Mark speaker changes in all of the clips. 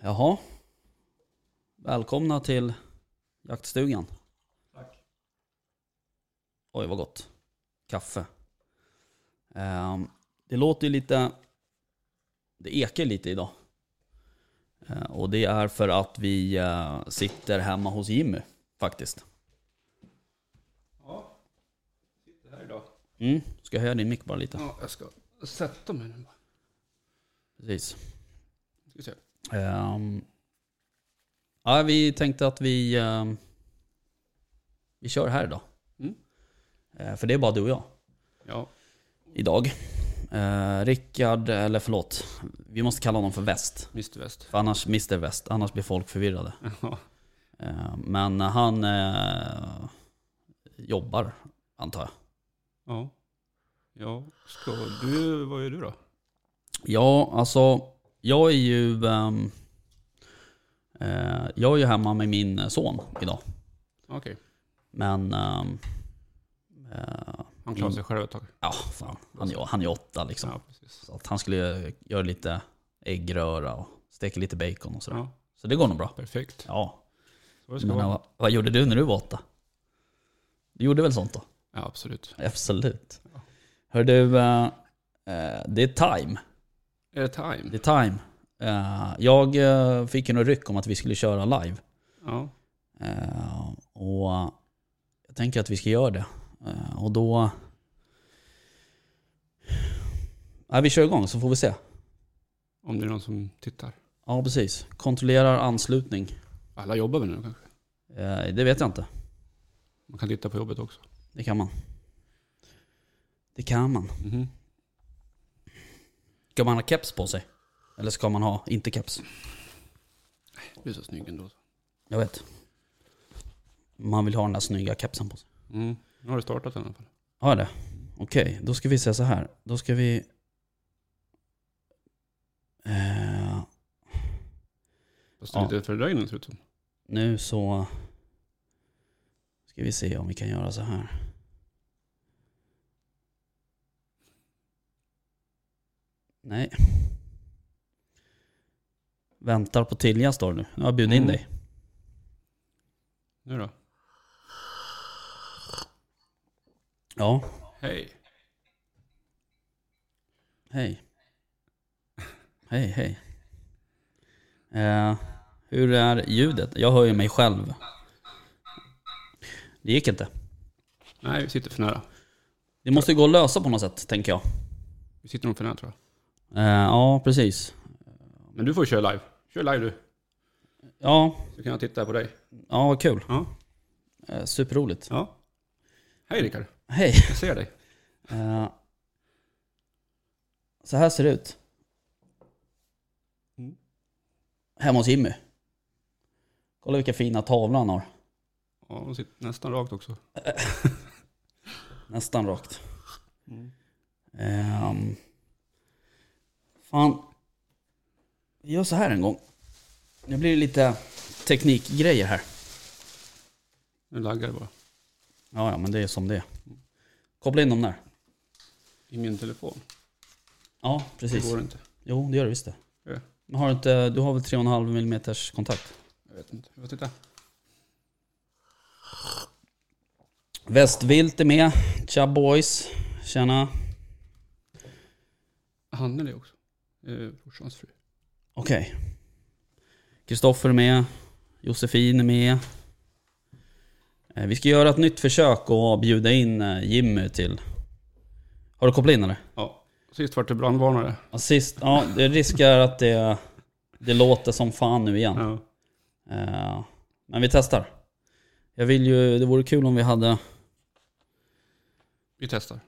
Speaker 1: Jaha. Välkomna till jaktstugan. Tack. Oj vad gott. Kaffe. Ehm, det låter ju lite... Det ekar lite idag. Eh, och det är för att vi eh, sitter hemma hos Jimmy faktiskt.
Speaker 2: Ja, sitter här idag.
Speaker 1: Mm. Ska jag höja din mick bara lite?
Speaker 2: Ja, jag ska sätta mig nu.
Speaker 1: Precis.
Speaker 2: Ska vi se.
Speaker 1: Ehm, ja, vi tänkte att vi, ehm, vi kör här idag.
Speaker 2: Mm.
Speaker 1: Eh, för det är bara du och jag
Speaker 2: Ja,
Speaker 1: idag. Uh, Rickard, eller förlåt, vi måste kalla honom för Väst.
Speaker 2: Mr West.
Speaker 1: För annars, Mr Väst, annars blir folk förvirrade.
Speaker 2: Ja,
Speaker 1: Eh, men han eh, jobbar, antar jag.
Speaker 2: ja. Ja, ska du, vad gör du då?
Speaker 1: Ja, alltså jag är ju, ehm, eh, jag är ju hemma med min son idag.
Speaker 2: Okej,
Speaker 1: Men ehm, eh,
Speaker 2: han klarar sig själv ett tag.
Speaker 1: ja, fan, han, är- han är åtta liksom.
Speaker 2: Mm. Ja, precis.
Speaker 1: Så att han skulle göra lite äggröra och steka lite bacon och sådär.
Speaker 2: Ja,
Speaker 1: Så det går nog bra.
Speaker 2: perfekt.
Speaker 1: Ja.
Speaker 2: Så det ska
Speaker 1: Men,
Speaker 2: vara.
Speaker 1: vad, vad gjorde du när du var åtta? Du gjorde väl sånt då?
Speaker 2: Ja, absolut.
Speaker 1: Absolut.
Speaker 2: Ja.
Speaker 1: Hör du, eh, eh, det är time.
Speaker 2: Är det time?
Speaker 1: Det är time. Eh, jag eh, fick ju något ryck om att vi skulle köra live.
Speaker 2: Ja,
Speaker 1: Eh, och jag tänker att vi ska göra det. Eh, och då... Ja, vi kör igång så får vi se.
Speaker 2: om det är någon som tittar.
Speaker 1: Ja, precis. Kontrollerar anslutning.
Speaker 2: Alla jobbar väl nu kanske?
Speaker 1: Eh, det vet jag inte.
Speaker 2: Man kan titta på jobbet också.
Speaker 1: Det kan man. Det kan man.
Speaker 2: Mhm.
Speaker 1: Ska man ha keps på sig? Eller ska man ha inte keps?
Speaker 2: Du är så snygg ändå.
Speaker 1: Jag vet. Man vill ha den där snygga kepsen på sig.
Speaker 2: Mm. Nu har du startat i alla fall.
Speaker 1: Har jag det? Okej, då ska vi säga så här. Då ska vi... Eh,
Speaker 2: Fast det är
Speaker 1: Ja.
Speaker 2: lite fördröjning ser det ut som.
Speaker 1: nu så... Ska vi se om vi kan göra så här. Nej. Väntar på Tilja står det nu. Nu har jag bjudit in
Speaker 2: Mm.
Speaker 1: dig.
Speaker 2: Nu då?
Speaker 1: Ja,
Speaker 2: Hej.
Speaker 1: hej. Hej, hej. Eh, hur är ljudet? Jag hör ju mig själv. Det gick inte.
Speaker 2: Nej, vi sitter för nära.
Speaker 1: Det måste ju gå att lösa på något sätt, tänker jag.
Speaker 2: Vi sitter nog för nära tror jag.
Speaker 1: Eh, ja, precis.
Speaker 2: Men du får köra live. Kör live du.
Speaker 1: Ja,
Speaker 2: Så kan jag titta på dig.
Speaker 1: ja vad kul.
Speaker 2: Ja.
Speaker 1: Eh, superroligt.
Speaker 2: Ja. Hej Rickard,
Speaker 1: Hej.
Speaker 2: jag ser dig.
Speaker 1: Eh, så här ser det ut.
Speaker 2: Mm.
Speaker 1: Hemma hos Jimmy. Kolla vilka fina tavlor han har.
Speaker 2: Ja, hon sitter nästan rakt också.
Speaker 1: Nästan rakt.
Speaker 2: Mm.
Speaker 1: Ehm, fan. Vi gör så här en gång. Nu blir det lite teknikgrejer här.
Speaker 2: Nu laggar det bara.
Speaker 1: Ja, ja, men det är som det är. Koppla in dem där.
Speaker 2: I min telefon.
Speaker 1: Ja,
Speaker 2: Det
Speaker 1: precis.
Speaker 2: går inte.
Speaker 1: Jo, det gör det visst det.
Speaker 2: Ja.
Speaker 1: Men har du, inte, du har väl 3,5 mm kontakt?
Speaker 2: Jag vet inte. Jag får titta.
Speaker 1: Västvilt är med. Tja boys. Tjena.
Speaker 2: Anneli också. Eh, brorsans fru.
Speaker 1: Okej. Kristoffer är med. Josefin är med. Eh, Vi ska göra ett nytt försök och bjuda in eh, Jimmy till... Har du kopplat in eller?
Speaker 2: Ja. Sist vart det brandvarnare.
Speaker 1: Ja, Sist, ja, det riskerar att det, det låter som fan nu igen.
Speaker 2: Ja.
Speaker 1: Eh, Men vi testar. Jag vill ju, det vore kul om vi hade...
Speaker 2: Vi testar.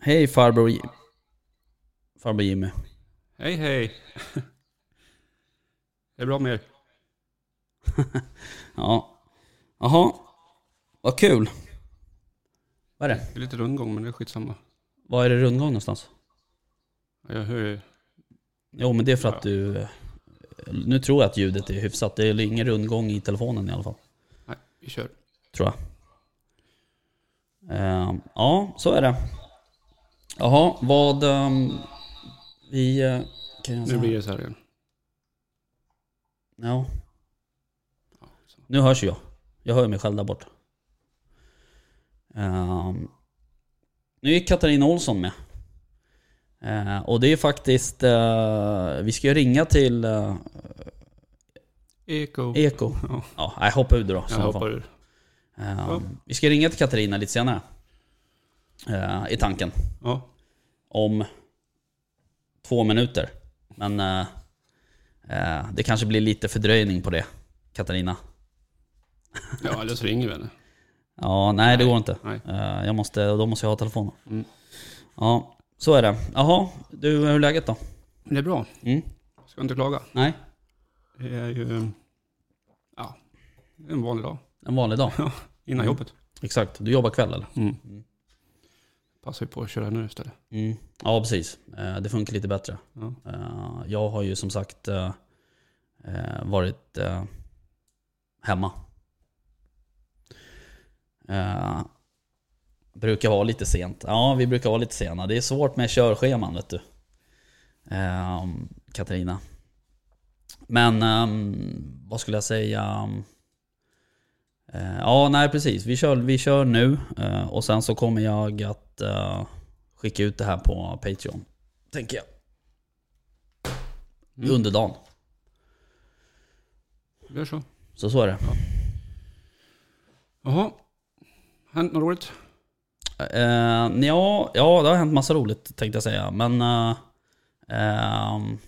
Speaker 1: Hej farbror, Ji- farbror Jimmy.
Speaker 2: Hej hej. är det bra med er?
Speaker 1: Ja. Jaha. Vad kul. Vad är det?
Speaker 2: Det är lite rundgång men det är skitsamma.
Speaker 1: Vad är det rundgång någonstans?
Speaker 2: Ja, Jag hör ju.
Speaker 1: Jo men det är för att du... eh, Nu tror jag att ljudet är hyfsat. Det är ingen rundgång i telefonen i alla fall.
Speaker 2: Nej, vi kör.
Speaker 1: Tror jag. Ehm, ja, så är det. Jaha, vad... ehm, Vi eh, kan göra så
Speaker 2: Nu
Speaker 1: här.
Speaker 2: blir det så här igen.
Speaker 1: Ja.
Speaker 2: Ja, så.
Speaker 1: Nu hörs jag. Jag hör mig själv där bort. Ehm, nu är Katarina Olsson med. Eh, och det är faktiskt... eh, vi ska ju ringa till eh,
Speaker 2: Eko.
Speaker 1: Eko.
Speaker 2: Ja.
Speaker 1: Ja, nej, hoppa ur då.
Speaker 2: Jag hoppar ur.
Speaker 1: Ehm, Vi ska ringa till Katarina lite senare. Eh, I tanken.
Speaker 2: Ja.
Speaker 1: Om två minuter. Men eh, eh, det kanske blir lite fördröjning på det. Katarina.
Speaker 2: ja, eller så ringer vi henne.
Speaker 1: Ja, nej det
Speaker 2: Nej,
Speaker 1: går inte.
Speaker 2: nej.
Speaker 1: Eh, Jag måste, då måste jag ha telefonen.
Speaker 2: Mm.
Speaker 1: Ja, så är det. Jaha, du, hur är läget då?
Speaker 2: Men Det är bra.
Speaker 1: Mm.
Speaker 2: Ska inte klaga.
Speaker 1: Nej,
Speaker 2: Det är ju... Ja. det är En vanlig dag.
Speaker 1: en vanlig dag.
Speaker 2: Innan
Speaker 1: Mm.
Speaker 2: jobbet.
Speaker 1: Exakt, du jobbar kväll eller?
Speaker 2: Mm. Passar ju på att köra nu istället.
Speaker 1: Mm. Ja, precis. Eh, Det funkar lite bättre.
Speaker 2: Ja.
Speaker 1: Eh, Jag har ju som sagt eh, eh, varit eh, hemma. Eh, Brukar vara lite sent. Ja, vi brukar vara lite sena. Det är svårt med körscheman vet du. Eh, Katarina. Men ehm, vad skulle jag säga? Eh, ja, nej precis. Vi kör, vi kör nu eh, och sen så kommer jag att eh, skicka ut det här på Patreon. Tänker jag.
Speaker 2: Mm.
Speaker 1: Under dagen.
Speaker 2: Gör så.
Speaker 1: Så så är det.
Speaker 2: Jaha. Hänt något roligt?
Speaker 1: Eh, ja, ja, det har hänt massa roligt tänkte jag säga. Men eh, ehm,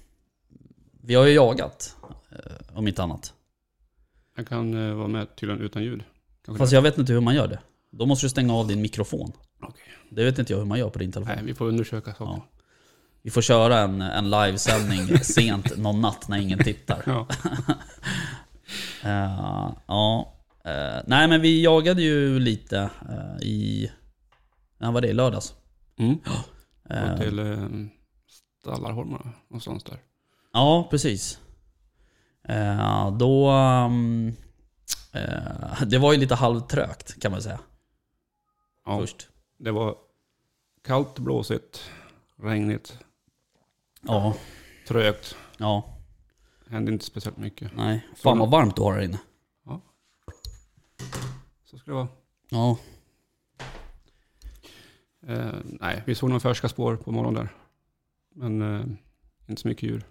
Speaker 1: vi har ju jagat. eh, Om inte annat.
Speaker 2: Jag kan eh, vara med tydligen utan ljud. Kanske
Speaker 1: Fast jag vet inte hur man gör det. Då måste du stänga av din mikrofon.
Speaker 2: det. Okej.
Speaker 1: Det vet inte jag hur man gör på din telefon.
Speaker 2: Nej, vi får undersöka saker.
Speaker 1: Ja. Vi får köra en, en livesändning sent någon natt när ingen tittar.
Speaker 2: Ja.
Speaker 1: Eh, ja. Eh, nej men vi jagade ju lite eh, i... När var det? I lördags?
Speaker 2: Mm.
Speaker 1: Eh,
Speaker 2: Och till eh, Stallarholmarna någonstans där.
Speaker 1: Ja, precis. Eh, då... ehm, eh, det var ju lite halvtrögt kan man säga
Speaker 2: Ja,
Speaker 1: först.
Speaker 2: det var kallt, blåsigt, regnigt,
Speaker 1: Ja,
Speaker 2: trögt.
Speaker 1: ja,
Speaker 2: Hände inte speciellt mycket.
Speaker 1: nej. Fan vad varmt du har här inne.
Speaker 2: Så ska det vara.
Speaker 1: Ja,
Speaker 2: Eh, nej, vi såg några färska spår på morgonen där. Men eh, inte så mycket djur.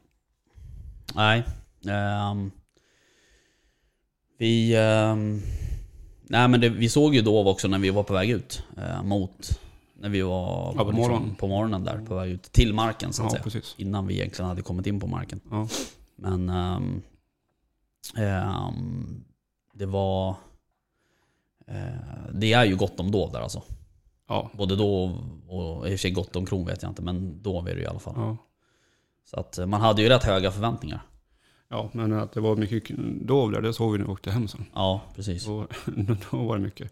Speaker 1: nej. Ehm, vi... ehm, nej men det, vi såg ju då också när vi var på väg ut eh, mot... När vi var liksom
Speaker 2: Ja, på morgonen.
Speaker 1: på morgonen där, på väg ut till marken så att
Speaker 2: Ja,
Speaker 1: säga.
Speaker 2: precis.
Speaker 1: Innan vi egentligen hade kommit in på marken.
Speaker 2: Ja.
Speaker 1: Men ehm, ehm, det var... eh, det är ju gott om dov där alltså.
Speaker 2: Ja.
Speaker 1: Både då och i och för sig gott om kron vet jag inte, men dov är det ju i alla fall.
Speaker 2: Ja.
Speaker 1: Så att eh, man hade ju rätt höga förväntningar.
Speaker 2: ja, men att det var mycket dov där, det såg vi när vi åkte hem sen.
Speaker 1: Ja, precis.
Speaker 2: Då, då var det mycket.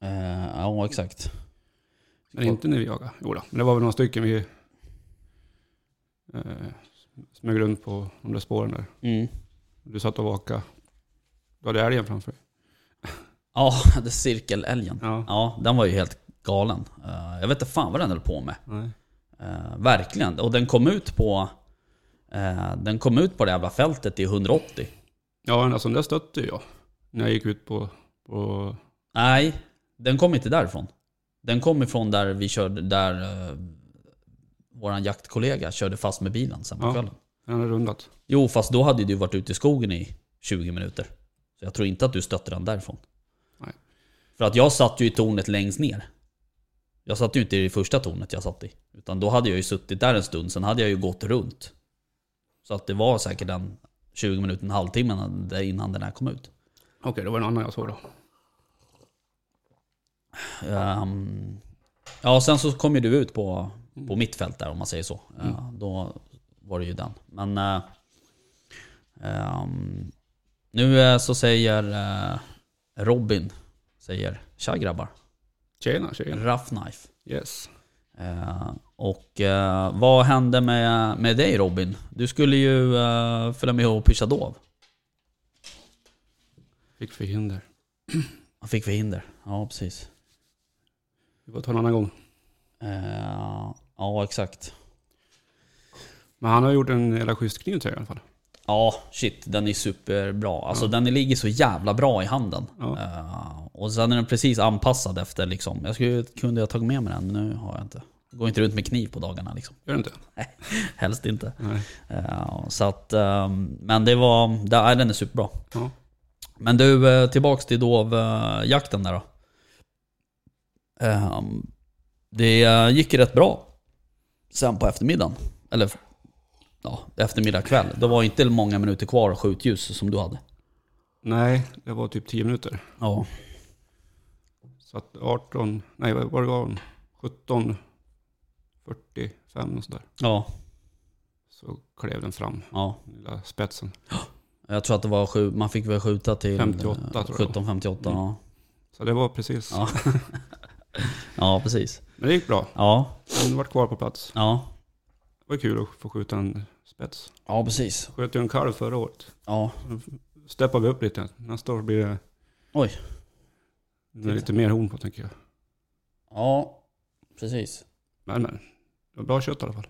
Speaker 1: Eh, ja, exakt.
Speaker 2: Men inte när vi jagade. Jo då. men det var väl några stycken vi eh, smög runt på de där spåren där.
Speaker 1: Mm.
Speaker 2: Du satt och vakade. Du hade älgen framför dig.
Speaker 1: Ja, det är cirkelälgen.
Speaker 2: Ja.
Speaker 1: Ja, den var ju helt galen. Eh, jag vet inte fan vad den höll på med.
Speaker 2: Nej.
Speaker 1: Eh, verkligen. Och den kom ut på... eh, den kom ut på det jävla fältet i 180.
Speaker 2: Ja, alltså den där stötte jag. När jag gick ut på... på
Speaker 1: Nej, den kom inte därifrån. Den kom ifrån där vi körde, där eh, våran jaktkollega körde fast med bilen sen på
Speaker 2: Ja.
Speaker 1: kvällen.
Speaker 2: den hade rundat.
Speaker 1: Jo, fast då hade du varit ute i skogen i 20 minuter. Så jag tror inte att du stötte den därifrån.
Speaker 2: Nej.
Speaker 1: För att jag satt ju i tornet längst ner. Jag satt ju inte i det första tornet jag satt i. Utan då hade jag ju suttit där en stund, sen hade jag ju gått runt. Så att det var säkert den 20 minuter, en halvtimme innan- innan den här kom ut.
Speaker 2: Okej, det var en annan jag såg då.
Speaker 1: Ehm, ja, sen så kom ju du ut på, på mitt fält där om man säger så. Ja, då var det ju den. Men eh, ehm, nu eh, så säger eh, Robin, säger tja grabbar,
Speaker 2: Tjena, tjena.
Speaker 1: rough knife.
Speaker 2: Yes.
Speaker 1: Eh, och eh, vad hände med, med dig Robin? Du skulle ju eh, följa med och pyscha dov.
Speaker 2: Fick förhinder.
Speaker 1: Han fick förhinder. Ja, precis.
Speaker 2: Vi får ta en annan gång.
Speaker 1: Eh, ja, Ehm, exakt.
Speaker 2: Men han har gjort en jävla schysst kniv till i alla fall.
Speaker 1: Ja, shit. Den är superbra. Alltså den ligger så jävla bra i handen.
Speaker 2: Ja.
Speaker 1: Eh, och sen är den precis anpassad efter liksom. Jag skulle, kunde jag tagit med mig den, men nu har jag inte. Jag går inte runt med kniv på dagarna liksom.
Speaker 2: Gör det inte?
Speaker 1: Helst inte.
Speaker 2: Nej.
Speaker 1: Eh, så att, eh, men det var, det, nej, den är superbra.
Speaker 2: Ja.
Speaker 1: Men du, eh, tillbaks till dovjakten där då. Ehm, Det eh, gick ju rätt bra sen på eftermiddagen. Eller ja, eftermiddag kväll. Det var inte många minuter kvar av skjutljus som du hade.
Speaker 2: Nej, det var typ 10 minuter.
Speaker 1: Ja.
Speaker 2: Så att 18, nej vad var det gav hon? 17, 45 och sådär.
Speaker 1: Ja,
Speaker 2: Så klev den fram,
Speaker 1: ja.
Speaker 2: den lilla spetsen.
Speaker 1: Jag tror att det var sju, man fick väl skjuta till
Speaker 2: 58 tror jag.
Speaker 1: 1758. Ja.
Speaker 2: Så det var precis.
Speaker 1: Ja. ja, precis.
Speaker 2: Men det gick bra.
Speaker 1: Ja,
Speaker 2: Den var kvar på plats.
Speaker 1: ja.
Speaker 2: Det var kul att få skjuta en spets.
Speaker 1: Ja, precis.
Speaker 2: Sköt ju en kalv förra året.
Speaker 1: Ja,
Speaker 2: Steppar vi upp lite. Nästa år blir det...
Speaker 1: Oj.
Speaker 2: Det är lite mer horn på tänker jag.
Speaker 1: ja precis.
Speaker 2: Men men. Det var bra kött i alla fall.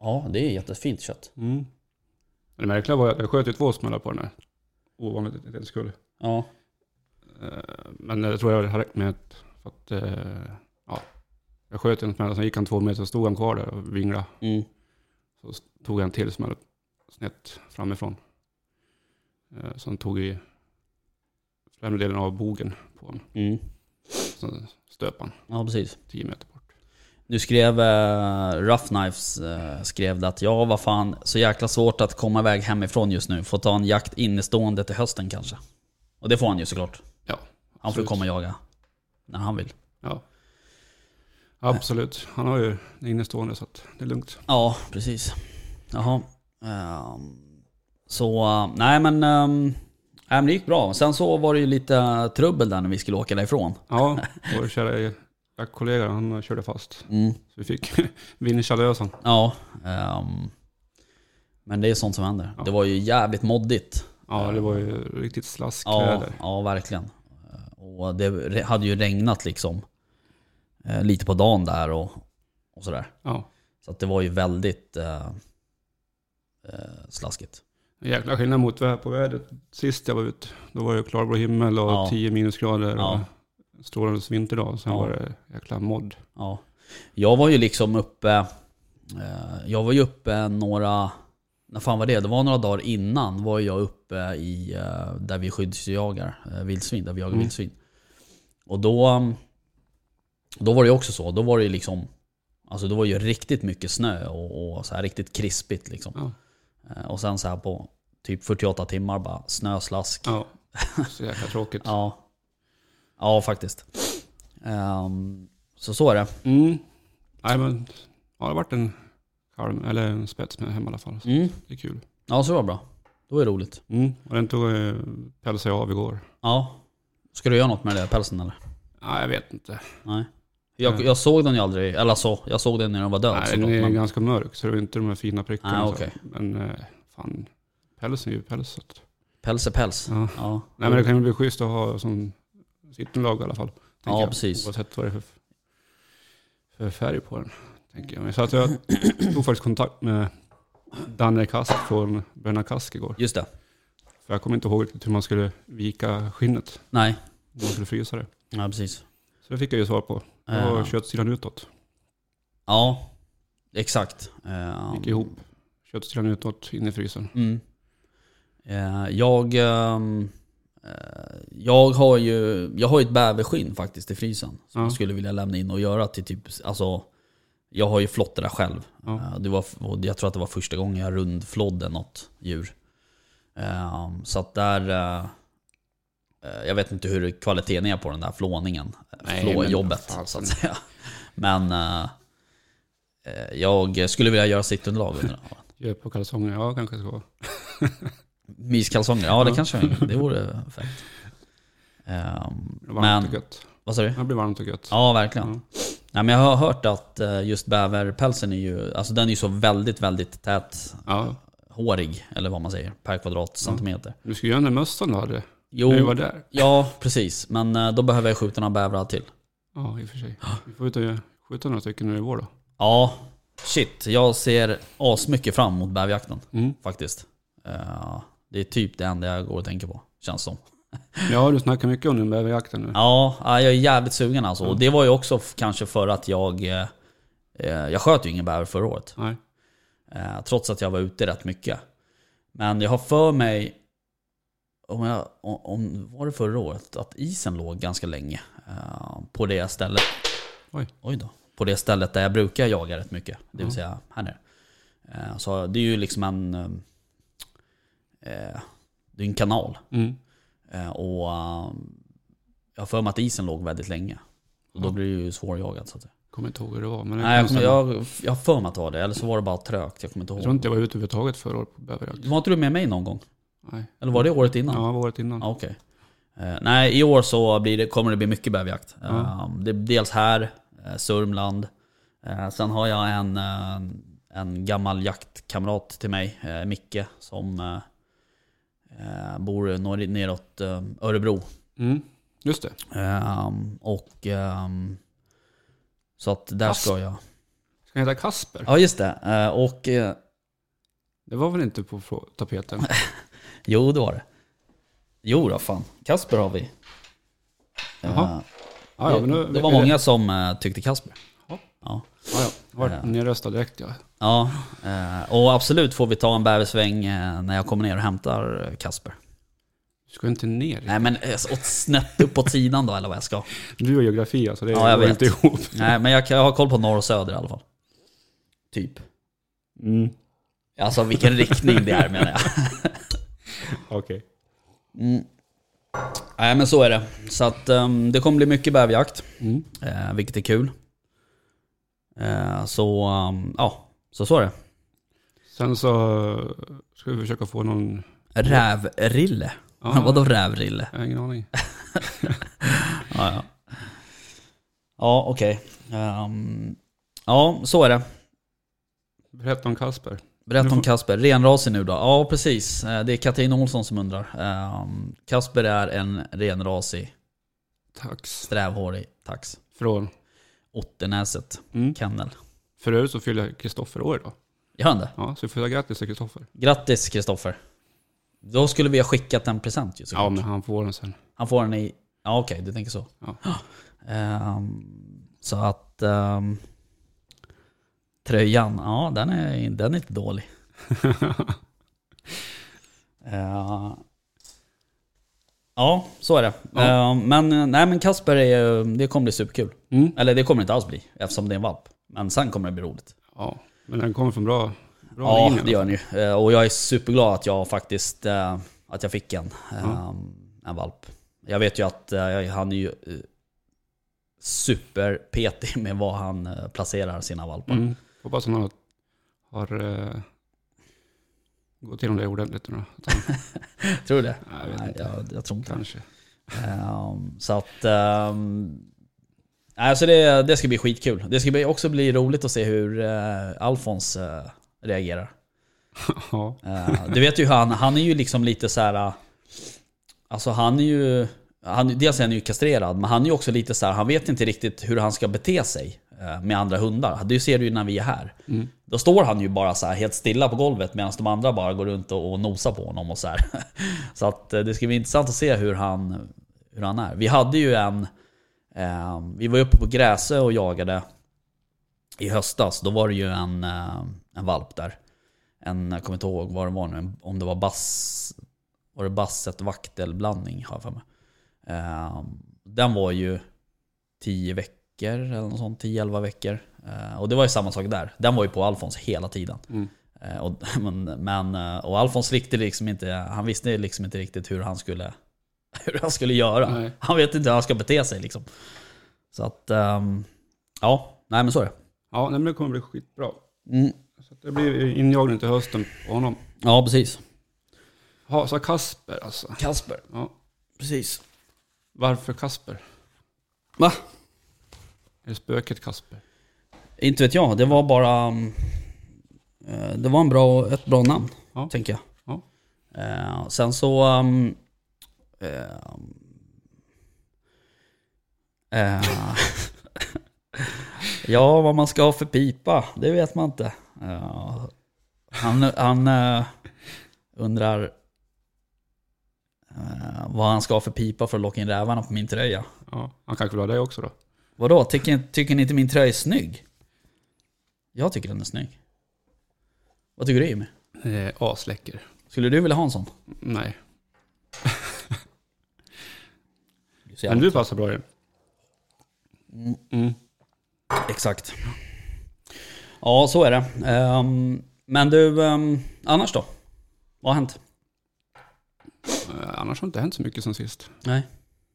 Speaker 1: Ja, det är jättefint kött.
Speaker 2: Mm. Det märkliga var att jag sköt ju två smällar på den här. Ovanligt att det inte skulle.
Speaker 1: Ja,
Speaker 2: Eh, Men jag tror jag hade räckt med ett, för att, eh, ja. Jag sköt en smäll, sen gick han två meter, så stod han kvar där och vinglade.
Speaker 1: mm.
Speaker 2: Så s- tog jag en till smäll snett framifrån. Eh, Som tog i främre delen av bogen på honom.
Speaker 1: Mm.
Speaker 2: Sen stöp han
Speaker 1: ja precis.
Speaker 2: tio meter bort.
Speaker 1: Nu skrev eh, Rough Knives eh, skrev det att ja, vad fan, så jäkla svårt att komma iväg hemifrån just nu. Får ta en jakt innestående till hösten kanske. Och det får han ju såklart.
Speaker 2: Ja,
Speaker 1: Han får
Speaker 2: absolut.
Speaker 1: komma och jaga när han vill.
Speaker 2: Ja. Absolut, han har ju det innestående så att det är lugnt.
Speaker 1: Ja, precis. Jaha. Ehm, så, eh, nej men, ehm, nej, men det gick bra. Sen så var det ju lite trubbel där när vi skulle åka därifrån.
Speaker 2: Ja, vår kära jaktkollega han körde fast.
Speaker 1: Mm.
Speaker 2: Så vi fick vincha lös han.
Speaker 1: Ja. ehm, men det är sånt som händer. Det var ju jävligt moddigt.
Speaker 2: Ja, det var ju riktigt
Speaker 1: Ja,
Speaker 2: slaskkläder.
Speaker 1: ja, verkligen. Och det re- hade ju regnat liksom eh, lite på dagen där och, och sådär.
Speaker 2: Ja.
Speaker 1: Så att det var ju väldigt eh, eh, slaskigt.
Speaker 2: En jäkla skillnad mot vä- på vädret. Sist jag var ute, då var det klarblå himmel och
Speaker 1: Ja.
Speaker 2: 10 minusgrader
Speaker 1: Ja.
Speaker 2: och strålande vinterdag. Sen
Speaker 1: Ja.
Speaker 2: var det jäkla modd.
Speaker 1: Ja. Jag var ju liksom uppe, eh, jag var ju uppe några, när fan var det? Det var några dagar innan var jag uppe i, eh, där vi skyddsjagar eh, vildsvin, där vi jagar
Speaker 2: Mm.
Speaker 1: vildsvin. Och då, um, då var det ju också så, då var det ju liksom, alltså det var ju riktigt mycket snö och, och så här riktigt krispigt liksom.
Speaker 2: Ja.
Speaker 1: Eh, Och sen så här på typ 48 timmar bara snöslask.
Speaker 2: Ja. Så jäkla tråkigt.
Speaker 1: Ja, ja faktiskt. Ehm, så så är det.
Speaker 2: Mm. Nej men, ja, det har varit en kalm, eller en spets med hem i alla fall. Så
Speaker 1: Mm.
Speaker 2: Det är kul.
Speaker 1: Ja, så var det bra. Då är det roligt.
Speaker 2: Mm. Och den tog, eh, pälsade jag av igår.
Speaker 1: Ja. Ska du göra något med den där pälsen eller?
Speaker 2: Nej, jag vet inte.
Speaker 1: Nej. Jag,
Speaker 2: Nej.
Speaker 1: jag såg den ju aldrig, eller så, jag såg den när den var död.
Speaker 2: Nej, den
Speaker 1: såklart,
Speaker 2: är
Speaker 1: men-
Speaker 2: ganska mörk, så det är inte de här fina prickarna.
Speaker 1: Ah,
Speaker 2: så.
Speaker 1: okej.
Speaker 2: Men eh, fan, pälsen är ju päls. så att-
Speaker 1: Päls är päls.
Speaker 2: Ja.
Speaker 1: Ja.
Speaker 2: Nej, men det kan ju bli schysst att ha som sitt lag i alla fall. tänker jag.
Speaker 1: precis.
Speaker 2: Oavsett vad det är för, för färg på den. Tänker jag. Men Så att jag tog faktiskt kontakt med Danne Kask från Bröderna Kask igår.
Speaker 1: Just det.
Speaker 2: För jag kommer inte ihåg riktigt hur man skulle vika skinnet.
Speaker 1: Nej.
Speaker 2: Hur man skulle frysa det.
Speaker 1: Ja, precis.
Speaker 2: Så det fick jag ju svar på. Det var
Speaker 1: Eh,
Speaker 2: köttsidan utåt.
Speaker 1: ja. Exakt. Ehm,
Speaker 2: Gick ihop. Köttsidan utåt in i frysen.
Speaker 1: Mm. Eh, jag, ehm, eh, jag har ju jag har ju ett bäverskinn faktiskt i frysen. Som
Speaker 2: Ja.
Speaker 1: jag skulle vilja lämna in och göra till typ, alltså jag har ju flott det där själv.
Speaker 2: Ja.
Speaker 1: Eh, det var, och jag tror att det var första gången jag rundflodde något djur. Ehm, så att där, eh, eh, jag vet inte hur kvaliteten är på den där flåningen.
Speaker 2: Nej, men
Speaker 1: Flåjobbet
Speaker 2: fasen.
Speaker 1: så att säga. Men eh, eh, jag skulle vilja göra sittunderlag under den.
Speaker 2: Gör på kalsonger, ja kanske ska.
Speaker 1: Myskalsonger, ja det kanske det vore fett. Ehm,
Speaker 2: Det var varmt
Speaker 1: men,
Speaker 2: och gött.
Speaker 1: vad sa du?
Speaker 2: Det blir varmt och gött.
Speaker 1: Ja, verkligen.
Speaker 2: Mm.
Speaker 1: Nej, men jag har hört att eh, just bäverpälsen är ju, alltså den är ju så väldigt, väldigt tät,
Speaker 2: Ja.
Speaker 1: hårig, eller vad man säger, per kvadratcentimeter.
Speaker 2: Du skulle göra den där mössan du hade. När vi var
Speaker 1: Jo,
Speaker 2: där.
Speaker 1: ja precis, men eh, då behöver jag skjuta några bävrar till.
Speaker 2: Ja, i och för sig. Vi får ut och skjuta några stycken nu i vår då.
Speaker 1: Ja, Shit, jag ser asmycket fram emot bäverjakten
Speaker 2: Mm.
Speaker 1: faktiskt. Eh, det är typ det enda jag går och tänker på, känns som.
Speaker 2: Ja, du snackar mycket om den bäverjakten nu.
Speaker 1: Ja, nej, jag är jävligt sugen alltså. Och det var ju också f- kanske för att jag... eh, eh, Jag sköt ju ingen bäver förra året.
Speaker 2: Nej.
Speaker 1: Eh, Trots att jag var ute rätt mycket. Men jag har för mig, om jag, om- om, var det förra året, att isen låg ganska länge. eh, På det stället.
Speaker 2: Oj.
Speaker 1: Oj då. På det stället där jag brukar jaga rätt mycket. Det vill
Speaker 2: Ja.
Speaker 1: säga här nere. Eh, Så det är ju liksom en... eh, eh, Det är en kanal.
Speaker 2: Mm.
Speaker 1: Eh, Och eh, jag har för mig att isen låg väldigt länge. Och då
Speaker 2: Ja.
Speaker 1: blir det ju svårjagad så att säga.
Speaker 2: Kommer inte ihåg hur det var. Men det
Speaker 1: Nej, jag,
Speaker 2: kan
Speaker 1: kommer,
Speaker 2: stämma.
Speaker 1: jag, jag har för mig att det var det. Eller så var det bara trögt. Jag kommer inte
Speaker 2: jag
Speaker 1: ihåg.
Speaker 2: tror inte jag var ute överhuvudtaget förra året på bäverjakt.
Speaker 1: Var inte du med mig någon gång?
Speaker 2: Nej.
Speaker 1: Eller var det året Mm. innan?
Speaker 2: Ja, året innan.
Speaker 1: Ah, Okej. Eh, nej, i år så blir det, kommer det bli mycket bäverjakt.
Speaker 2: Ja.
Speaker 1: Eh, det är dels här, eh, Sörmland. Eh, sen har jag en, eh, en gammal jaktkamrat till mig, eh, Micke, som eh, eh, bor norr, neråt eh, Örebro.
Speaker 2: Mm. Just det.
Speaker 1: Ehm, och ehm, så att där
Speaker 2: Fast.
Speaker 1: ska jag.
Speaker 2: Ska han heta Kasper?
Speaker 1: Ja just det. Eh, och eh,
Speaker 2: Det var väl inte på frå- tapeten?
Speaker 1: jo det var det. Jo då fan. Kasper har vi.
Speaker 2: Jaha.
Speaker 1: Eh,
Speaker 2: Ja, ja, men nu,
Speaker 1: det, det var många som eh, tyckte Kasper.
Speaker 2: Ja.
Speaker 1: Ja.
Speaker 2: Ja, ja. Jag vart nedröstad direkt ja.
Speaker 1: Ja, eh, och absolut får vi ta en bäversväng eh, när jag kommer ner och hämtar eh, Kasper.
Speaker 2: Du ska inte ner.
Speaker 1: Nej men eh, åt snett uppåt sidan då eller vad jag ska.
Speaker 2: Du och geografi alltså, det
Speaker 1: Ja, jag
Speaker 2: går
Speaker 1: vet.
Speaker 2: inte ihop.
Speaker 1: Nej men jag, kan- jag har koll på norr och söder i alla fall. Typ.
Speaker 2: Mm.
Speaker 1: Alltså vilken riktning det är menar jag.
Speaker 2: Okej.
Speaker 1: Nej men så är det. Så att ehm, det kommer bli mycket bäverjakt,
Speaker 2: Mm.
Speaker 1: eh, vilket är kul. Eh, så ehm, ja, så så är det.
Speaker 2: Sen så eh, ska vi försöka få någon...
Speaker 1: Rävrille.
Speaker 2: Ja.
Speaker 1: Vadå rävrille?
Speaker 2: Jag har ingen aning.
Speaker 1: Ja, ja. ja okej. Ehm, ja, så är det.
Speaker 2: Berätta om Kasper.
Speaker 1: Berätta
Speaker 2: Du
Speaker 1: om
Speaker 2: får-
Speaker 1: Kasper. Renrasig nu då? Ja, precis. Eh, Det är Katarina Olsson som undrar. Ehm, Kasper är en renrasig,
Speaker 2: Tax.
Speaker 1: strävhårig tax.
Speaker 2: Från.
Speaker 1: Ottenäset
Speaker 2: Mm.
Speaker 1: kennel.
Speaker 2: För övrigt så fyller Kristoffer år idag.
Speaker 1: Gör han det?
Speaker 2: Ja, så vi får säga grattis till Kristoffer.
Speaker 1: Grattis Kristoffer. Då skulle vi ha skickat en present ju såklart.
Speaker 2: Ja, men han får den sen.
Speaker 1: Han får den i... Ja okej, du tänker så.
Speaker 2: Ja.
Speaker 1: Ehm, så att... ehm, tröjan, ja den är, den är inte dålig. Eh, ja, så är det.
Speaker 2: Ja.
Speaker 1: Ehm, men eh, nej men Kasper, är, ju- det kommer bli superkul.
Speaker 2: Mm.
Speaker 1: Eller det kommer det inte alls bli, eftersom det är en valp. Men sen kommer det bli roligt.
Speaker 2: Ja, men den kommer från bra, bra
Speaker 1: Ja,
Speaker 2: linjer.
Speaker 1: det gör den ju. Eh, Och jag är superglad att jag faktiskt eh, att jag fick en, eh, en valp. Jag vet ju att eh, jag- han är ju eh, superpetig med var han eh, placerar sina valpar.
Speaker 2: Mm. Hoppas han har, har eh, gått igenom det ordentligt nu då. Att han,
Speaker 1: Tror du det?
Speaker 2: Nej, jag vet inte.
Speaker 1: jag, jag tror inte
Speaker 2: kanske.
Speaker 1: Ehm, Så att... ehm, Alltså det, det ska bli skitkul. Det ska bli, också bli roligt att se hur eh, Alfons eh, reagerar.
Speaker 2: Ja.
Speaker 1: Eh, Du vet ju hur han, han är ju liksom lite så här. eh, Alltså han är ju, han, dels är han ju kastrerad, men han är ju också lite så här. han vet inte riktigt hur han ska bete sig eh, med andra hundar. Det ser du ju när vi är här. Då står han ju bara så här helt stilla på golvet medan de andra bara går runt och, och nosar på honom och så här. Så att eh, det ska bli intressant att se hur han, hur han är. Vi hade ju en, eh, vi var uppe på Gräsö och jagade i höstas. Då var det ju en, eh, en valp där en, jag kommer inte ihåg vad det var nu, en- om det var bass, var det basset vaktelblandning har jag för mig. Ehm, den var ju 10 veckor eller något sånt, 10-11 veckor. Eh, och det var ju samma sak där. Den var ju på Alfons hela tiden.
Speaker 2: Mm.
Speaker 1: Eh, och, men, men, eh, och Alfons riktigt liksom inte, han visste liksom inte riktigt hur han skulle, hur han skulle göra.
Speaker 2: Nej.
Speaker 1: Han vet inte hur han ska bete sig liksom. Så att, ehm, ja, nej men så är det.
Speaker 2: Ja, nej, men det kommer bli skitbra.
Speaker 1: Mm.
Speaker 2: Så att det blir injagning till hösten på honom.
Speaker 1: Ja, precis.
Speaker 2: Ja, så Kasper alltså.
Speaker 1: Kasper,
Speaker 2: Ja.
Speaker 1: precis.
Speaker 2: Varför Kasper?
Speaker 1: Va?
Speaker 2: Är det spöket Kasper?
Speaker 1: Inte vet jag, det var bara... mm, eh, Det var en bra, ett bra namn,
Speaker 2: Ja.
Speaker 1: tänker jag.
Speaker 2: Ja.
Speaker 1: Eh, Sen så... mm, eh, eh, Ja, vad man ska ha för pipa, det vet man inte. Ja, han han eh, undrar eh, vad han ska ha för pipa för att locka in rävarna på min tröja.
Speaker 2: Ja, han kanske vill ha det också då.
Speaker 1: Vadå, tycker, tycker ni inte min tröja är snygg? Jag tycker den är snygg. Vad tycker du Jimmy?
Speaker 2: Eh, asläcker.
Speaker 1: Skulle du vilja ha en sån?
Speaker 2: Nej.
Speaker 1: Det är så
Speaker 2: Men
Speaker 1: jävla-
Speaker 2: du passar bra i den. Mm.
Speaker 1: Exakt. Ja, så är det. Ehm, men du, ehm, annars då? Vad har hänt?
Speaker 2: Eh, annars har det inte hänt så mycket sen sist.
Speaker 1: Nej.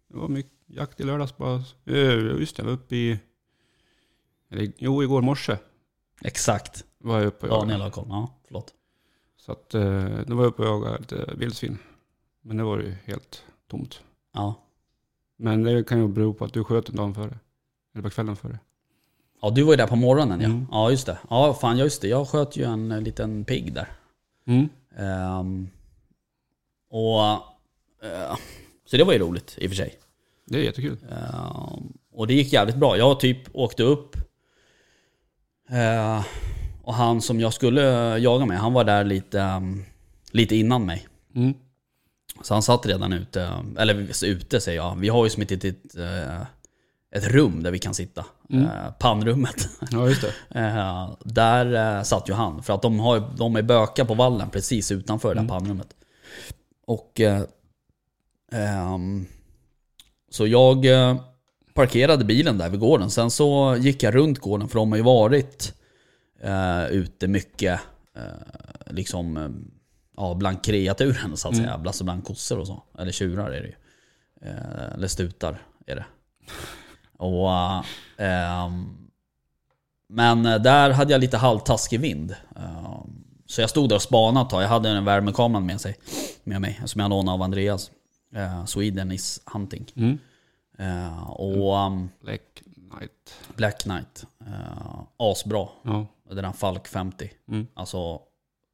Speaker 2: Det var mycket jakt i lördags bara. Eh, just det, jag var uppe i... Eller, jo, igår morse
Speaker 1: Exakt.
Speaker 2: var jag uppe och jagade.
Speaker 1: Daniel har koll. Ja, förlåt.
Speaker 2: Så att, eh, då var jag uppe och jagade lite vildsvin. Men det var ju helt tomt.
Speaker 1: Ja.
Speaker 2: Men det kan ju bero på att du sköt en dag före. Eller på kvällen före.
Speaker 1: ja, du var ju där på morgonen ja.
Speaker 2: Mm.
Speaker 1: Ja, just det. Ja, fan ja, just det. Jag sköt ju en eh, liten pigg där.
Speaker 2: Mm.
Speaker 1: Ehm, och... eh, så det var ju roligt i och för sig.
Speaker 2: Det är jättekul.
Speaker 1: Ehm, och det gick jävligt bra. Jag typ åkte upp. eh, och han som jag skulle eh, jaga med, han var där lite, ehm, lite innan mig.
Speaker 2: Mm.
Speaker 1: Så han satt redan ute, eh, eller vi- ute säger jag. Vi har ju som ett litet eh, ett rum där vi kan sitta. Eh, Pannrummet.
Speaker 2: Ja, just det.
Speaker 1: Eh, där eh, satt ju han. För att de, har, de är böka på vallen precis utanför det där pannrummet. Och... Eh, ehm, så jag eh, parkerade bilen där vid gården. Sen så gick jag runt gården för de har ju varit eh, ute mycket. Eh, liksom eh, ja, bland kreaturen så att säga. Alltså bland kossor och så. Eller tjurar är det ju. Eh, eller stutar är det. Och... Eh, ehm, men eh, där hade jag lite halvtaskig vind. Eh, Så jag stod där och spanade ett tag. Jag hade en värmekamera med, sig, med mig som jag lånade av Andreas. Eh, Sweden is hunting.
Speaker 2: Mm.
Speaker 1: Eh, Och um,
Speaker 2: Black Knight.
Speaker 1: Black Knight. eh, Asbra.
Speaker 2: Ja.
Speaker 1: Den här Falk 50.
Speaker 2: Mm.
Speaker 1: Alltså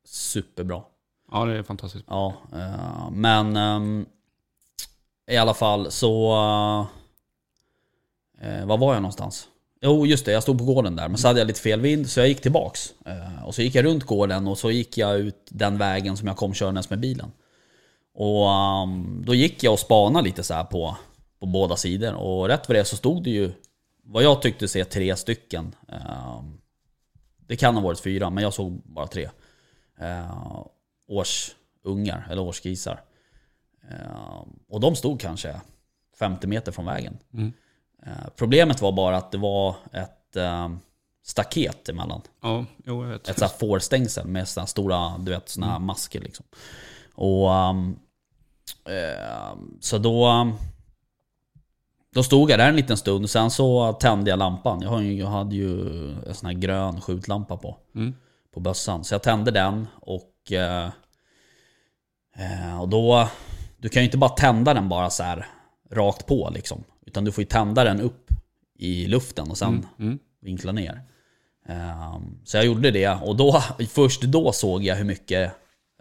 Speaker 1: superbra.
Speaker 2: ja, det är fantastiskt.
Speaker 1: Ja, eh, men ehm, i alla fall så... eh, var var jag någonstans? Jo, just det. Jag stod på gården där. Men så hade jag lite fel vind, så jag gick tillbaks. Eh, och så gick jag runt gården och så gick jag ut den vägen som jag kom körandes med bilen. Och ehm, då gick jag och spanade lite så här på, på båda sidor. Och rätt vad det är så stod det ju vad jag tyckte se tre stycken. Ehm, det kan ha varit fyra, men jag såg bara tre. Eh, årsungar, eller årsgrisar. Eh, och de stod kanske 50 meter från vägen.
Speaker 2: Mm.
Speaker 1: Eh, problemet var bara att det var ett eh, staket emellan.
Speaker 2: Ja, jo, jag vet.
Speaker 1: Ett sånt här fårstängsel med såna här stora, du vet, såna här masker liksom. Och... ehm, ehm, så då... ehm, Då stod jag där en liten stund och sen så tände jag lampan. Jag, har ju, jag hade ju en sån här grön skjutlampa på.
Speaker 2: Mm.
Speaker 1: På bössan. Så jag tände den och... eh, eh, och då... Du kan ju inte bara tända den bara så här rakt på liksom. Utan du får ju tända den upp i luften och sen
Speaker 2: Mm.
Speaker 1: vinkla ner. Ehm, Så jag gjorde det och då, först då såg jag hur mycket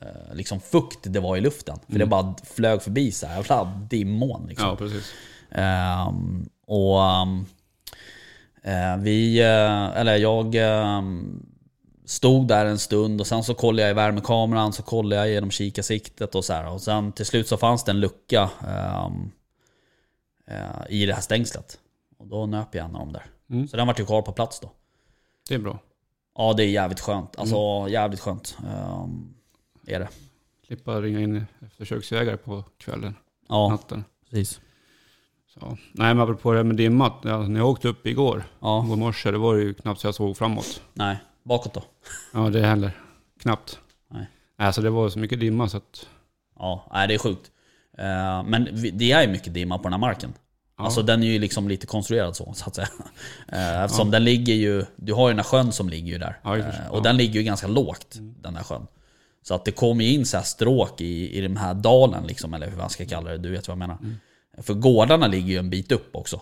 Speaker 1: eh, liksom fukt det var i luften.
Speaker 2: Mm.
Speaker 1: För det bara flög förbi så här, jävla dimmoln liksom.
Speaker 2: Ja, precis.
Speaker 1: Ehm, och ehm, eh, vi, eh, eller jag ehm, stod där en stund och sen så kollade jag i värmekameran, så kollade jag genom kikarsiktet och så här. Och sen till slut så fanns det en lucka ehm, eh, i det här stängslet. Och då nöp jag en av dem där.
Speaker 2: Mm.
Speaker 1: Så den vart ju kvar på plats då.
Speaker 2: Det är bra.
Speaker 1: Ja det är jävligt skönt. Alltså jävligt skönt. ehm, är det.
Speaker 2: Slippa ringa in eftersöksjägare på kvällen,
Speaker 1: Ja,
Speaker 2: natten.
Speaker 1: precis.
Speaker 2: Så. Nej, men apropå det här med dimmat. ja, När jag åkte upp igår,
Speaker 1: Ja,
Speaker 2: igår morse, det var det ju knappt så jag såg framåt.
Speaker 1: nej. Bakåt då.
Speaker 2: Ja, det heller. Knappt.
Speaker 1: Nej.
Speaker 2: Alltså det var så mycket dimma så att...
Speaker 1: Ja, nej, det är sjukt. Eh, Men vi- det är ju mycket dimma på den här marken.
Speaker 2: Ja.
Speaker 1: Alltså den är ju liksom lite konstruerad så, så att säga. Eh, Eftersom den ligger ju, du har ju den här sjön som ligger ju där.
Speaker 2: Ja, i och för sig.
Speaker 1: Eh, och
Speaker 2: Ja. Mm.
Speaker 1: den ligger ju ganska lågt, den där sjön. Så att det kommer ju in så här stråk i, i den här dalen liksom, eller hur man ska kalla det, du vet vad jag menar.
Speaker 2: Mm.
Speaker 1: För gårdarna ligger ju en bit upp också.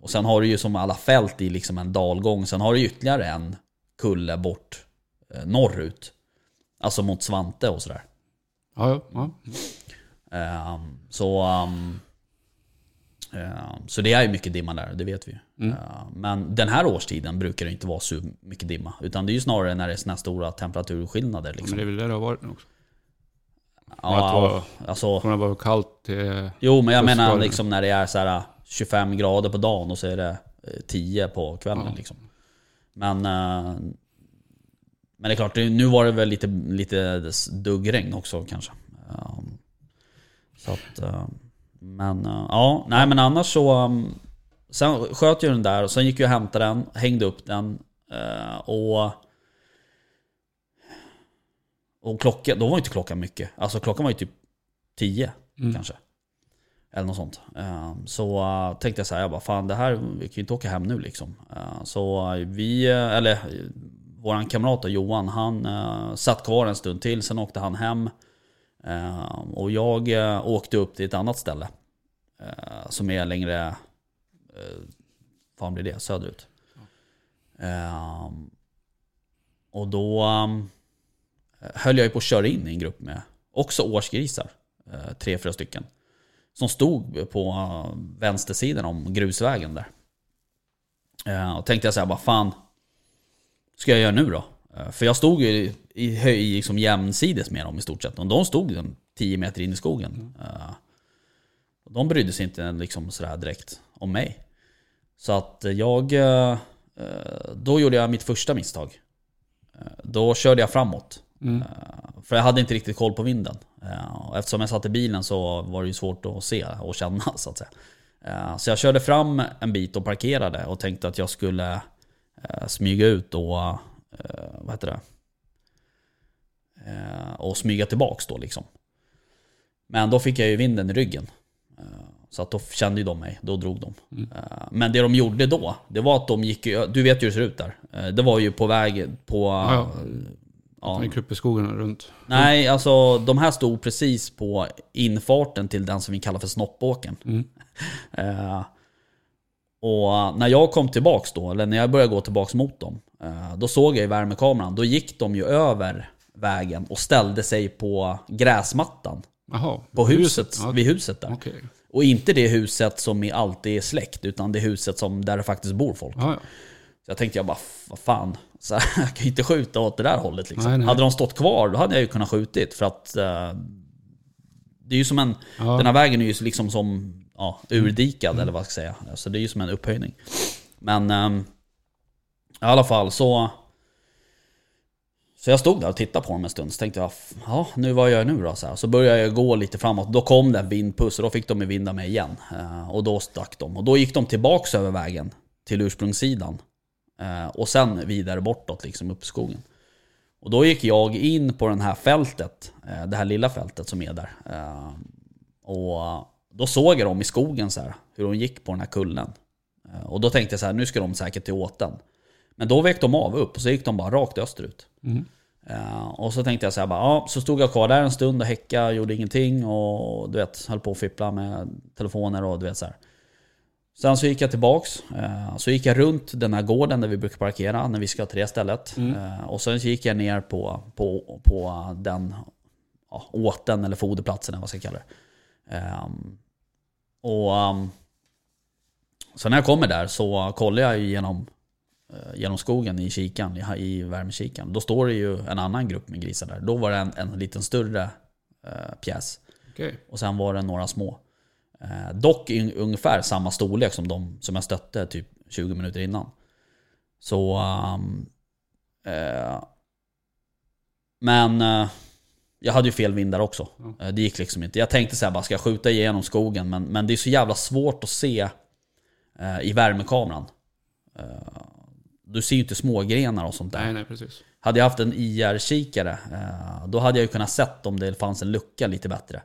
Speaker 1: Och sen har du ju som alla fält i liksom en dalgång, sen har du ytterligare en kulle bort eh, norrut. Alltså mot Svante och sådär.
Speaker 2: Ja, ja, ja.
Speaker 1: Ehm, så... ehm, Eh, Så det är ju mycket dimma där, det vet vi ju.
Speaker 2: Mm.
Speaker 1: Eh, Men den här årstiden brukar det inte vara så mycket dimma. Utan det är ju snarare när det är såna här stora temperaturskillnader.
Speaker 2: Men
Speaker 1: Liksom.
Speaker 2: det är väl det det har varit nu också. Kommer Mm. att
Speaker 1: Ja,
Speaker 2: vara-
Speaker 1: alltså,
Speaker 2: Kommer det vara kallt till...
Speaker 1: jo, men jag
Speaker 2: plus
Speaker 1: menar
Speaker 2: varmt.
Speaker 1: liksom när det är så här 25 grader på dagen och så är det eh, 10 på kvällen.
Speaker 2: Ja.
Speaker 1: Liksom. Men, eh, men det är klart, det- nu var det väl lite, lite duggregn också kanske. Eh, Så att, eh, men eh, ja, nej men annars så... um, Sen sköt jag den där och sen gick jag och hämtade den, hängde upp den. eh, Och... Och klockan, då var ju inte klockan mycket. Alltså klockan var ju typ 10
Speaker 2: Mm.
Speaker 1: kanske. Eller något sånt. Eh, Så eh, tänkte jag så här, jag bara fan det här, vi kan ju inte åka hem nu liksom. Eh, Så eh, vi, eh, eller eh, våran kamrat då, Johan, han eh, satt kvar en stund till, sen åkte han hem. Eh, Och jag eh, åkte upp till ett annat ställe. eh, Som är längre, eh, fan blir det, söderut. Eh, Och då eh, höll jag ju på att köra in i en grupp med också årsgrisar. eh, Tre, fyra stycken. Som stod på eh, vänstersidan om grusvägen där. Eh, Och tänkte jag så här, vad fan ska jag göra nu då? Eh, För jag stod ju i, i, hö- i liksom jämsides med dem i stort sett. Och de stod en 10 meter in i skogen. Eh, och De brydde sig inte liksom sådär direkt om mig. Så att jag... eh, eh, Då gjorde jag mitt första misstag. Eh, Då körde jag framåt. Eh,
Speaker 2: Mm.
Speaker 1: För jag hade inte riktigt koll på vinden. Eh, och Eftersom jag satt i bilen så var det ju svårt att se och känna så att säga. Eh, Så jag körde fram en bit och parkerade och tänkte att jag skulle eh, smyga ut och, eh, vad heter det? Eh, och smyga tillbaks då liksom. Men då fick jag ju vinden i ryggen. Eh, Så att då kände ju de mig, då drog de.
Speaker 2: Mm.
Speaker 1: Eh, Men det de gjorde då, det var att de gick ju- du vet ju hur det ser ut där. Eh, Det var ju på väg på...
Speaker 2: Ja,
Speaker 1: ja,
Speaker 2: ja. En grupp i skogen och runt.
Speaker 1: Nej, alltså de här stod precis på infarten till den som vi kallar för snoppåken.
Speaker 2: Mm.
Speaker 1: Eh, och när jag kom tillbaks då, eller när jag började gå tillbaks mot dem, eh, då såg jag i värmekameran, då gick de ju över vägen och ställde sig på gräsmattan
Speaker 2: Jaha.
Speaker 1: på huset,
Speaker 2: Ja,
Speaker 1: vid huset där.
Speaker 2: Okej.
Speaker 1: Och inte det huset som är alltid är släckt, utan det huset som, där det faktiskt bor folk.
Speaker 2: Ja, ja.
Speaker 1: Så jag tänkte jag bara, "F- vad fan, så här, jag kan ju inte skjuta åt det där hållet liksom.
Speaker 2: Nej, nej.
Speaker 1: Hade de stått kvar då hade jag ju kunnat skjutit för att eh, det är ju som en,
Speaker 2: Ja.
Speaker 1: den här vägen är ju liksom som ja, urdikad eller vad ska jag säga. Så det är ju som en upphöjning. Men ehm, i alla fall så så jag stod där och tittade på dem en stund, så tänkte jag, "F- ja nu vad gör jag nu då? Så, här. så började jag gå lite framåt, då kom det en vindpuss och då fick de ju vinda mig igen. Eh, Och då stack de. Och då gick de tillbaks över vägen till ursprungssidan. Eh, Och sen vidare bortåt, liksom upp i skogen. Och då gick jag in på det här fältet, eh, det här lilla fältet som är där. Eh, Och då såg jag dem i skogen så här, hur de gick på den här kullen. Eh, Och då tänkte jag så här, nu ska de säkert till åten. Men då vek de av upp och så gick de bara rakt österut.
Speaker 2: Mm.
Speaker 1: Eh, och så tänkte jag så här bara, ja, så stod jag kvar där en stund och häckade, gjorde ingenting och du vet, höll på att fippla med telefoner och du vet så här. Sen så gick jag tillbaks, eh, så gick jag runt den här gården där vi brukar parkera när vi ska till det stället. Eh, och sen så gick jag ner på, på, på den ja, åten eller foderplatsen eller vad jag ska kalla det. Ehm, och ehm, så när jag kommer där så kollar jag ju genom, eh, genom skogen i kikan, i, i värmekikan. Då står det ju en annan grupp med grisar där. Då var det en, en liten större eh, pjäs.
Speaker 2: Okej.
Speaker 1: Och sen var det några små. Eh, dock i, ungefär samma storlek som de som jag stötte typ 20 minuter innan. Så... ehm, eh, men eh, jag hade ju fel vind där också. Eh, det gick liksom inte. Jag tänkte så här, bara ska jag skjuta igenom skogen? Men, men det är så jävla svårt att se eh, i värmekameran. Eh, du ser ju inte smågrenar och sånt där.
Speaker 2: Nej, nej, precis.
Speaker 1: Hade jag haft en IR-kikare, eh, då hade jag ju kunnat sett om det fanns en lucka lite bättre.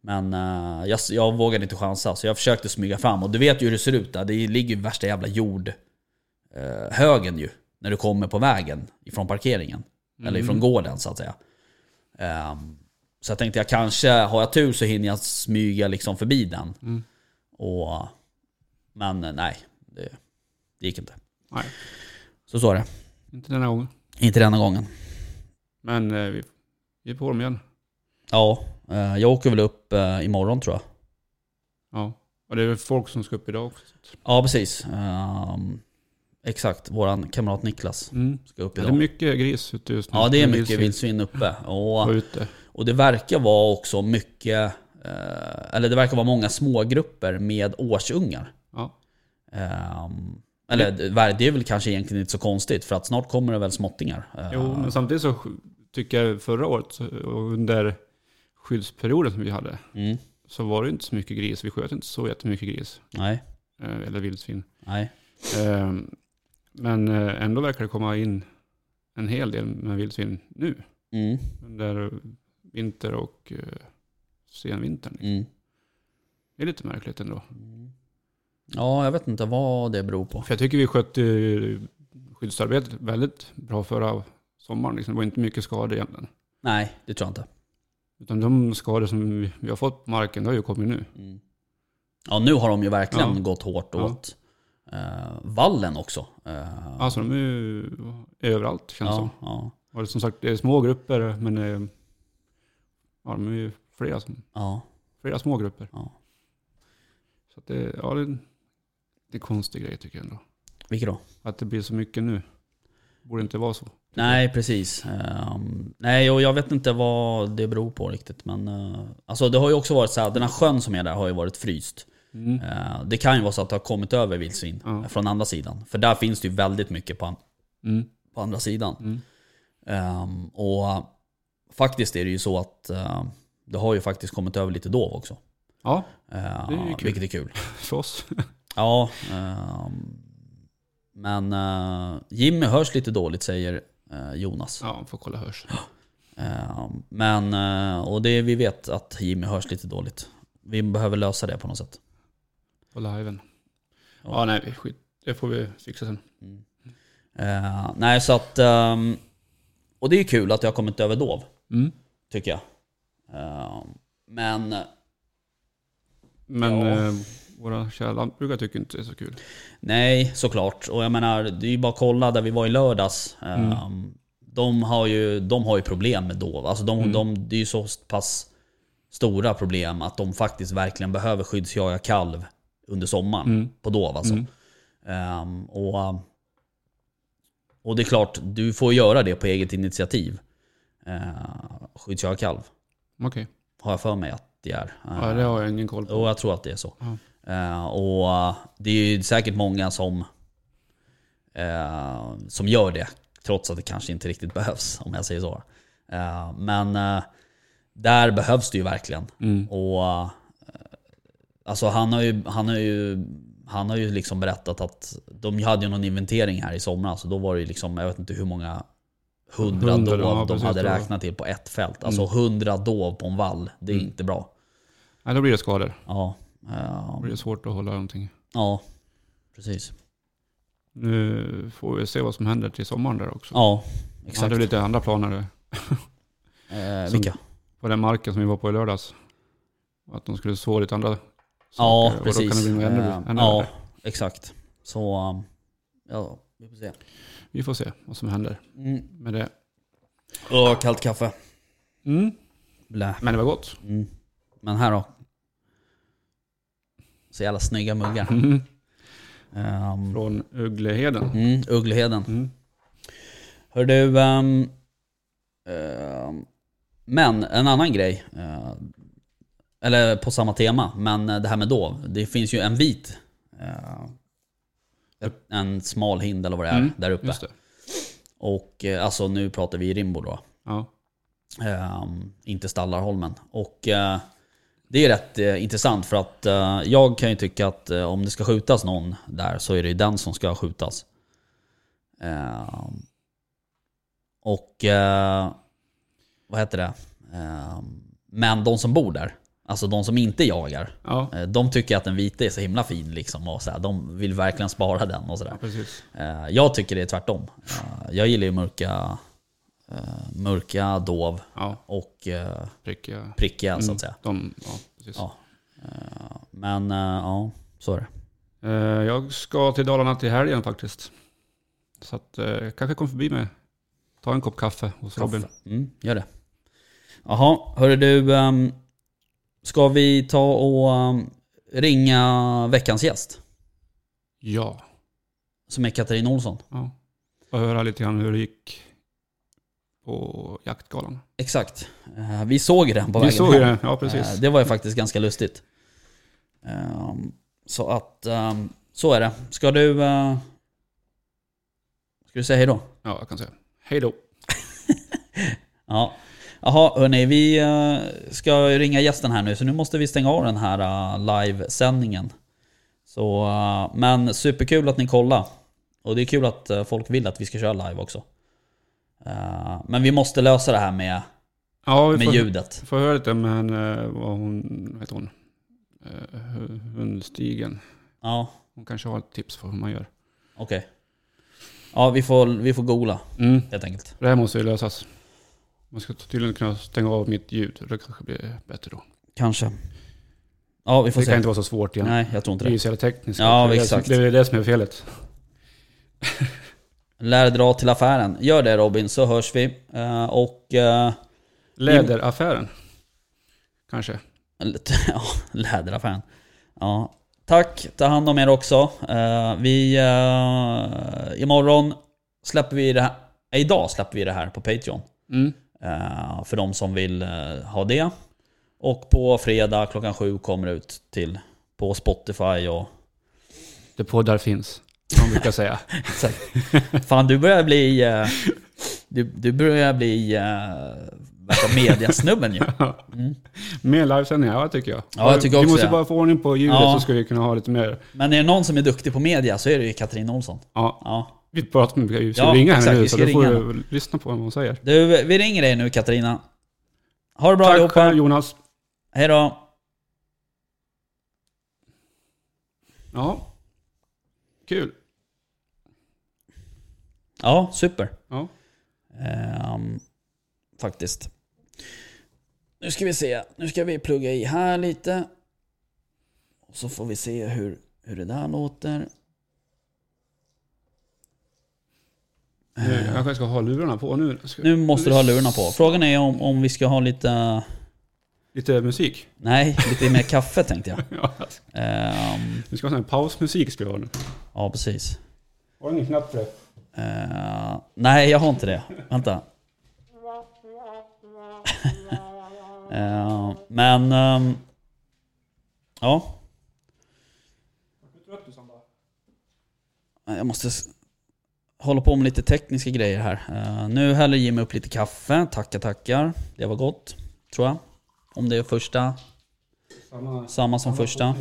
Speaker 1: Men eh, jag, jag vågade inte chansa, så jag försökte smyga fram. Och du vet ju hur det ser ut där. Det ligger ju värsta jävla jordhögen ju. När du kommer på vägen ifrån parkeringen.
Speaker 2: Mm.
Speaker 1: Eller ifrån gården så att säga. Ehm, så jag tänkte jag kanske, har jag tur så hinner jag smyga liksom förbi den. Och, men eh, nej, det, det gick inte.
Speaker 2: Nej,
Speaker 1: Så så är det.
Speaker 2: inte den här gången.
Speaker 1: Inte denna gången.
Speaker 2: Men eh, vi, vi är på dem igen.
Speaker 1: Ja, eh, jag åker väl upp eh, imorgon tror jag.
Speaker 2: Ja. Och det är väl folk som ska upp idag också.
Speaker 1: Ja, precis. Ehm, exakt, våran kamrat Niklas ska upp
Speaker 2: Ja, det är
Speaker 1: idag.
Speaker 2: mycket gris ute just nu.
Speaker 1: Ja, det är mycket
Speaker 2: vildsvin
Speaker 1: vildsvin uppe. Och,
Speaker 2: och ute.
Speaker 1: och det verkar vara också mycket, eh, eller det verkar vara många smågrupper med årsungar.
Speaker 2: Ja.
Speaker 1: Ehm, eller det ver- det är väl kanske egentligen inte så konstigt för att snart kommer det väl småttingar. Eh,
Speaker 2: Jo, men samtidigt så sk- tycker jag förra året så- och under skyddsperioden som vi hade
Speaker 1: mm,
Speaker 2: så var det ju inte så mycket gris. Vi sköt inte så jättemycket gris
Speaker 1: nej,
Speaker 2: eh, eller vildsvin.
Speaker 1: nej.
Speaker 2: Eh, Men eh, ändå verkar det komma in en hel del med vildsvin nu.
Speaker 1: Mm,
Speaker 2: Under vinter och eh, senvintern.
Speaker 1: mm.
Speaker 2: Det är lite märkligt ändå.
Speaker 1: Ja, jag vet inte vad det beror på.
Speaker 2: För jag tycker vi skötte eh, skyddsarbetet väldigt bra förra sommaren. Liksom. Det var inte mycket skador egentligen.
Speaker 1: Nej, det tror jag inte.
Speaker 2: Utan de skador som vi- vi har fått på marken, det har ju kommit nu.
Speaker 1: Mm. Ja, nu har de ju verkligen
Speaker 2: Ja.
Speaker 1: gått hårt
Speaker 2: Ja.
Speaker 1: åt eh, vallen också. Eh,
Speaker 2: Alltså de är ju överallt känns det som.
Speaker 1: ja, ja,
Speaker 2: Och det är som sagt, det är små grupper men eh, ja, de är ju flera, som-
Speaker 1: ja,
Speaker 2: flera små grupper.
Speaker 1: ja.
Speaker 2: Så att det, ja, det, är en- det är en konstig grej tycker jag ändå.
Speaker 1: Vilket då?
Speaker 2: Att det blir så mycket nu. Borde inte vara så.
Speaker 1: Nej, precis. Ehm, nej, och jag vet inte vad det beror på riktigt. Men eh, alltså det har ju också varit så här, den här sjön som är där har ju varit fryst.
Speaker 2: Mm.
Speaker 1: Eh, det kan ju vara så att det har kommit över vildsvin
Speaker 2: Ja.
Speaker 1: eh, från andra sidan. För där finns det ju väldigt mycket på, an-
Speaker 2: Mm.
Speaker 1: på andra sidan.
Speaker 2: Mm.
Speaker 1: Ehm, och faktiskt är det ju så att eh, det har ju faktiskt kommit över lite dov också.
Speaker 2: Ja,
Speaker 1: Eh,
Speaker 2: Det är ju kul.
Speaker 1: Vilket är kul.
Speaker 2: för oss.
Speaker 1: Ja, ehm, men eh, Jimmy hörs lite dåligt säger eh, Jonas.
Speaker 2: Ja, får kolla hörs.
Speaker 1: Ehm, men, eh, och det vi vet att Jimmy hörs lite dåligt. Vi behöver lösa det på något sätt.
Speaker 2: På liven.
Speaker 1: Ja.
Speaker 2: Ja, nej, skit. Det får vi fixa sen.
Speaker 1: Eh, nej, så att... ehm, och det är ju kul att jag har kommit över dov,
Speaker 2: Mm.
Speaker 1: tycker jag. Ehm, men
Speaker 2: Men
Speaker 1: Ja.
Speaker 2: eh, våra kära lantbrukare tycker inte det är så kul.
Speaker 1: nej, såklart. Och jag menar, det är ju bara att kolla där vi var i lördags. Ehm, de, har ju, de har ju problem med dov. Alltså de, de, det är ju så pass stora problem att de faktiskt verkligen behöver skyddsjaga kalv under sommaren på dov. Alltså. Ehm, och, och det är klart, du får göra det på eget initiativ. Uh, skyddsjaga kalv.
Speaker 2: Okej.
Speaker 1: har jag för mig att det är. Eh,
Speaker 2: Ja, det har jag ingen koll på.
Speaker 1: Och jag tror att det är så.
Speaker 2: Ja.
Speaker 1: Eh, och eh, det är ju säkert många som, eh, som gör det, trots att det kanske inte riktigt behövs, om jag säger så. Eh, men eh, där behövs det ju verkligen.
Speaker 2: Mm.
Speaker 1: Och eh, alltså han har ju, han har ju han har ju liksom berättat att de hade ju någon inventering här i somras och då var det ju liksom, jag vet inte hur många hundra,
Speaker 2: Hundra,
Speaker 1: dov
Speaker 2: ja,
Speaker 1: de
Speaker 2: precis, Mm.
Speaker 1: hade
Speaker 2: det var-
Speaker 1: räknat till på ett fält. Alltså hundra dov på en vall, det är
Speaker 2: Mm.
Speaker 1: inte bra.
Speaker 2: Nej, då blir det skador.
Speaker 1: Ja, eh,
Speaker 2: Då blir det svårt att hålla någonting.
Speaker 1: ja precis.
Speaker 2: Nu får vi se vad som händer till sommaren där också.
Speaker 1: Ja,
Speaker 2: Jag hade
Speaker 1: exakt.
Speaker 2: väl lite andra planer
Speaker 1: Eh,
Speaker 2: som-
Speaker 1: vilka?
Speaker 2: på den marken som vi var på i lördags. Att de skulle så lite andra saker.
Speaker 1: Ja,
Speaker 2: Och
Speaker 1: precis.
Speaker 2: Då kan det bli något ännu,
Speaker 1: Eh,
Speaker 2: ännu
Speaker 1: ja,
Speaker 2: värre.
Speaker 1: exakt. Så, um, ja, vi får se.
Speaker 2: Vi får se vad som händer
Speaker 1: Mm.
Speaker 2: med det.
Speaker 1: Åh, kallt kaffe.
Speaker 2: Mm.
Speaker 1: Blä.
Speaker 2: Men det var gott.
Speaker 1: Mm. Men här då? Så jävla snygga muggar.
Speaker 2: Mm.
Speaker 1: Ehm,
Speaker 2: Från Uggleheden.
Speaker 1: mm, Uggleheden.
Speaker 2: Mm.
Speaker 1: Hör du, ehm, ehm, men en annan grej. eh, eller på samma tema, men eh, det här med dov. Det finns ju en vit, eh, ett- en smal hind eller vad det är,
Speaker 2: Mm,
Speaker 1: där uppe.
Speaker 2: Just det.
Speaker 1: Och eh, alltså nu pratar vi Rimbo då.
Speaker 2: Ja.
Speaker 1: Ehm, inte Stallarholmen. Och eh, det är rätt eh, intressant för att eh, jag kan ju tycka att eh, om det ska skjutas någon där så är det ju den som ska skjutas. Ehm, och eh, vad heter det? Ehm, men de som bor där, alltså de som inte jagar,
Speaker 2: Ja.
Speaker 1: eh, de tycker att den vita är så himla fin liksom. Och så här, de vill verkligen spara den och sådär.
Speaker 2: ja, precis.
Speaker 1: Eh, Jag tycker det är tvärtom. Eh, Jag gillar ju mörka, eh, mörka dov
Speaker 2: Ja,
Speaker 1: och eh,
Speaker 2: prickiga.
Speaker 1: prickiga så
Speaker 2: Mm,
Speaker 1: att säga.
Speaker 2: De, ja, precis.
Speaker 1: Ja. Eh, Men eh, ja, så är det.
Speaker 2: Eh, Jag ska till Dalarna till helgen faktiskt. Så att eh, jag kanske kommer förbi med ta en kopp kaffe hos Robin.
Speaker 1: Mm, gör det. Jaha, hörru du. ehm, Ska vi ta och ehm, ringa veckans gäst,
Speaker 2: Ja.
Speaker 1: som är Katarina Olsson.
Speaker 2: ja. Och höra lite grann hur det gick på jaktgalan.
Speaker 1: Exakt. Eh, Vi såg den på
Speaker 2: Vi
Speaker 1: vägen
Speaker 2: såg ju
Speaker 1: hem.
Speaker 2: det. Ja,
Speaker 1: Eh,
Speaker 2: precis.
Speaker 1: Det var ju faktiskt ganska lustigt. Ehm, Så att, ehm, så är det. Ska du... eh, Ska du säga hej då?
Speaker 2: Ja, jag kan säga. Hej då.
Speaker 1: Ja. Jaha, hörni, vi eh, ska ringa gästen här nu, så nu måste vi stänga av den här eh, livesändningen. Så, eh, men superkul att ni kollade. Och det är kul att eh, folk vill att vi ska köra live också. Eh, Men vi måste lösa det här med,
Speaker 2: Ja, vi
Speaker 1: med
Speaker 2: får,
Speaker 1: ljudet.
Speaker 2: får höra lite med henne, eh, vad hon, vad heter hon? Eh, hu- hundstigen.
Speaker 1: Ja,
Speaker 2: Hon kanske har ett tips för hur man gör.
Speaker 1: okej. Ja, vi får, vi får googla
Speaker 2: Mm.
Speaker 1: helt enkelt.
Speaker 2: Det här måste ju lösas. Man ska tydligen kunna stänga av mitt ljud. Det kanske blir bättre då.
Speaker 1: Kanske. Ja, vi får
Speaker 2: Det
Speaker 1: se.
Speaker 2: kan inte vara så svårt igen.
Speaker 1: Nej, jag tror inte
Speaker 2: Det är
Speaker 1: det.
Speaker 2: ju så jävla tekniskt.
Speaker 1: Ja,
Speaker 2: det, är det
Speaker 1: exakt.
Speaker 2: som- det är det som är felet.
Speaker 1: Lär dra till affären. Gör det Robin, så hörs vi. Eh, Och... eh,
Speaker 2: Läderaffären. Kanske.
Speaker 1: Ja, läderaffären. Ja. Tack, ta hand om er också. Eh, vi... Uh, imorgon släpper vi det här... eh, Idag släpper vi det här på Patreon.
Speaker 2: Mm.
Speaker 1: Eh, för de som vill eh, ha det. Och på fredag klockan sju kommer det ut till på Spotify och...
Speaker 2: Det poddar finns. Som de brukar säga.
Speaker 1: Fan, du börjar bli... eh, du, du börjar bli... Uh, värsta mediasnubben ju.
Speaker 2: Mer livesändningar, ja tycker jag.
Speaker 1: Ja, jag tycker
Speaker 2: vi
Speaker 1: också
Speaker 2: måste
Speaker 1: det.
Speaker 2: bara få ordning på ljudet
Speaker 1: Ja.
Speaker 2: så ska vi kunna ha lite mer.
Speaker 1: Men är det någon som är duktig på media så är det ju Katrin Olsson.
Speaker 2: Ja,
Speaker 1: Ja.
Speaker 2: vi pratar med vi ska
Speaker 1: Ja,
Speaker 2: ringa
Speaker 1: exakt,
Speaker 2: henne nu
Speaker 1: vi
Speaker 2: så
Speaker 1: ska
Speaker 2: då får
Speaker 1: ringa
Speaker 2: du lyssna på vad hon säger.
Speaker 1: Du, vi ringer dig nu Katarina. Ha det bra
Speaker 2: Tack
Speaker 1: allihopa.
Speaker 2: själv Jonas.
Speaker 1: Hej då.
Speaker 2: Ja, kul.
Speaker 1: Ja, super.
Speaker 2: Ja.
Speaker 1: Ehm, faktiskt. Nu ska vi se. Nu ska vi plugga i här lite. Och så får vi se hur, hur det där låter.
Speaker 2: Nu, jag kanske ska ha lurarna på nu. Ska,
Speaker 1: Eh. Nu måste du ha lurarna på. Frågan är om, om vi ska ha lite...
Speaker 2: Lite musik.
Speaker 1: Nej, lite mer kaffe tänkte jag.
Speaker 2: Ja,
Speaker 1: Ehm,
Speaker 2: vi ska ha sån här pausmusik ska vi ha nu.
Speaker 1: ja, precis.
Speaker 2: Har du ingen knapp för det?
Speaker 1: Eh, nej, jag har inte det. Vänta. Eh, men... ehm, ja. Jag måste s- hålla på med lite tekniska grejer här. Eh, nu häller Jimmy upp lite kaffe. Tackar, tackar. Det var gott, tror jag. Om det är första.
Speaker 2: Samma,
Speaker 1: Samma som första.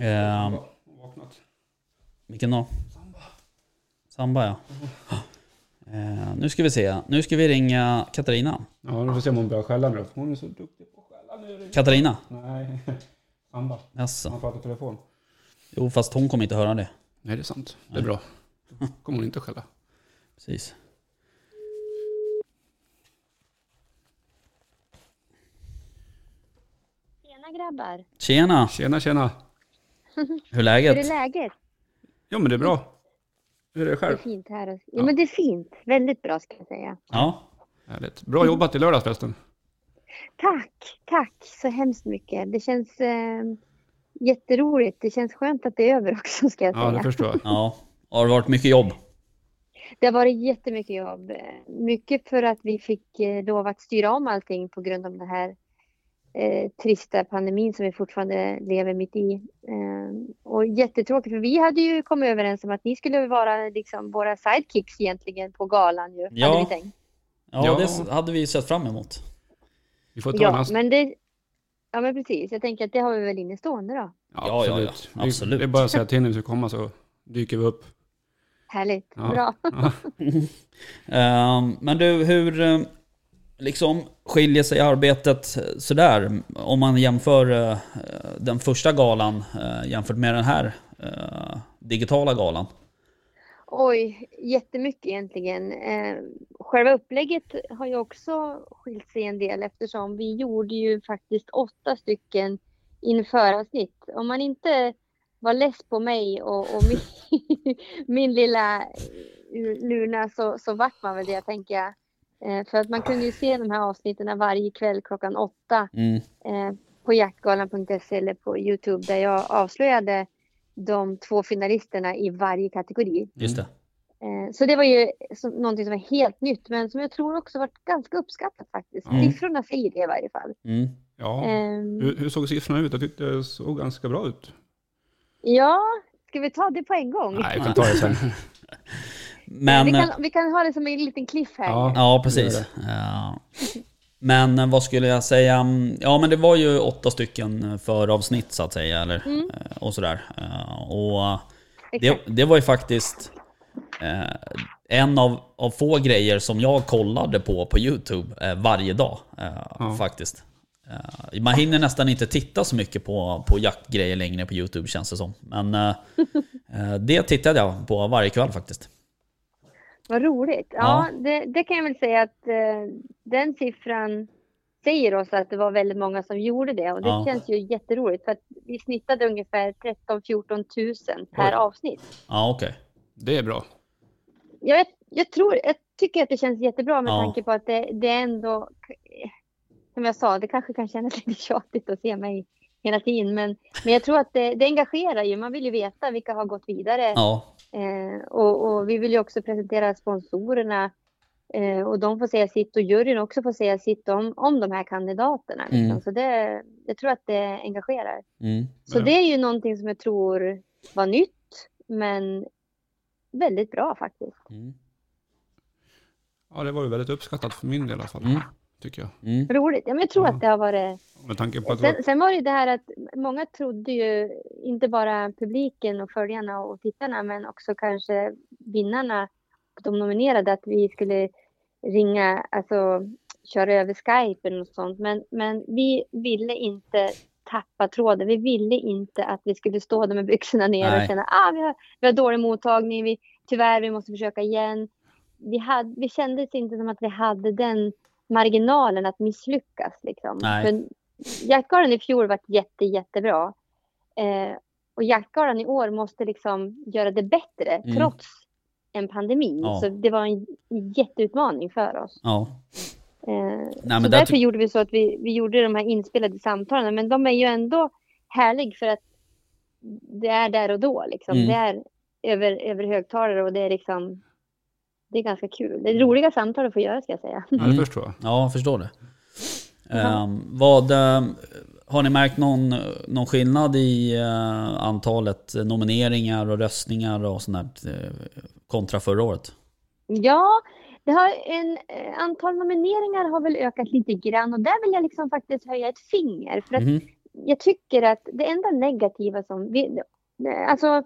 Speaker 1: Eh,
Speaker 2: Vaknat.
Speaker 1: Vilken då? Samba. ja. Eh, nu ska vi se. Nu ska vi ringa Katarina.
Speaker 2: Ja, nu får vi se om hon börjar skälla nu. Hon är så duktig på att skälla nu.
Speaker 1: Katarina?
Speaker 2: Nej, Samba.
Speaker 1: Jaså.
Speaker 2: Han pratar i telefon.
Speaker 1: Jo, fast hon kommer inte höra det.
Speaker 2: Nej, det är sant. Det är bra. kommer hon inte skälla.
Speaker 1: Precis.
Speaker 3: Tjena grabbar!
Speaker 1: Tjena!
Speaker 2: Tjena, tjena.
Speaker 1: Hur är
Speaker 3: Hur är
Speaker 1: läget?
Speaker 3: läget?
Speaker 2: Ja, men det är bra. Hur är det
Speaker 3: Det är
Speaker 2: själv?
Speaker 3: fint här. och- Ja, men det är fint. Väldigt bra ska jag säga.
Speaker 1: Ja.
Speaker 2: Härligt. Bra jobbat i lördags förresten.
Speaker 3: Tack, tack så hemskt mycket. Det känns eh, jätteroligt. Det känns skönt att det är över också ska jag
Speaker 2: Ja,
Speaker 3: säga.
Speaker 2: det förstår jag.
Speaker 1: Ja. Har det varit mycket jobb?
Speaker 3: Det har varit jättemycket jobb. Mycket för att vi fick eh, lov att styra om allting på grund av den här eh, trista pandemin som vi fortfarande lever mitt i. Eh, och jättetråkigt för vi hade ju kommit överens om att ni skulle vara liksom våra sidekicks egentligen på galan ju.
Speaker 1: Ja.
Speaker 3: Hade vi tänkt.
Speaker 1: Ja,
Speaker 2: Ja.
Speaker 1: det s- hade vi sett fram emot.
Speaker 2: Vi får ta en
Speaker 3: Ja,
Speaker 2: annan-
Speaker 3: men det... Ja, men precis. Jag tänker att det har vi väl inne stående då.
Speaker 1: Ja, ja, ja.
Speaker 2: Vi-
Speaker 1: Absolut.
Speaker 2: Det är bara att säga till när vi ska komma så dyker vi upp.
Speaker 3: Härligt.
Speaker 2: Ja.
Speaker 3: Bra.
Speaker 1: Ehm, men du, hur eh, liksom skiljer sig arbetet eh, sådär? Om man jämför eh, den första galan eh, jämfört med den här eh, digitala galan.
Speaker 3: Oj, jättemycket egentligen. Eh, Själva upplägget har ju också skilt sig en del eftersom vi gjorde ju faktiskt åtta stycken införavsnitt. Om man inte var less på mig och, och min, min lilla ur Luna så, så vart man väl det tänker jag. Eh, för att man kunde ju se de här avsnitten varje kväll klockan åtta
Speaker 1: Mm.
Speaker 3: eh, på jaktgalan.se eller på Youtube där jag avslöjade de två finalisterna i varje kategori.
Speaker 1: Just det.
Speaker 3: Eh, Så det var ju som, någonting som var helt nytt men som jag tror också varit ganska uppskattat faktiskt.
Speaker 1: Mm.
Speaker 3: Siffrorna säger det i varje fall.
Speaker 1: Mm.
Speaker 2: Ja.
Speaker 3: Ehm,
Speaker 2: Hur, hur såg siffrorna ut? Jag tyckte det såg ganska bra ut.
Speaker 3: Ja, ska vi ta det på en gång?
Speaker 2: Nej, jag kan ta det sen.
Speaker 1: Men, eh,
Speaker 3: vi, kan, vi kan ha det som en liten cliff här.
Speaker 2: Ja.
Speaker 1: ja precis. Ja. Men eh, vad skulle jag säga? Mm, Ja men det var ju åtta stycken eh, föravsnitt så att säga. Eller,
Speaker 3: Mm.
Speaker 1: eh, Och sådär. Eh, Och eh, det,
Speaker 3: Exakt.
Speaker 1: det var ju faktiskt eh, en av, av få grejer som jag kollade på på YouTube eh, varje dag. Eh,
Speaker 2: Ja.
Speaker 1: Faktiskt. Eh, man hinner nästan inte titta så mycket på, på jaktgrejer längre på YouTube känns det som. Men eh, eh, det tittade jag på varje kväll faktiskt.
Speaker 3: Vad roligt. Ja, Det, det kan jag väl säga att eh, den siffran säger oss att det var väldigt många som gjorde det och det
Speaker 1: Ja.
Speaker 3: känns ju jätteroligt för att vi snittade ungefär 13 14 000 per
Speaker 2: Oj.
Speaker 3: avsnitt.
Speaker 1: Ja okej.
Speaker 2: Det är bra.
Speaker 3: Ja, jag, jag tror, jag tycker att det känns jättebra med
Speaker 1: Ja.
Speaker 3: tanke på att det, det är ändå, som jag sa, det kanske kan kännas lite tjatigt att se mig hela tiden, men, men jag tror att det, det engagerar ju. Man vill ju veta vilka har gått vidare
Speaker 1: Ja.
Speaker 3: eh, och, och vi vill ju också presentera sponsorerna eh, och de får säga sitt och juryn också får säga sitt om, om de här kandidaterna. Liksom.
Speaker 1: Mm.
Speaker 3: Så det, jag tror att det engagerar.
Speaker 1: Mm.
Speaker 3: Så
Speaker 2: Ja.
Speaker 3: det är ju någonting som jag tror var nytt, men väldigt bra faktiskt.
Speaker 1: Mm.
Speaker 2: Ja, det var ju väldigt uppskattat för min del i alla fall.
Speaker 1: Mm.
Speaker 2: Tycker jag.
Speaker 1: Mm.
Speaker 3: roligt. Ja, men jag tror
Speaker 2: Ja.
Speaker 3: att det har varit...
Speaker 2: Med tanke på att det var
Speaker 3: Sen, sen var det ju det här att många trodde ju, inte bara publiken och följarna och tittarna, men också kanske vinnarna och de nominerade, att vi skulle ringa, alltså köra över Skype eller något sånt. Men, men vi ville inte tappa tråden. Vi ville inte att vi skulle stå där med byxorna ner
Speaker 1: Nej.
Speaker 3: och känna ah, vi, har, vi har dålig mottagning, vi, tyvärr, vi måste försöka igen. Vi, hade, vi kändes inte som att vi hade den marginalen att misslyckas. Liksom.
Speaker 1: Nej.
Speaker 3: För Jaktgalan i fjol var jätte, jättebra. Eh, och Jaktgalan i år måste liksom göra det bättre
Speaker 1: Mm.
Speaker 3: trots en pandemi.
Speaker 1: Ja.
Speaker 3: Så det var en jätteutmaning för oss.
Speaker 1: Ja.
Speaker 3: Eh,
Speaker 1: Nej,
Speaker 3: så
Speaker 1: men där
Speaker 3: därför
Speaker 1: ty-
Speaker 3: gjorde vi så att vi, vi gjorde de här inspelade samtalen. Men de är ju ändå härlig för att det är där och då. Liksom.
Speaker 1: Mm.
Speaker 3: Det är över, över högtalare och det är liksom det är ganska kul. Det är
Speaker 1: Mm.
Speaker 3: roliga samtal att få göra ska jag säga.
Speaker 2: Ja, det förstår jag.
Speaker 1: ja, jag förstår det. Ehm, vad, ehm, har ni märkt någon, någon skillnad i eh, antalet nomineringar och röstningar och sånt där eh, kontra förra året?
Speaker 3: Ja, det har en, eh, antal nomineringar har väl ökat lite grann och där vill jag liksom faktiskt höja ett finger. För att
Speaker 1: Mhm.
Speaker 3: jag tycker att det enda negativa som vi, alltså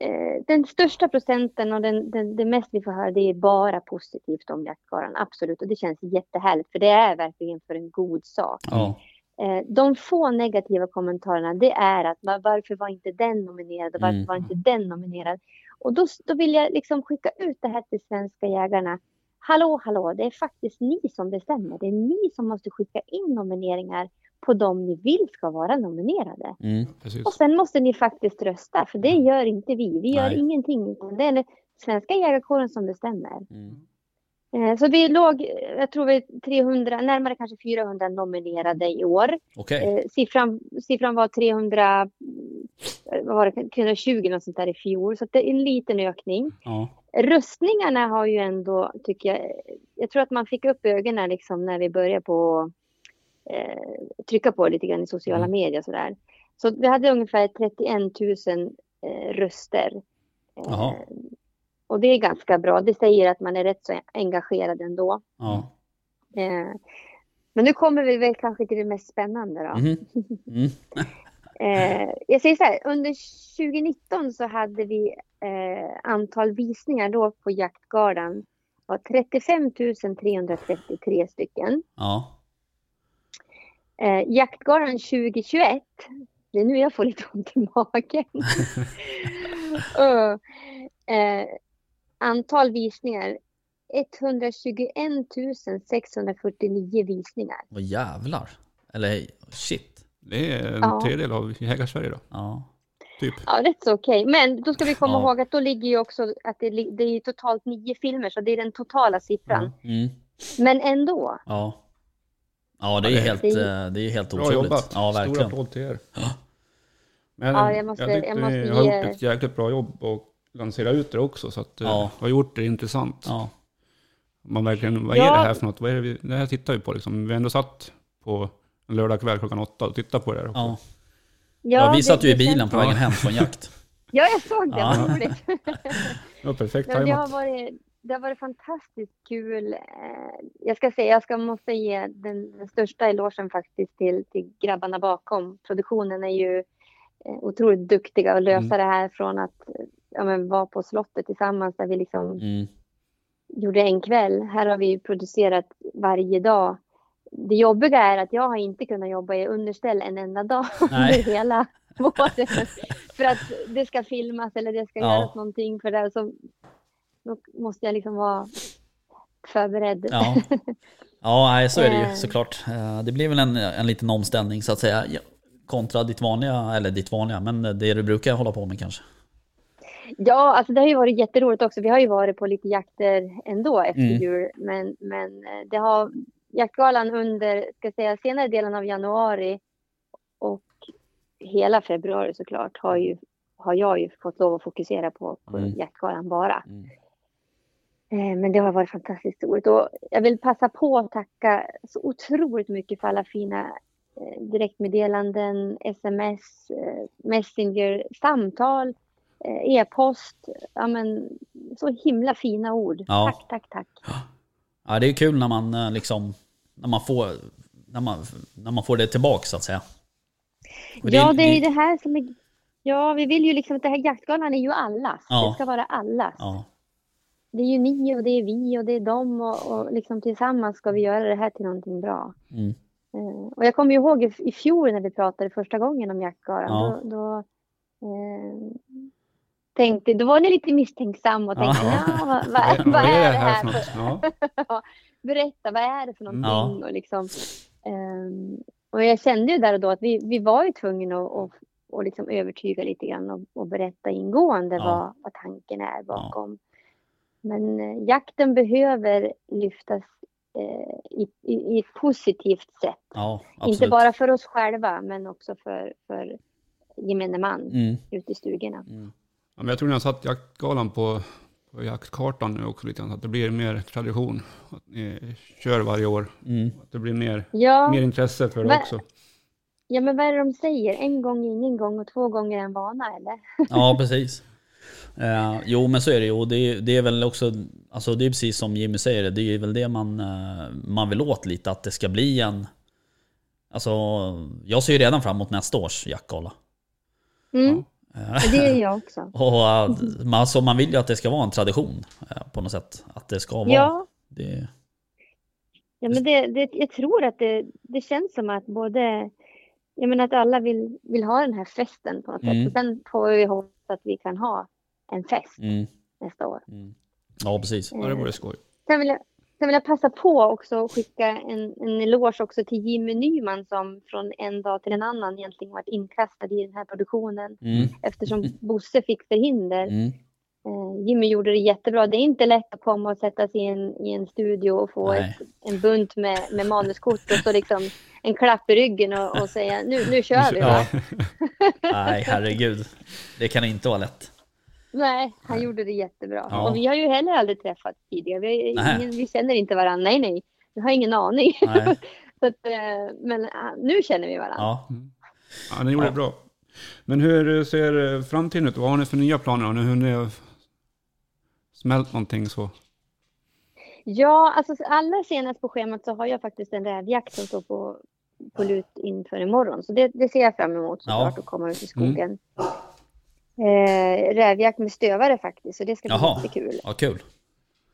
Speaker 3: eh, den största procenten och den, den, det mest vi får höra det är bara positivt om jaktgalan, absolut. Och det känns jättehärligt för det är verkligen för en god sak.
Speaker 1: Ja.
Speaker 3: Eh, de få negativa kommentarerna det är att "Va- varför var inte den nominerad och varför
Speaker 1: Mm.
Speaker 3: var inte den nominerad. Och då, då vill jag liksom skicka ut det här till svenska jägarna. Hallå, hallå, det är faktiskt ni som bestämmer. Det är ni som måste skicka in nomineringar på de ni vill ska vara nominerade.
Speaker 1: Mm.
Speaker 2: Precis.
Speaker 3: Och sen måste ni faktiskt rösta, för det gör inte vi. Vi gör
Speaker 1: Nej.
Speaker 3: ingenting, utan det är den svenska jägarkåren som bestämmer.
Speaker 1: Mm.
Speaker 3: Eh, Så vi låg, eh, jag tror vi 300, närmare kanske 400 nominerade i år.
Speaker 1: Okej.
Speaker 3: Eh, siffran, siffran var 300, eh, vad var det, 320 något sånt där i fjol, så att det är en liten ökning.
Speaker 1: Ja.
Speaker 3: Röstningarna har ju ändå, tycker jag, eh, jag tror att man fick upp ögonen liksom när vi började på eh, trycka på lite grann i sociala
Speaker 1: Mm.
Speaker 3: medier sådär. Så vi hade ungefär 31 000 eh, röster. Eh,
Speaker 1: Jaha.
Speaker 3: och det är ganska bra, det säger att man är rätt så engagerad ändå.
Speaker 1: Ja.
Speaker 3: Eh, men nu kommer vi väl kanske till det mest spännande då.
Speaker 1: Mhm. Mm.
Speaker 3: Eh, jag säger så här, under 2019 så hade vi eh, antal visningar då på Jaktgarden var 35 333 stycken.
Speaker 1: Ja.
Speaker 3: Eh, Jaktgarden 2021, det är nu jag får lite ont i magen. Öh, eh, antal visningar, 121 649 visningar.
Speaker 1: Vad jävlar. Eller shit.
Speaker 2: Det är en
Speaker 3: Ja.
Speaker 2: tredjedel av Jägarsverige då.
Speaker 1: Ja.
Speaker 2: Typ.
Speaker 3: Ja, rätt så okej. Men då ska vi komma
Speaker 1: Ja.
Speaker 3: ihåg att då ligger ju också att det, li- det är totalt nio filmer, så det är den totala siffran.
Speaker 2: Mm.
Speaker 1: Mm.
Speaker 3: Men ändå.
Speaker 1: Ja. Ja, det är
Speaker 2: Ja,
Speaker 1: ju
Speaker 2: det-
Speaker 1: helt,
Speaker 3: det-
Speaker 1: eh, det är ju helt
Speaker 2: Bra
Speaker 1: otroligt.
Speaker 2: jobbat.
Speaker 1: Ja,
Speaker 2: Stor
Speaker 1: verkligen.
Speaker 2: applåd till er.
Speaker 1: Ja.
Speaker 2: Men
Speaker 3: Ja, jag måste-
Speaker 2: tyckte
Speaker 3: jag måste
Speaker 2: ni har
Speaker 3: ge-
Speaker 2: gjort ett jäkligt bra jobb och lansera ut det också. Så att eh,
Speaker 1: Ja.
Speaker 2: har gjort det intressant.
Speaker 1: Ja.
Speaker 2: Man verkligen, vad är
Speaker 3: Ja.
Speaker 2: det här för något? Vad är det, vi, det här tittar vi på liksom. Vi har ändå satt på en lördag kväll klockan åtta och tittat på det här också.
Speaker 1: Ja.
Speaker 3: Ja,
Speaker 1: Ja, vi satt ju i
Speaker 3: det känns-
Speaker 1: bilen på vägen hem från jakt.
Speaker 3: Ja, jag såg det.
Speaker 1: Ja.
Speaker 3: Vad roligt.
Speaker 2: Det var perfekt
Speaker 3: Nej, men det, har
Speaker 2: tajmat.
Speaker 3: varit, det har varit fantastiskt kul. Eh, Jag ska säga, jag ska, måste ge den, den största elogen faktiskt till, till grabbarna bakom. Produktionen är ju eh, otroligt duktiga att lösa
Speaker 2: Mm.
Speaker 3: det här från att eh, ja, men, vara på slottet tillsammans där vi liksom
Speaker 1: Mm.
Speaker 3: gjorde en kväll. Här har vi ju producerat varje dag. Det jobbiga är att jag har inte kunnat jobba i underställ en enda dag
Speaker 1: Nej.
Speaker 3: under hela våren. för att det ska filmas eller det ska
Speaker 1: Ja.
Speaker 3: göras någonting för det. här. Så då måste jag liksom vara förberedd.
Speaker 1: Ja. Ja, nej, så är det ju
Speaker 3: Eh.
Speaker 1: såklart. Eh, Det blir väl en, en liten omställning så att säga. Ja, Kontra ditt vanliga, eller ditt vanliga, men det du brukar hålla på med kanske.
Speaker 3: Ja, alltså det har ju varit jätteroligt också. Vi har ju varit på lite jakter ändå efter
Speaker 1: Mm.
Speaker 3: jul. Men, men eh, det har jaktgalan under ska jag säga, senare delen av januari och hela februari såklart har, ju, har jag ju fått lov att fokusera på, på
Speaker 1: Mm.
Speaker 3: jaktgalan bara.
Speaker 1: Mm.
Speaker 3: Eh, Men det har varit fantastiskt roligt och jag vill passa på att tacka så otroligt mycket för alla fina eh, direktmeddelanden, sms, eh, messenger, samtal, eh, e-post. Ja, men, så himla fina ord.
Speaker 1: Ja.
Speaker 3: Tack, tack, tack.
Speaker 1: Ja, det är ju kul när man eh, liksom, när man får, när man, när man får det tillbaka så att säga. Och
Speaker 3: ja, det är ju det här som är... Ja, vi vill ju liksom att det här jaktgalan är ju allas.
Speaker 1: Ja.
Speaker 3: Det ska vara allas.
Speaker 1: Ja,
Speaker 3: Det är ju ni och det är vi och det är dem och, och liksom tillsammans ska vi göra det här till någonting bra.
Speaker 1: mm.
Speaker 3: Eh, Och jag kommer ju ihåg i, i fjol när vi pratade första gången om jaktgalan.
Speaker 1: Ja.
Speaker 3: Då, då, eh, tänkte, då var ni lite misstänksam och
Speaker 1: Ja.
Speaker 3: tänkte, ja. vad,
Speaker 2: Vad
Speaker 3: vad, vad är det här?
Speaker 2: för
Speaker 3: för-
Speaker 2: något? Ja.
Speaker 3: Berätta, vad är det för någonting?
Speaker 1: Mm. Ja.
Speaker 3: Och, liksom, ehm, och jag kände ju där och då att vi, vi var ju tvungna att, att, att liksom övertyga lite grann och, och berätta ingående
Speaker 1: Ja.
Speaker 3: vad, vad tanken är bakom. Men eh, jakten behöver lyftas eh, i, i, i ett positivt sätt.
Speaker 1: ja absolut.
Speaker 3: Inte bara för oss själva, men också för, för gemene man
Speaker 1: Mm.
Speaker 3: ute i stugorna.
Speaker 1: Mm.
Speaker 2: Ja, men jag tror ni har satt jaktgalan på, på jaktkartan nu också lite grann. Så att det blir mer tradition. Att ni kör varje år.
Speaker 1: Mm.
Speaker 2: Att det blir mer, mer
Speaker 3: Ja,
Speaker 2: intresse för det
Speaker 3: Men-
Speaker 2: också.
Speaker 3: ja, men vad är det de säger? En gång ingen gång och två gånger en vana, eller?
Speaker 1: Ja, precis. Eh, jo, men så är det ju. Och det, det är väl också, alltså det är precis som Jimmy säger, det är väl det man, eh, man vill åt lite, att det ska bli en... Alltså, jag ser ju redan fram emot nästa års jackgala.
Speaker 3: Mm,
Speaker 1: Eh,
Speaker 3: det är jag också.
Speaker 1: och eh, man- alltså, man vill ju att det ska vara en tradition eh, på något sätt. Att det ska vara...
Speaker 3: Ja,
Speaker 1: Det,
Speaker 3: ja men det, det, jag tror att det, det känns som att både... Jag menar att alla vill, vill ha den här festen på något
Speaker 1: Mm.
Speaker 3: sätt. Och sen får vi hoppas att vi kan ha en fest
Speaker 1: mm,
Speaker 3: nästa år. Eh,
Speaker 1: mm. Ja, precis.
Speaker 2: Ja, det vore skoj.
Speaker 3: Sen vill, jag, sen vill jag passa på också att skicka en, en eloge också till Jimmy Nyman som från en dag till en annan egentligen varit inkastad i den här produktionen
Speaker 1: Mm,
Speaker 3: eftersom Bosse fick förhinder.
Speaker 1: mm,
Speaker 3: Eh, Jimmy gjorde det jättebra. Det är inte lätt att komma och sätta sig i en, i en studio och få
Speaker 1: Nej.
Speaker 3: ett, en bunt med, med manuskort och så liksom en klapp i ryggen och, och säga nu, nu kör vi.
Speaker 1: ja.
Speaker 3: Va?
Speaker 1: Nej, herregud. Det kan inte vara lätt.
Speaker 3: Nej, han gjorde det jättebra.
Speaker 1: Ja.
Speaker 3: Och vi har ju heller aldrig träffats tidigare. Vi,
Speaker 1: Nej.
Speaker 3: ingen, vi känner inte varandra. Nej, nej. Vi har ingen aning.
Speaker 1: Nej.
Speaker 3: Så att, eh, men ah, nu känner vi varandra.
Speaker 1: Ja.
Speaker 2: Ja, ni gjorde
Speaker 1: Ja.
Speaker 2: det bra. Men hur ser eh, framtiden ut? Vad har ni för nya planer? Har ni hunnit smält någonting så?
Speaker 3: Ja, alltså allra senast på schemat så har jag faktiskt en rävjakt som står på, på lut inför imorgon. Så det, det ser jag fram emot såklart,
Speaker 1: Ja. Mm.
Speaker 3: att komma ut i skogen. Eh, rävjakt med stövare faktiskt, så det ska bli
Speaker 1: Jaha.
Speaker 3: jättekul.
Speaker 1: Ja, kul.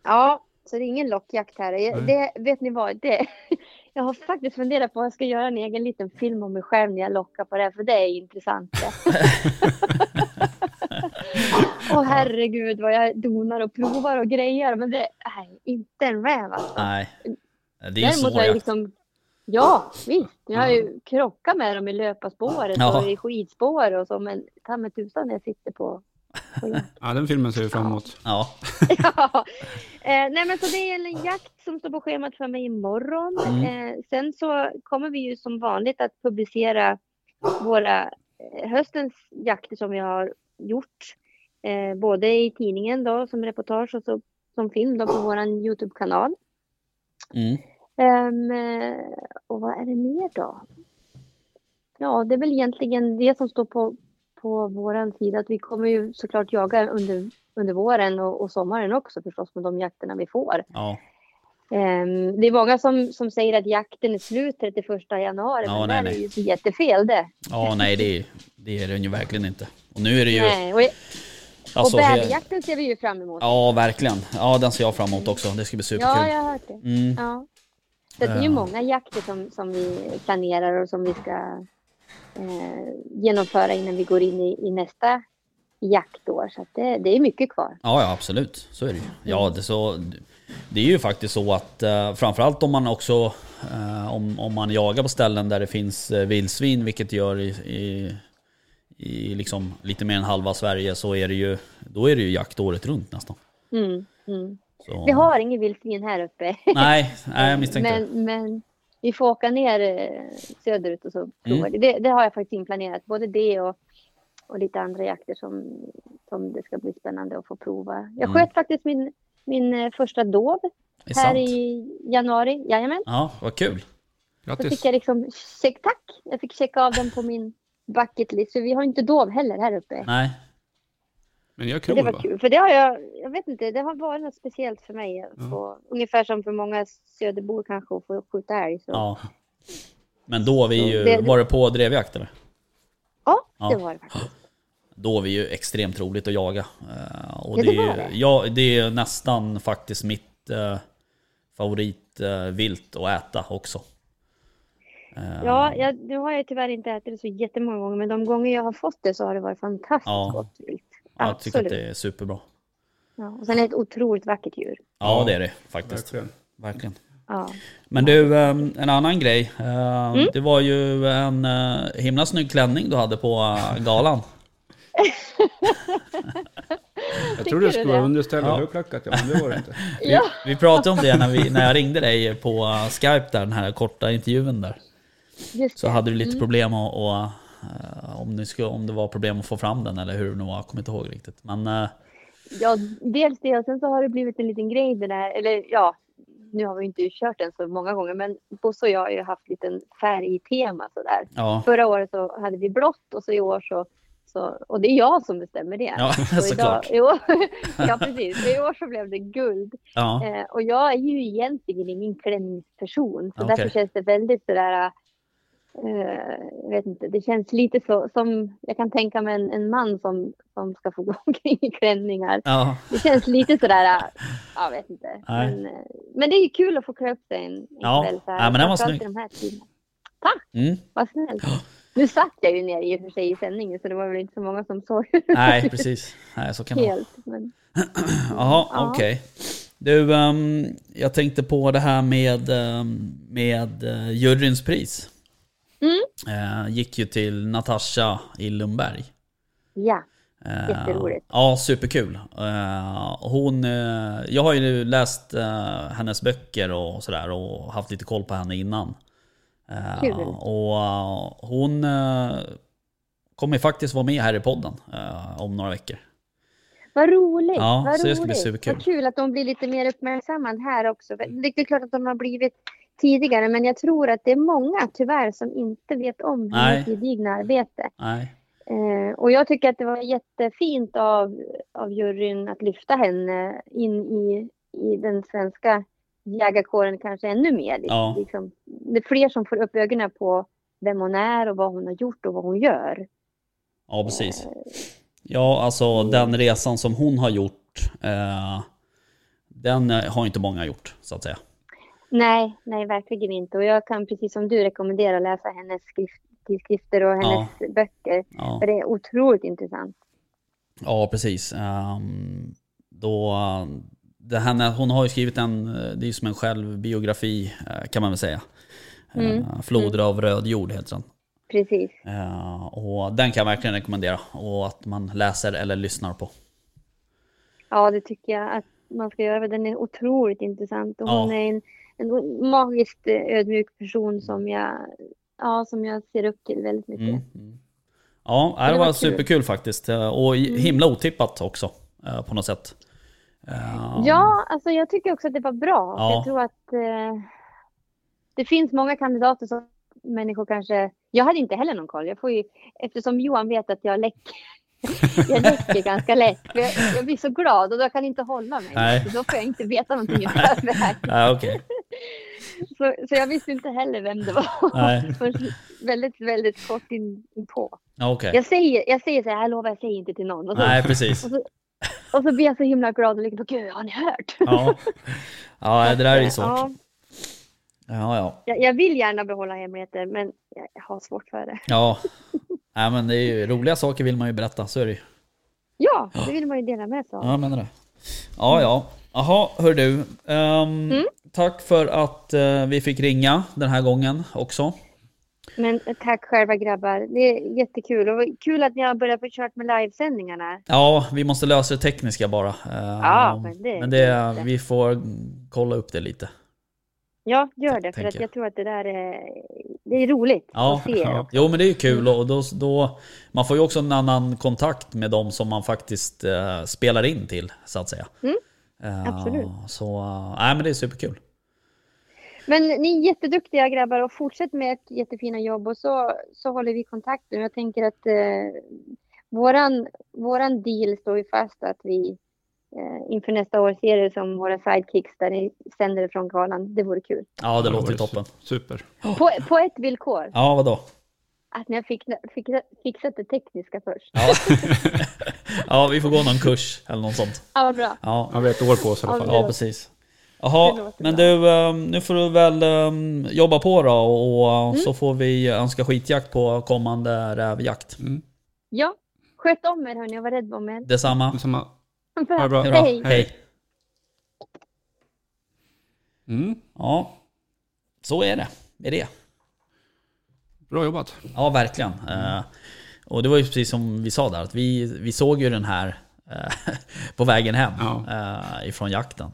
Speaker 3: Ja, så det är ingen lockjakt här. Jag,
Speaker 2: Nej.
Speaker 3: det, vet ni vad? Det, jag har faktiskt funderat på att jag ska göra en egen liten film om mig själv när jag lockar på det, här, för det är intressant. det. Åh herregud vad jag donar och provar och grejer, men det är inte en räv alltså.
Speaker 1: Nej. Det är en
Speaker 3: Däremot
Speaker 1: svår
Speaker 3: har jag
Speaker 1: jakt.
Speaker 3: liksom Ja, visst. Jag har ju krockat med dem i löparspåret
Speaker 1: Mm. Ja.
Speaker 3: och i skidspår och så, men ta mig tusan jag sitter på... på jakt.
Speaker 2: Ja, den filmen ser vi fram emot.
Speaker 1: Ja.
Speaker 3: ja. eh, nej, men så det är en jakt som står på schemat för mig imorgon.
Speaker 1: Mm.
Speaker 3: Eh, sen så kommer vi ju som vanligt att publicera våra eh, höstens jakter som vi har gjort. Eh, både i tidningen då som reportage och så, som film då på våran Youtube-kanal.
Speaker 1: Mm.
Speaker 3: Ehm, eh, och vad är det mer då? Ja, det är väl egentligen det som står på, på våran sida. Att vi kommer ju såklart jaga under, under våren och, och sommaren också förstås med de jakterna vi får.
Speaker 1: Ja.
Speaker 3: Ehm, det är många som, som säger att jakten är slut 31 januari.
Speaker 1: Ja,
Speaker 3: men
Speaker 1: nej,
Speaker 3: det är
Speaker 1: nej.
Speaker 3: ju så jättefel det.
Speaker 1: Ja, nej det är, det är den ju verkligen inte. Och nu är det ju...
Speaker 3: Nej, och
Speaker 1: alltså,
Speaker 3: och
Speaker 1: he-
Speaker 3: bäverjakten ser vi ju fram emot.
Speaker 1: Ja, verkligen. Ja, den ser jag fram emot också. Det ska bli superkul.
Speaker 3: ja jag har hört det.
Speaker 1: Mm.
Speaker 3: Ja. Så att det är ju
Speaker 1: Ehm.
Speaker 3: många jakter som, som vi planerar och som vi ska eh, genomföra innan vi går in i, i nästa jaktår. Så att det, det är mycket kvar.
Speaker 1: Ja, ja absolut. Så är det ju.
Speaker 3: Mm.
Speaker 1: Ja, det, är så, det är ju faktiskt så att eh, framförallt om man också eh, om, om man jagar på ställen där det finns eh, vildsvin, vilket gör i, i, i liksom lite mer än halva Sverige, så är det ju, då är det ju jakt året runt nästan.
Speaker 3: Mm, mm.
Speaker 1: Så,
Speaker 3: Vi har ingen vildsvin här uppe.
Speaker 1: Nej, nej, jag misstänkte det.
Speaker 3: men, men vi får åka ner eh, söderut och
Speaker 1: Mm.
Speaker 3: så provar det. det. Det har jag faktiskt inplanerat. Både det och, och lite andra jakter som, som det ska bli spännande att få prova. Jag
Speaker 1: Mm.
Speaker 3: sköt faktiskt min, min eh, första dov
Speaker 1: det är
Speaker 3: här
Speaker 1: sant.
Speaker 3: i januari. Jajamän.
Speaker 1: Ja, vad kul.
Speaker 3: Då
Speaker 2: Grattis!
Speaker 3: fick jag liksom, check, tack! Jag fick checka av den på min bucket list. För vi har ju inte dov heller här uppe.
Speaker 1: Nej,
Speaker 2: Men jag
Speaker 3: Så
Speaker 2: krol
Speaker 3: det
Speaker 2: va?
Speaker 3: var kul. För det har jag, jag vet inte, det har varit något speciellt för mig. att
Speaker 2: Ja.
Speaker 3: Få, ungefär som för många söderbor kanske att få skjuta älg. Så. Ja.
Speaker 1: ja. Men då vi ju,
Speaker 3: Det-
Speaker 1: var det på drevjakt eller?
Speaker 3: det
Speaker 1: Ja.
Speaker 3: var det faktiskt.
Speaker 1: Då är vi ju extremt roligt att jaga. Eh, och
Speaker 3: Ja,
Speaker 1: det,
Speaker 3: det
Speaker 1: är,
Speaker 3: var
Speaker 1: det.
Speaker 3: det.
Speaker 1: Ja, det är nästan faktiskt mitt eh, favoritvilt att äta också. Eh,
Speaker 3: Ja, jag, nu har jag tyvärr inte ätit det så jättemånga gånger. Men de gånger jag har fått det så har det varit fantastiskt
Speaker 1: Ja.
Speaker 3: gott vilt.
Speaker 1: jag tycker att
Speaker 3: Absolut.
Speaker 1: det är superbra.
Speaker 3: Ja. Och sen är det ett otroligt vackert djur.
Speaker 1: Ja,
Speaker 2: Ja,
Speaker 1: det är det faktiskt.
Speaker 2: Verkligen.
Speaker 1: Verkligen.
Speaker 3: Ja.
Speaker 1: Men du, eh, en annan grej. Eh,
Speaker 3: Mm.
Speaker 1: Det var ju en eh, himla snygg klänning du hade på eh, galan.
Speaker 2: Jag
Speaker 3: Tycker
Speaker 2: trodde det
Speaker 3: du
Speaker 2: skulle
Speaker 3: det?
Speaker 2: vara underställd
Speaker 1: Ja.
Speaker 2: och högklackat, ja, men det var det inte.
Speaker 1: Vi, vi pratade om det när, vi, när jag ringde dig på eh, Skype, där, den här korta intervjun där.
Speaker 3: Just
Speaker 1: Så
Speaker 3: det.
Speaker 1: hade du lite problem att, och, eh, om, ni skulle, om det var problem att få fram den eller hur det nu var, jag kommer inte ihåg riktigt. Men eh,
Speaker 3: Ja, dels det och sen så har det blivit en liten grej det där, eller ja, nu har vi ju inte kört den så många gånger, men Bosse och jag har ju haft lite färg i tema sådär.
Speaker 1: ja,
Speaker 3: Förra året så hade vi blått och så i år så, så och det är jag som bestämmer det.
Speaker 1: ja
Speaker 3: Och idag,
Speaker 1: såklart.
Speaker 3: jo, ja, precis. I år så blev det guld.
Speaker 1: Ja,
Speaker 3: Eh, och jag är ju egentligen ingen klänningsperson. Så
Speaker 1: Okej.
Speaker 3: därför känns det väldigt sådär... Eh, jag vet inte, det känns lite så som... Jag kan tänka mig en, en man som, som ska få gå omkring i klänningar.
Speaker 1: ja,
Speaker 3: Det känns lite sådär, äh, jag vet inte.
Speaker 1: Nej.
Speaker 3: Men, eh, men det är ju kul att få klä upp sig en, en
Speaker 1: Ja.
Speaker 3: kväll så här.
Speaker 1: Ja, men den var
Speaker 3: Framförallt
Speaker 1: snygg.
Speaker 3: i De här tiderna.
Speaker 1: mm,
Speaker 3: Vad snällt. Nu satt jag ju ner i och för sig i sändningen så det var väl inte så många som såg
Speaker 1: nej precis. Nej, så kan det vara.
Speaker 3: helt. Men,
Speaker 1: Jaha,
Speaker 3: Ja.
Speaker 1: okej. Du, ehm, jag tänkte på det här med, ehm, med uh, juryns pris.
Speaker 3: Mm.
Speaker 1: Eh, gick ju till Natasha i Lundberg.
Speaker 3: ja,
Speaker 1: Eh,
Speaker 3: Jätteroligt.
Speaker 1: Ja, superkul. Eh, Hon, eh, jag har ju läst eh, hennes böcker och sådär och haft lite koll på henne innan. Eh,
Speaker 3: Kul.
Speaker 1: Och eh, hon eh, kommer faktiskt vara med här i podden eh, om några veckor.
Speaker 3: vad roligt.
Speaker 1: Ja,
Speaker 3: vad
Speaker 1: så det
Speaker 3: roligt.
Speaker 1: ska bli superkul.
Speaker 3: Vad kul att de blir lite mer uppmärksammad här också. Det är klart att de har blivit tidigare men jag tror att det är många tyvärr som inte vet om hennes
Speaker 1: Nej.
Speaker 3: gedigna arbete.
Speaker 1: Nej.
Speaker 3: Eh, och jag tycker att det var jättefint av, av juryn att lyfta henne in i, i den svenska jägarkåren kanske ännu mer. Liksom.
Speaker 1: Ja.
Speaker 3: Liksom, det är fler som får upp ögonen på vem hon är och vad hon har gjort och vad hon gör.
Speaker 1: Ja, precis. Ja, alltså den resan som hon har gjort, eh, den eh, har inte många gjort, så att säga.
Speaker 3: Nej, nej verkligen inte. Och jag kan precis som du rekommendera att läsa hennes skrift, skrifter och hennes böcker.
Speaker 1: Ja.
Speaker 3: För det är otroligt intressant.
Speaker 1: Ja, precis. Ehm, då, det här, när- hon har ju skrivit en, eh, det är ju som en självbiografi eh, kan man väl säga. Eh,
Speaker 3: Mm.
Speaker 1: Floder av röd jord heter den.
Speaker 3: Precis.
Speaker 1: Eh, och den kan jag verkligen rekommendera och att man läser eller lyssnar på.
Speaker 3: Ja, det tycker jag att man ska göra. för Den är otroligt intressant och
Speaker 1: Ja.
Speaker 3: hon är en, en magiskt eh, ödmjuk person som jag, ja, som jag ser upp till väldigt mycket.
Speaker 1: Mm. Mm. Ja, det,
Speaker 3: det
Speaker 1: var,
Speaker 3: var kul. Mm.
Speaker 1: superkul faktiskt. Eh, Och i- himla otippat också eh, på något sätt. Eh,
Speaker 3: Ja, alltså jag tycker också att det var bra.
Speaker 1: Ja.
Speaker 3: Jag tror att eh, det finns många kandidater som människor kanske... Jag hade inte heller någon koll. Jag får ju, eftersom Johan vet att jag läcker. Jag läcker ganska lätt. För Jag, jag blir så glad och då kan jag inte hålla mig.
Speaker 1: Nej.
Speaker 3: Då får jag inte veta någonting i förväg.
Speaker 1: Ja, okej.
Speaker 3: Så, så jag visste inte heller vem det var.
Speaker 1: Nej,
Speaker 3: Förrän väldigt, väldigt kort in, inpå.
Speaker 1: ja, okej.
Speaker 3: Jag säger, jag säger så här, jag lovar, jag säger inte till någon. Och så,
Speaker 1: Nej, precis.
Speaker 3: och så, och så blir jag så himla glad och liksom, gud, har ni hört?
Speaker 1: Ja, ja det där är ju
Speaker 3: Ja.
Speaker 1: svårt. Ja, ja.
Speaker 3: Jag, jag vill gärna behålla hemligheter, men jag har svårt för det.
Speaker 1: Ja, Nej, men det är ju roliga saker vill man ju berätta, så är det ju.
Speaker 3: Ja, det vill man ju dela med sig
Speaker 1: Ja,
Speaker 3: av.
Speaker 1: jag menar det. Ja, ja. Jaha, hör du. Ehm,
Speaker 3: Mm.
Speaker 1: Tack för att eh, vi fick ringa den här gången också.
Speaker 3: Men eh, tack själva grabbar. Det är jättekul. Och kul att ni har börjat få kört med livesändningarna.
Speaker 1: Ja, vi måste lösa det tekniska bara. Ehm,
Speaker 3: Ja, men det-
Speaker 1: men
Speaker 3: det är
Speaker 1: det,
Speaker 3: lite.
Speaker 1: vi får kolla upp det lite.
Speaker 3: Ja, gör det. För
Speaker 1: Tänker
Speaker 3: att
Speaker 1: jag.
Speaker 3: jag tror att det där är, det är roligt
Speaker 1: Ja,
Speaker 3: att se er
Speaker 1: ja.
Speaker 3: också.
Speaker 1: Jo, men det är ju kul
Speaker 3: Mm.
Speaker 1: och då, då, man får ju också en annan kontakt med dem som man faktiskt eh, spelar in till, så att säga.
Speaker 3: Mm,
Speaker 1: Ehm,
Speaker 3: absolut.
Speaker 1: Så, eh, nej, men det är superkul.
Speaker 3: Men ni är jätteduktiga grabbar och fortsätt med ert jättefina jobb och så, så håller vi kontakten. Jag tänker att eh, våran, våran deal står ju fast att vi eh, inför nästa år ser er som våra sidekicks där ni sänder från galan. Det vore kul.
Speaker 1: Ja, det låter
Speaker 2: var
Speaker 1: ju toppen.
Speaker 2: su- Super.
Speaker 1: Oh.
Speaker 3: På, på ett villkor,
Speaker 1: Ja, vadå?
Speaker 3: att ni har fick, fick, fixat det tekniska först.
Speaker 1: Ja. ja, vi får gå någon kurs eller något sånt.
Speaker 3: Ja, vad bra.
Speaker 1: Ja,
Speaker 2: Ja, vi har ett år på oss i alla
Speaker 3: Ja,
Speaker 2: fall.
Speaker 1: ja
Speaker 3: låter-
Speaker 1: precis.
Speaker 3: det
Speaker 1: Jaha,
Speaker 3: låter
Speaker 1: men
Speaker 3: bra.
Speaker 1: du, eh, nu får du väl eh, jobba på då och eh,
Speaker 3: Mm.
Speaker 1: så får vi önska skitjakt på kommande rävjakt.
Speaker 2: Mm.
Speaker 3: Ja, sköt om er hörni och var rädd om er.
Speaker 1: Detsamma.
Speaker 2: Detsamma.
Speaker 3: Bra.
Speaker 2: bra.
Speaker 1: Hej då.
Speaker 3: Hej.
Speaker 1: Hej.
Speaker 2: Mm.
Speaker 1: Ja, så är det med det.
Speaker 2: Bra jobbat.
Speaker 1: Ja, verkligen. Eh, och det var ju precis som vi sa där, att vi, vi såg ju den här eh, på vägen hem
Speaker 2: Ja.
Speaker 1: eh, ifrån jakten.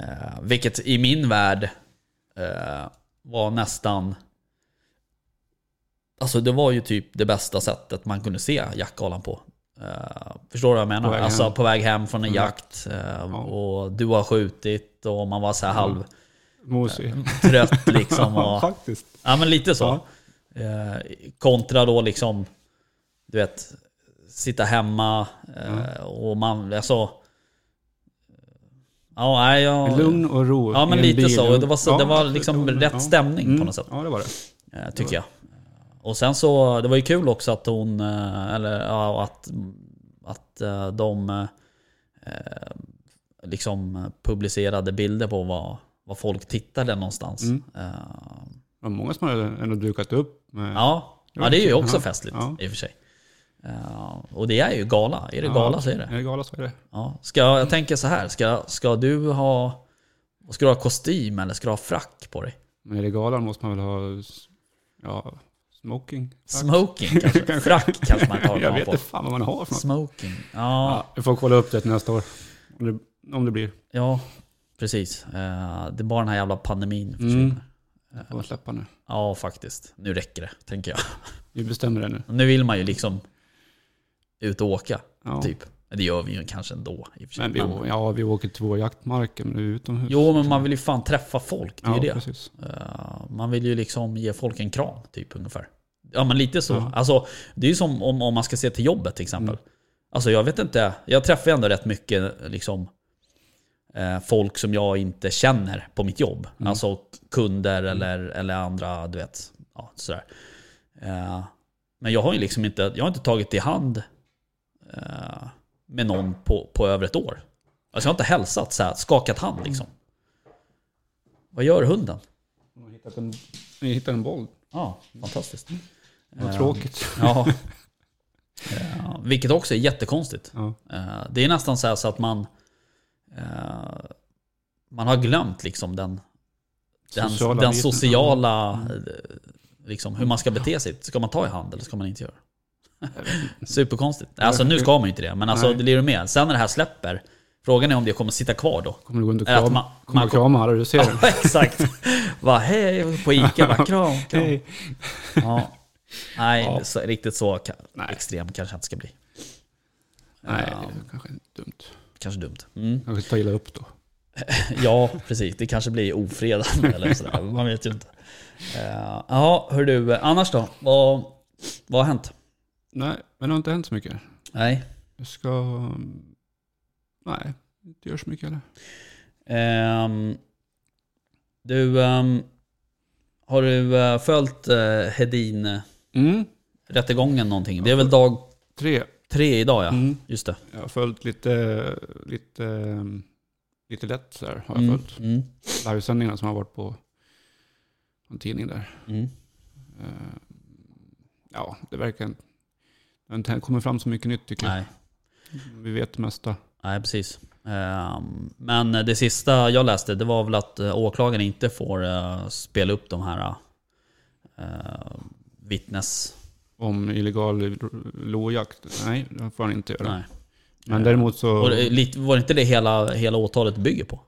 Speaker 1: Eh, vilket i min värld eh, var nästan... Alltså det var ju typ det bästa sättet man kunde se jaktgalan på. Eh, förstår du vad jag menar?
Speaker 2: På väg
Speaker 1: alltså
Speaker 2: hem. Mm.
Speaker 1: på väg hem från en jakt eh,
Speaker 2: Ja.
Speaker 1: och du har skjutit och man var så här
Speaker 2: Mosig.
Speaker 1: halvtrött liksom.
Speaker 2: Ja,
Speaker 1: Och,
Speaker 2: faktiskt.
Speaker 1: Ja men lite så.
Speaker 2: Ja.
Speaker 1: Eh, kontra då liksom, du vet, sitta hemma eh, och man, alltså. Ja, nej, jag,
Speaker 2: Lugn och ro.
Speaker 1: Ja, men
Speaker 2: i en
Speaker 1: lite
Speaker 2: bil.
Speaker 1: så. Det var så-
Speaker 2: Ja,
Speaker 1: det var
Speaker 2: absolut.
Speaker 1: liksom
Speaker 2: Lugn.
Speaker 1: rätt stämning på
Speaker 2: Mm.
Speaker 1: något sätt.
Speaker 2: Ja, det var det.
Speaker 1: eh, tycker jag. Och sen så, det var ju kul också att hon, eh, eller ja, att, att eh, de eh, liksom publicerade bilder på vad, vad folk tittade någonstans.
Speaker 2: Mm.
Speaker 1: Eh,
Speaker 2: Det var många som hade ändå dukat upp. Med,
Speaker 1: Ja,
Speaker 2: Det
Speaker 1: ja
Speaker 2: var
Speaker 1: det är ju
Speaker 2: kul.
Speaker 1: också
Speaker 2: Ja.
Speaker 1: festligt
Speaker 2: Ja.
Speaker 1: i och för sig. Eh, och det är ju gala. Är det gala så är det.
Speaker 2: Är det gala så är det.
Speaker 1: Ja. Ska, jag tänker så här, ska, ska du ha Ska du ha kostym eller ska du ha frack på dig?
Speaker 2: Men är det galan måste man väl ha s- ja, smoking?
Speaker 1: Smoking kanske? Frack kanske man tar
Speaker 2: Jag
Speaker 1: man
Speaker 2: vet
Speaker 1: på.
Speaker 2: inte fan vad man har för något.
Speaker 1: Smoking, ja,
Speaker 2: Ja, vi får kolla upp det till nästa år. Om det, om det blir.
Speaker 1: ja precis. Eh, det är bara den här jävla pandemin försvinner.
Speaker 2: Mm. Det får man släppa nu.
Speaker 1: Ja faktiskt, nu räcker det tänker jag.
Speaker 2: Vi bestämmer det nu.
Speaker 1: Nu vill man ju liksom ut och åka,
Speaker 2: Ja.
Speaker 1: typ. Men Det gör vi ju kanske ändå. I och för sig.
Speaker 2: Men vi, å- ja, vi åker till vår jaktmarker, men det är utomhus.
Speaker 1: jo men man vill ju fan träffa folk, det är
Speaker 2: ja,
Speaker 1: ju det.
Speaker 2: Precis.
Speaker 1: Eh, man vill ju liksom ge folk en kram, typ ungefär. Ja men lite så.
Speaker 2: Ja.
Speaker 1: Alltså, det är ju som om, om man ska se till jobbet till exempel. Alltså jag vet inte, jag träffar ju ändå rätt mycket liksom eh, folk som jag inte känner på mitt jobb. Alltså kunder eller, eller andra, du vet. Ja, sådär. Eh, men jag har ju liksom inte, jag har inte tagit i hand eh, med någon på, på över ett år. Alltså jag har inte hälsat så här, skakat hand liksom. Vad gör hunden?
Speaker 2: Vi hittat en, vi hittade en boll.
Speaker 1: Ja, fantastiskt.
Speaker 2: Vad tråkigt.
Speaker 1: Ja. Eh, Vilket också är jättekonstigt.
Speaker 2: Ja.
Speaker 1: Eh, Det är nästan så, här så att man, eh, man har glömt liksom den, Den
Speaker 2: Sociala
Speaker 1: sociala, den
Speaker 2: Mm. avgifter.
Speaker 1: sociala eh, liksom, hur man ska bete sig. Ska man ta i hand eller ska man inte göra det? Superkonstigt. Alltså nu ska man ju inte det, men alltså
Speaker 2: Nej.
Speaker 1: det blir ju med. Sen när det här släpper, frågan är om det kommer sitta kvar då.
Speaker 2: Kommer du gå runt och
Speaker 1: Eller att
Speaker 2: krama,
Speaker 1: man-
Speaker 2: kommer
Speaker 1: man-
Speaker 2: du krama alla du ser?
Speaker 1: Ja, exakt. Bara hej på Ica, bara kram, kram.
Speaker 2: Hej.
Speaker 1: Ja. Nej,
Speaker 2: Ja.
Speaker 1: Så, riktigt så ka-
Speaker 2: Nej.
Speaker 1: extrem kanske jag inte ska bli.
Speaker 2: Nej,
Speaker 1: Ja.
Speaker 2: det är kanske är dumt.
Speaker 1: Kanske dumt. Mm.
Speaker 2: Kanske ta illa upp då.
Speaker 1: Ja, precis. Det kanske blir ofredande eller sådär. Man vet ju inte. Eh, Ja, hör du. Annars då? Vad, vad har hänt?
Speaker 2: Nej, men det har inte hänt så mycket.
Speaker 1: Nej.
Speaker 2: Jag ska... Nej, inte gör så mycket heller.
Speaker 1: Ehm, du, ehm, har du eh, följt eh, Hedin-rättegången
Speaker 2: Mm.
Speaker 1: någonting? Det är väl dag
Speaker 2: Tre.
Speaker 1: tre idag ja?
Speaker 2: Mm.
Speaker 1: Just det.
Speaker 2: Jag har följt lite, lite, lite lätt så här. Har jag
Speaker 1: Mm,
Speaker 2: följt
Speaker 1: mm,
Speaker 2: livesändningarna som har varit på en tidning där.
Speaker 1: mm.
Speaker 2: Eh, Ja, det verkar inte... Det har inte kommit fram så mycket nytt tycker jag.
Speaker 1: Nej.
Speaker 2: Vi vet det mesta.
Speaker 1: Nej, precis. Ehm, Men det sista jag läste det var väl att eh, åklagaren inte får eh, spela upp de här eh, vittnes...
Speaker 2: Om illegal låjakt, nej det får han inte göra.
Speaker 1: Nej.
Speaker 2: Men däremot så,
Speaker 1: Och det, lite- var det inte det hela, hela åtalet bygger på?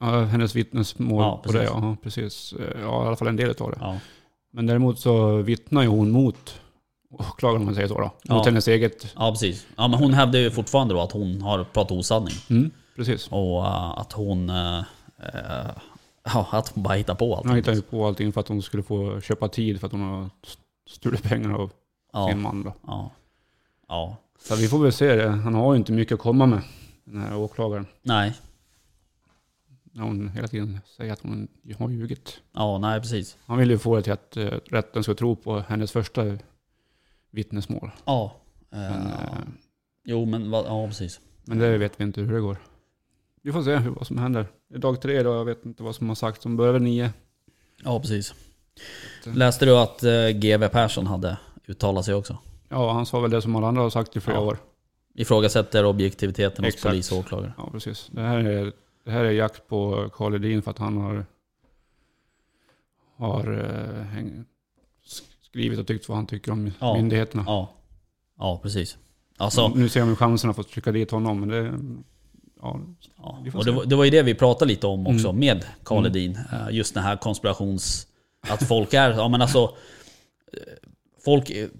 Speaker 2: ja, hennes vittnesmål
Speaker 1: Ja,
Speaker 2: på det,
Speaker 1: precis.
Speaker 2: ja precis. Eh, Ja i alla fall en del av det.
Speaker 1: Ja.
Speaker 2: Men däremot så vittnar ju hon mot åklagaren om man säger så då. Mot
Speaker 1: Ja.
Speaker 2: hennes eget,
Speaker 1: ja, precis. Ja, men hon hävdar ju fortfarande då att hon har pratat osanning.
Speaker 2: mm, precis.
Speaker 1: Och eh, att hon... eh, eh, Ja, att hon bara hittar på allt.
Speaker 2: Hon hittar ju på allting för att hon skulle få köpa tid för att hon har stulit pengar av
Speaker 1: ja,
Speaker 2: sin man då.
Speaker 1: ja. ja.
Speaker 2: Så vi får väl se det. Han har ju inte mycket att komma med, den här åklagaren.
Speaker 1: Nej.
Speaker 2: När hon hela tiden säger att hon har ljugit.
Speaker 1: Ja, nej precis.
Speaker 2: Han vill ju få det till att eh, rätten ska tro på hennes första vittnesmål.
Speaker 1: Ja.
Speaker 2: Men,
Speaker 1: eh,
Speaker 2: eh,
Speaker 1: Jo, men vad- ja, precis.
Speaker 2: men det vet vi inte hur det går. Vi får se hur- vad som händer. Det är dag tre idag, jag vet inte vad som har sagts. De börjar väl nio.
Speaker 1: Ja, precis.
Speaker 2: Att, eh,
Speaker 1: Läste du att eh, GV Persson hade uttalat sig också?
Speaker 2: Ja, han sa väl det som alla andra har sagt i flera
Speaker 1: Ja.
Speaker 2: år.
Speaker 1: Ifrågasätter objektiviteten hos
Speaker 2: Exakt.
Speaker 1: polis och åklagare.
Speaker 2: Ja, precis. Det här är, det här är jakt på Karl Edin för att han har, har eh, häng, sk- skrivit och tyckt vad han tycker om
Speaker 1: Ja.
Speaker 2: myndigheterna.
Speaker 1: Ja, ja precis. Alltså,
Speaker 2: Nu ser de ju chansen att få trycka dit honom, men det... Ja,
Speaker 1: ja.
Speaker 2: vi får
Speaker 1: Och det,
Speaker 2: se.
Speaker 1: var- det var ju det vi pratade lite om också
Speaker 2: Mm.
Speaker 1: med Karl
Speaker 2: Mm.
Speaker 1: Edin. Eh, Just den här konspirations... Att folk är... Ja, men alltså, eh, folk, är-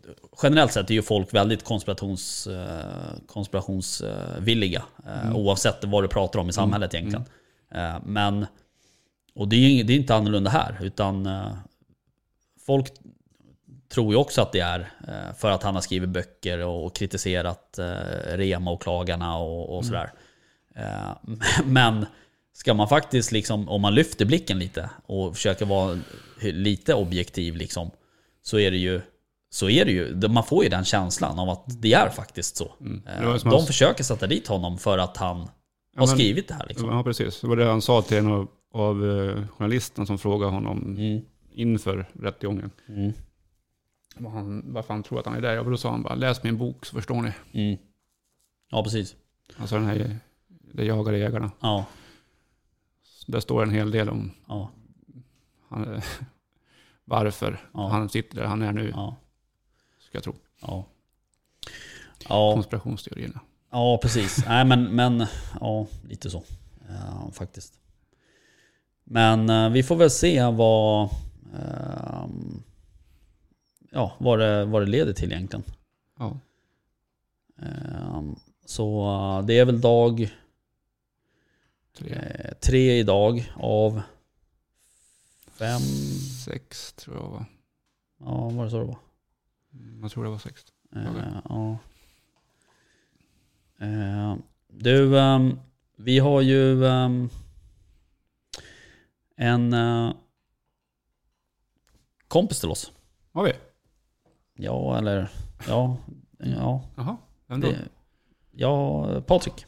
Speaker 1: generellt sett är ju folk väldigt konspirations, eh, konspirationsvilliga. eh,
Speaker 2: Mm.
Speaker 1: Oavsett vad du pratar om i samhället egentligen. Eh, Men... Och det är ju det är inte annorlunda här. Utan eh, folk tror ju också att det är eh, för att han har skrivit böcker och och kritiserat eh, Rema-åklagarna och,
Speaker 2: Mm.
Speaker 1: och sådär. Eh, Men ska man faktiskt, liksom, om man lyfter blicken lite och försöker vara lite objektiv, liksom, så är det ju så är det ju. Man får ju den känslan av att det är faktiskt så. Eh,
Speaker 2: Det var ju som
Speaker 1: De
Speaker 2: han-
Speaker 1: försöker sätta dit honom för att han har
Speaker 2: men-
Speaker 1: skrivit det här. Liksom.
Speaker 2: Ja, precis. Det var det han sa till en av, av eh, journalisterna som frågade honom
Speaker 1: Mm.
Speaker 2: inför rättegången.
Speaker 1: Mm.
Speaker 2: Vad han, varför han tror att han är där. Ja, men då sa han bara, läs min bok så förstår ni.
Speaker 1: Mm. Ja, precis.
Speaker 2: Alltså den här, eh, Det jagade jägarna.
Speaker 1: Ja,
Speaker 2: Där står en hel del om
Speaker 1: ja,
Speaker 2: han, eh, varför
Speaker 1: Ja.
Speaker 2: han sitter där han är nu,
Speaker 1: ja,
Speaker 2: ska jag tro.
Speaker 1: ja. Ja,
Speaker 2: Konspirationsteorierna.
Speaker 1: ja precis. Nej, men, men ja, lite så. Ja, faktiskt. Men eh, vi får väl se vad, ehm, ja, vad, det, vad det leder till egentligen.
Speaker 2: Ja.
Speaker 1: Ehm, så eh, det är väl dag
Speaker 2: Tre,
Speaker 1: eh, tre idag av fem.
Speaker 2: sex tror jag var.
Speaker 1: Ja, var det så det var?
Speaker 2: Mm, Jag tror det var sex.
Speaker 1: Eh,
Speaker 2: Okej.
Speaker 1: ja. Eh, du, ehm, vi har ju ehm, en eh, kompis till oss.
Speaker 2: Har vi?
Speaker 1: Ja, eller ja, ja,
Speaker 2: Jaha. Vem då?
Speaker 1: det, ja Patrik.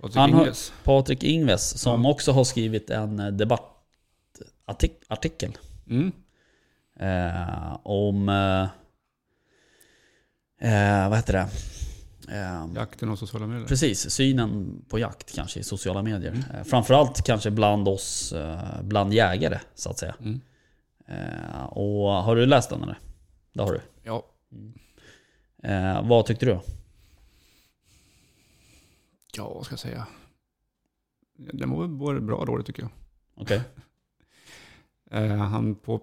Speaker 2: Patrik
Speaker 1: han har-
Speaker 2: Ingves.
Speaker 1: Patrik Ingves som också har skrivit en eh, debattartikel
Speaker 2: Mm.
Speaker 1: eh, om eh, eh, vad heter det? Ehm,
Speaker 2: Jakten och sociala medier.
Speaker 1: Precis, synen på jakt kanske i sociala medier. Eh, Framförallt kanske bland oss, eh, bland jägare så att säga.
Speaker 2: Mm.
Speaker 1: Eh, Och har du läst den eller? Det har du.
Speaker 2: Ja,
Speaker 1: Eh, Vad tyckte du?
Speaker 2: ja, vad ska jag säga? Den var väl både bra och dålig tycker jag.
Speaker 1: Okej.
Speaker 2: Eh, han på,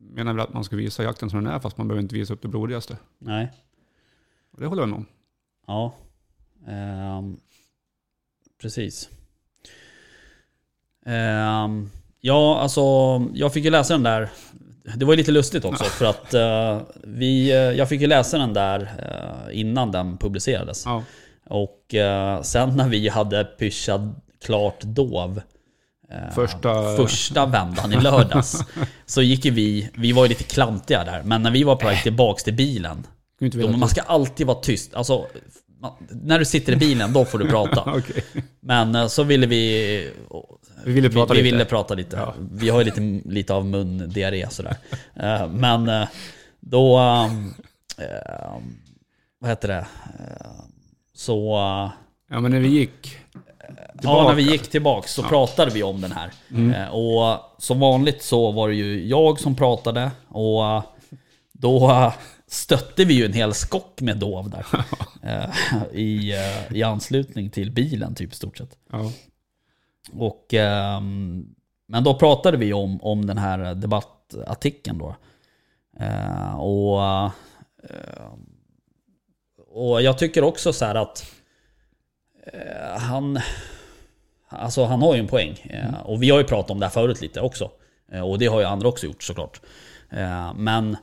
Speaker 2: menar väl att man ska visa jakten som den är fast man behöver inte visa upp det blodigaste.
Speaker 1: Nej.
Speaker 2: Och det håller jag med om.
Speaker 1: Ja. Ehm, precis. Ehm, ja, alltså jag fick ju läsa den där. Det var ju lite lustigt också för att eh, vi, eh, jag fick ju läsa den där eh, innan den publicerades.
Speaker 2: Ja,
Speaker 1: Och eh, sen när vi hade pyschad klart dov eh,
Speaker 2: Första-
Speaker 1: första vändan i lördags så gick ju vi, vi var ju lite klantiga där, men när vi var på väg tillbaks till bilen
Speaker 2: kunde inte
Speaker 1: då,
Speaker 2: veta.
Speaker 1: man ska alltid vara tyst. Alltså, man, när du sitter i bilen, då får du prata.
Speaker 2: Okej.
Speaker 1: Men eh, så ville vi...
Speaker 2: Vi ville prata
Speaker 1: vi,
Speaker 2: lite.
Speaker 1: ville prata lite.
Speaker 2: Ja.
Speaker 1: Vi har ju lite, lite av mundiarré sådär. Eh, Men eh, då... ehm, ehm, Vad heter det? Eh, Så... eh,
Speaker 2: Ja, men när vi gick
Speaker 1: Ja, när vi gick tillbaka så pratade vi om den här. Eh, Och som vanligt så var det ju jag som pratade och eh, då eh, stötte vi ju en hel skock med dov där. Eh, I, eh, I anslutning till bilen typ i stort sett.
Speaker 2: Ja,
Speaker 1: Och, ehm, men då pratade vi om, om den här debattartikeln då. Eh, och, eh, och jag tycker också så här att eh, han, alltså han har ju en poäng. Eh, Och vi har ju pratat om det här förut lite också. Eh, och det har ju andra också gjort såklart. Eh, men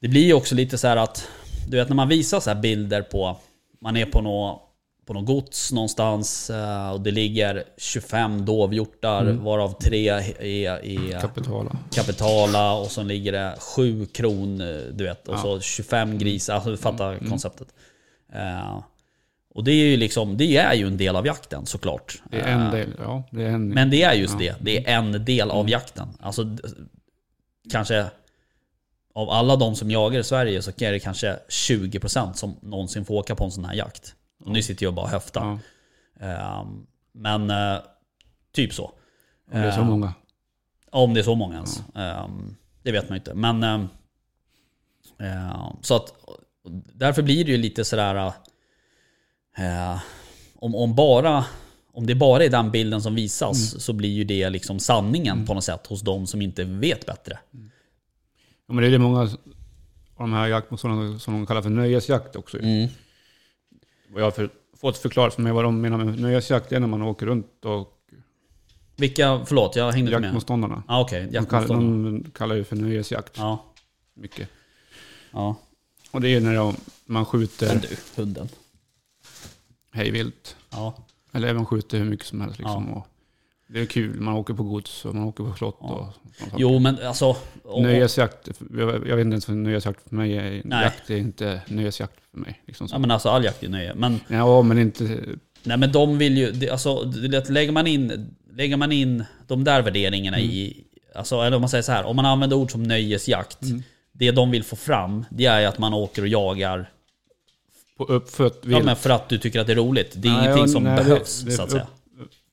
Speaker 1: det blir ju också lite så här att, du vet när man visar så här bilder på, man är på något på någon gods någonstans eh, och det ligger 25 dovhjortar varav tre är, är
Speaker 2: kapitala.
Speaker 1: kapitala och så ligger det 7 kron, eh, du vet, och så 25 grisar, alltså du fattar
Speaker 2: Mm.
Speaker 1: konceptet. Eh, och det är ju liksom, det är ju en del av jakten såklart.
Speaker 2: Det är en del. Ja, det är en.
Speaker 1: Men det är just det. Det är en del
Speaker 2: Mm.
Speaker 1: av jakten. Alltså, d- kanske av alla de som jagar i Sverige så är det kanske 20% som någonsin får åka på en sån här jakt. Och nu sitter jag bara och höftar.
Speaker 2: ja,
Speaker 1: Ehm, Men eh, typ så.
Speaker 2: det är så
Speaker 1: Ehm,
Speaker 2: många.
Speaker 1: Ja, Om det är så många ens. Ehm, Det vet man ju inte. Men ehm, ehm, så att därför blir det ju lite sådär eh, om, om bara om det bara är den bilden som visas
Speaker 2: Mm.
Speaker 1: så blir ju det liksom sanningen på något sätt hos de som inte vet bättre.
Speaker 2: Ja, men det är det många av de här jaktmotståndarna som de kallar för nöjesjakt också.
Speaker 1: Mm.
Speaker 2: Och jag har för, fått förklarat för mig vad de menar med nöjesjakt. Det är när man åker runt och
Speaker 1: Vilka, förlåt jag hängde inte med.
Speaker 2: jaktmotståndarna.
Speaker 1: Ah, Okej,
Speaker 2: De kallar,
Speaker 1: jaktmotståndare.
Speaker 2: de kallar det för nöjesjakt.
Speaker 1: Ja,
Speaker 2: Mycket.
Speaker 1: ja.
Speaker 2: Och det är när de, man
Speaker 1: Men
Speaker 2: skjuter
Speaker 1: du, hunden.
Speaker 2: hejvilt.
Speaker 1: Ja,
Speaker 2: Eller även skjuter hur mycket som helst. Liksom. Och det är kul. Man åker på gods och man åker på slott. Och sånt.
Speaker 1: jo men alltså. om-
Speaker 2: Nöjesjakt, jag, jag vet inte ens vad nöjesjakt för mig är.
Speaker 1: Nej.
Speaker 2: Jakt är inte nöjesjakt för mig. Liksom så.
Speaker 1: Ja men alltså all jakt är nöje. Men
Speaker 2: Ja, men inte...
Speaker 1: Nej men de vill ju, det- alltså, du vet, lägger, man in, lägger man in de där värderingarna
Speaker 2: Mm.
Speaker 1: i, alltså, eller om man säger så här, om man använder ord som nöjesjakt,
Speaker 2: Mm.
Speaker 1: det de vill få fram, det är ju att man åker och jagar
Speaker 2: På uppfött
Speaker 1: ja,
Speaker 2: vilt.
Speaker 1: men för att du tycker att det är roligt. Det är
Speaker 2: Nej,
Speaker 1: ingenting
Speaker 2: och
Speaker 1: som
Speaker 2: nej, det-
Speaker 1: behövs
Speaker 2: det-
Speaker 1: så att säga.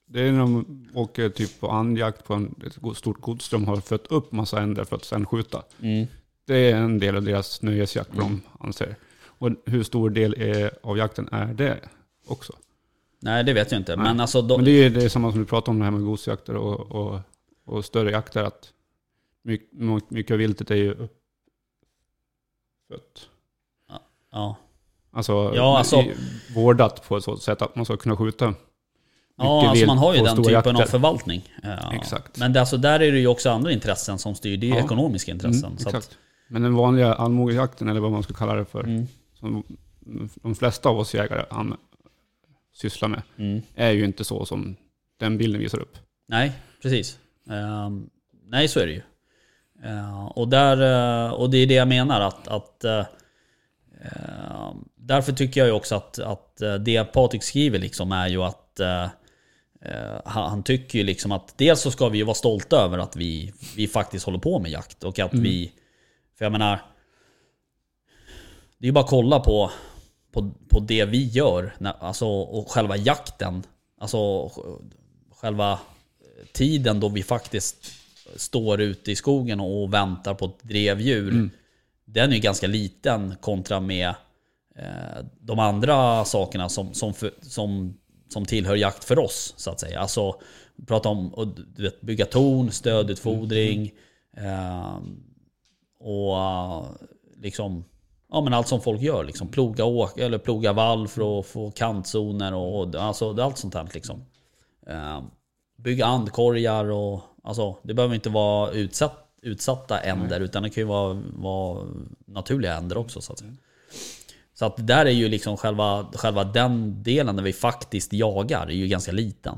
Speaker 2: Det är när de åker typ på andjakt på en, ett go- stort gods. De har fött upp massa änder för att sen skjuta.
Speaker 1: Mm.
Speaker 2: Det är en del av deras nöjesjakt, vad de anser. Och hur stor del är, av jakten är det också?
Speaker 1: Nej det vet jag inte. Men alltså, de,
Speaker 2: Men det är ju det samma som du pratade om det här med godsjakter och, och, och större jakter. Att mycket, mycket av viltet är ju uppfött.
Speaker 1: ja.
Speaker 2: Alltså,
Speaker 1: Ja, alltså-
Speaker 2: i- vårdat på ett sådant sätt att man ska kunna skjuta.
Speaker 1: Ja,
Speaker 2: mycket
Speaker 1: alltså
Speaker 2: vilt
Speaker 1: man har ju
Speaker 2: på
Speaker 1: den
Speaker 2: stora
Speaker 1: typen av
Speaker 2: jakter.
Speaker 1: förvaltning. Ja.
Speaker 2: Exakt.
Speaker 1: Men det, alltså, där är det ju också andra intressen som styr, det är ju
Speaker 2: Ja.
Speaker 1: ekonomiska intressen.
Speaker 2: Mm,
Speaker 1: så att,
Speaker 2: exakt. Men den vanliga allmogejakten, eller vad man ska kalla det för,
Speaker 1: Mm.
Speaker 2: som de flesta av oss jägare an- sysslar med,
Speaker 1: mm.
Speaker 2: är ju inte så som den bilden visar upp.
Speaker 1: Nej, precis. Ehm, nej, så är det ju. Eh, och, där, eh, och det är det jag menar att, att eh, ehm, Därför tycker jag ju också att, att eh, det Patrik skriver liksom är ju att eh, eh, han, han tycker ju liksom att dels så ska vi ju vara stolta över att vi, vi faktiskt håller på med jakt och att vi För jag menar Det är ju bara att kolla på på, på det vi gör, när, alltså, och själva jakten, alltså sj- själva eh, tiden då vi faktiskt står ute i skogen och väntar på ett drevdjur, den är ju ganska liten kontra med eh, de andra sakerna som, som, för, som, som tillhör jakt för oss, så att säga. Alltså, prata om och, du vet, bygga torn, stödutfodring, eh, och eh, liksom Ja men allt som folk gör liksom. Ploga, åk, eller ploga vall för att få kantzoner och, och alltså, det är allt sånt här liksom. Eh, bygga andkorgar och alltså, det behöver inte vara utsatt, utsatta änder utan det kan ju vara, vara naturliga änder också så att säga. Så att det där är ju liksom själva, själva den delen där vi faktiskt jagar är ju ganska liten.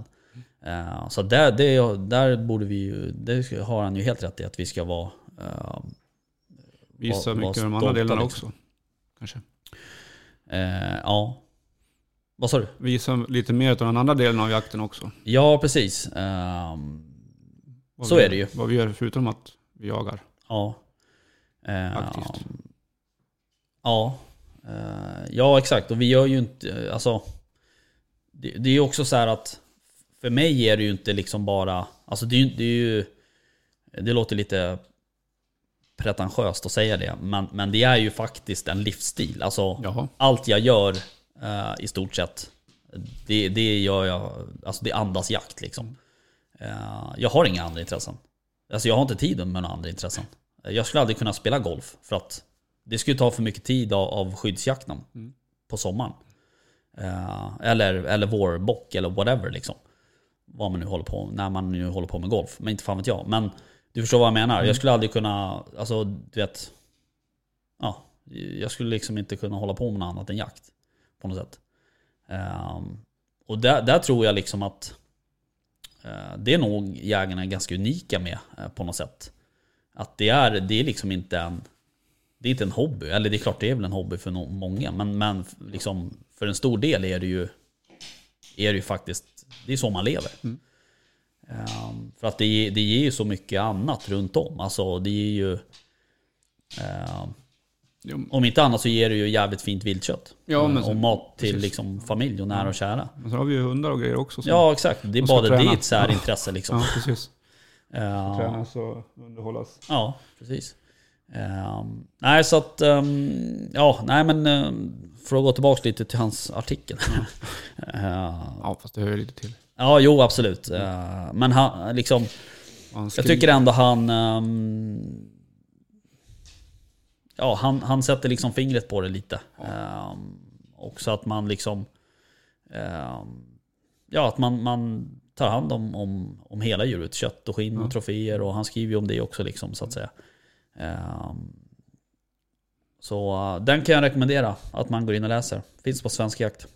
Speaker 1: Eh, så där, det, där borde vi ju, det har han ju helt rätt i att vi ska vara eh,
Speaker 2: Visa
Speaker 1: Var- var
Speaker 2: mycket av de andra
Speaker 1: stolta,
Speaker 2: delarna
Speaker 1: liksom.
Speaker 2: också. Kanske.
Speaker 1: Eh, ja. Vad sa du?
Speaker 2: Visa lite mer av den andra delen av jakten också.
Speaker 1: Ja, precis. Ehm,
Speaker 2: Vad
Speaker 1: Så
Speaker 2: vi,
Speaker 1: är det ju.
Speaker 2: Vad vi gör förutom att vi jagar
Speaker 1: ja. Eh,
Speaker 2: aktivt.
Speaker 1: Ja. Eh, ja, exakt. Och vi gör ju inte... Alltså, det, det är ju också så här att... För mig är det ju inte liksom bara... Alltså det är ju... Det, är ju, det låter lite pretentiöst att säga det. Men, men det är ju faktiskt en livsstil. Alltså,
Speaker 2: Jaha.
Speaker 1: allt jag gör eh, i stort sett, det, det gör jag, alltså det andas jakt liksom. Eh, jag har inga andra intressen. Alltså jag har inte tiden med några andra intressen. Eh, Jag skulle aldrig kunna spela golf för att det skulle ta för mycket tid av, av skyddsjakten på sommaren. Eh, eller, eller vårbock eller whatever liksom. Vad man nu håller på när man nu håller på med golf. Men inte fan vet jag. Men du förstår vad jag menar. Jag skulle aldrig kunna, alltså du vet, ja, jag skulle liksom inte kunna hålla på med något annat än jakt. På något sätt. Ehm, och där, där tror jag liksom att eh, det är nog jägarna ganska unika med eh, på något sätt. Att det är, det är liksom inte en, det är inte en hobby. Eller det är klart det är väl en hobby för no- många. Men, men f- liksom, för en stor del är det ju, är det ju faktiskt, det är så man lever.
Speaker 2: Mm.
Speaker 1: Ehm, för att det, det ger ju så mycket annat runt om. Alltså det ger ju ehm,
Speaker 2: Jo,
Speaker 1: om inte annat så ger det ju jävligt fint viltkött.
Speaker 2: Ja, men
Speaker 1: Eh,
Speaker 2: så-
Speaker 1: och mat till
Speaker 2: precis. Mm.
Speaker 1: liksom familj och nära och kära.
Speaker 2: Men sen har vi ju hundar och grejer också. som-
Speaker 1: Ja exakt, det är
Speaker 2: Mm. Och ska
Speaker 1: bara det
Speaker 2: träna.
Speaker 1: ett särintresse liksom.
Speaker 2: ja, precis.
Speaker 1: Ja,
Speaker 2: Tränas och underhållas.
Speaker 1: ja precis. Ehm, nej så att, ehm, ja nej men ehm, för att gå tillbaka lite till hans artikel. Eh,
Speaker 2: Ja, fast det hör ju lite till.
Speaker 1: ja jo absolut. Eh, men han, liksom,
Speaker 2: Och han
Speaker 1: jag
Speaker 2: skriver-
Speaker 1: tycker ändå han... ehm, ja, han, han sätter liksom fingret på det lite. Ehm, och så att man liksom... ehm, ja, att man, man tar hand om, om, om hela djuret. Kött och skinn och troféer. Och han skriver ju om det också liksom, så att säga. Ehm, så eh, den kan jag rekommendera att man går in och läser. Finns på Svensk Jakt.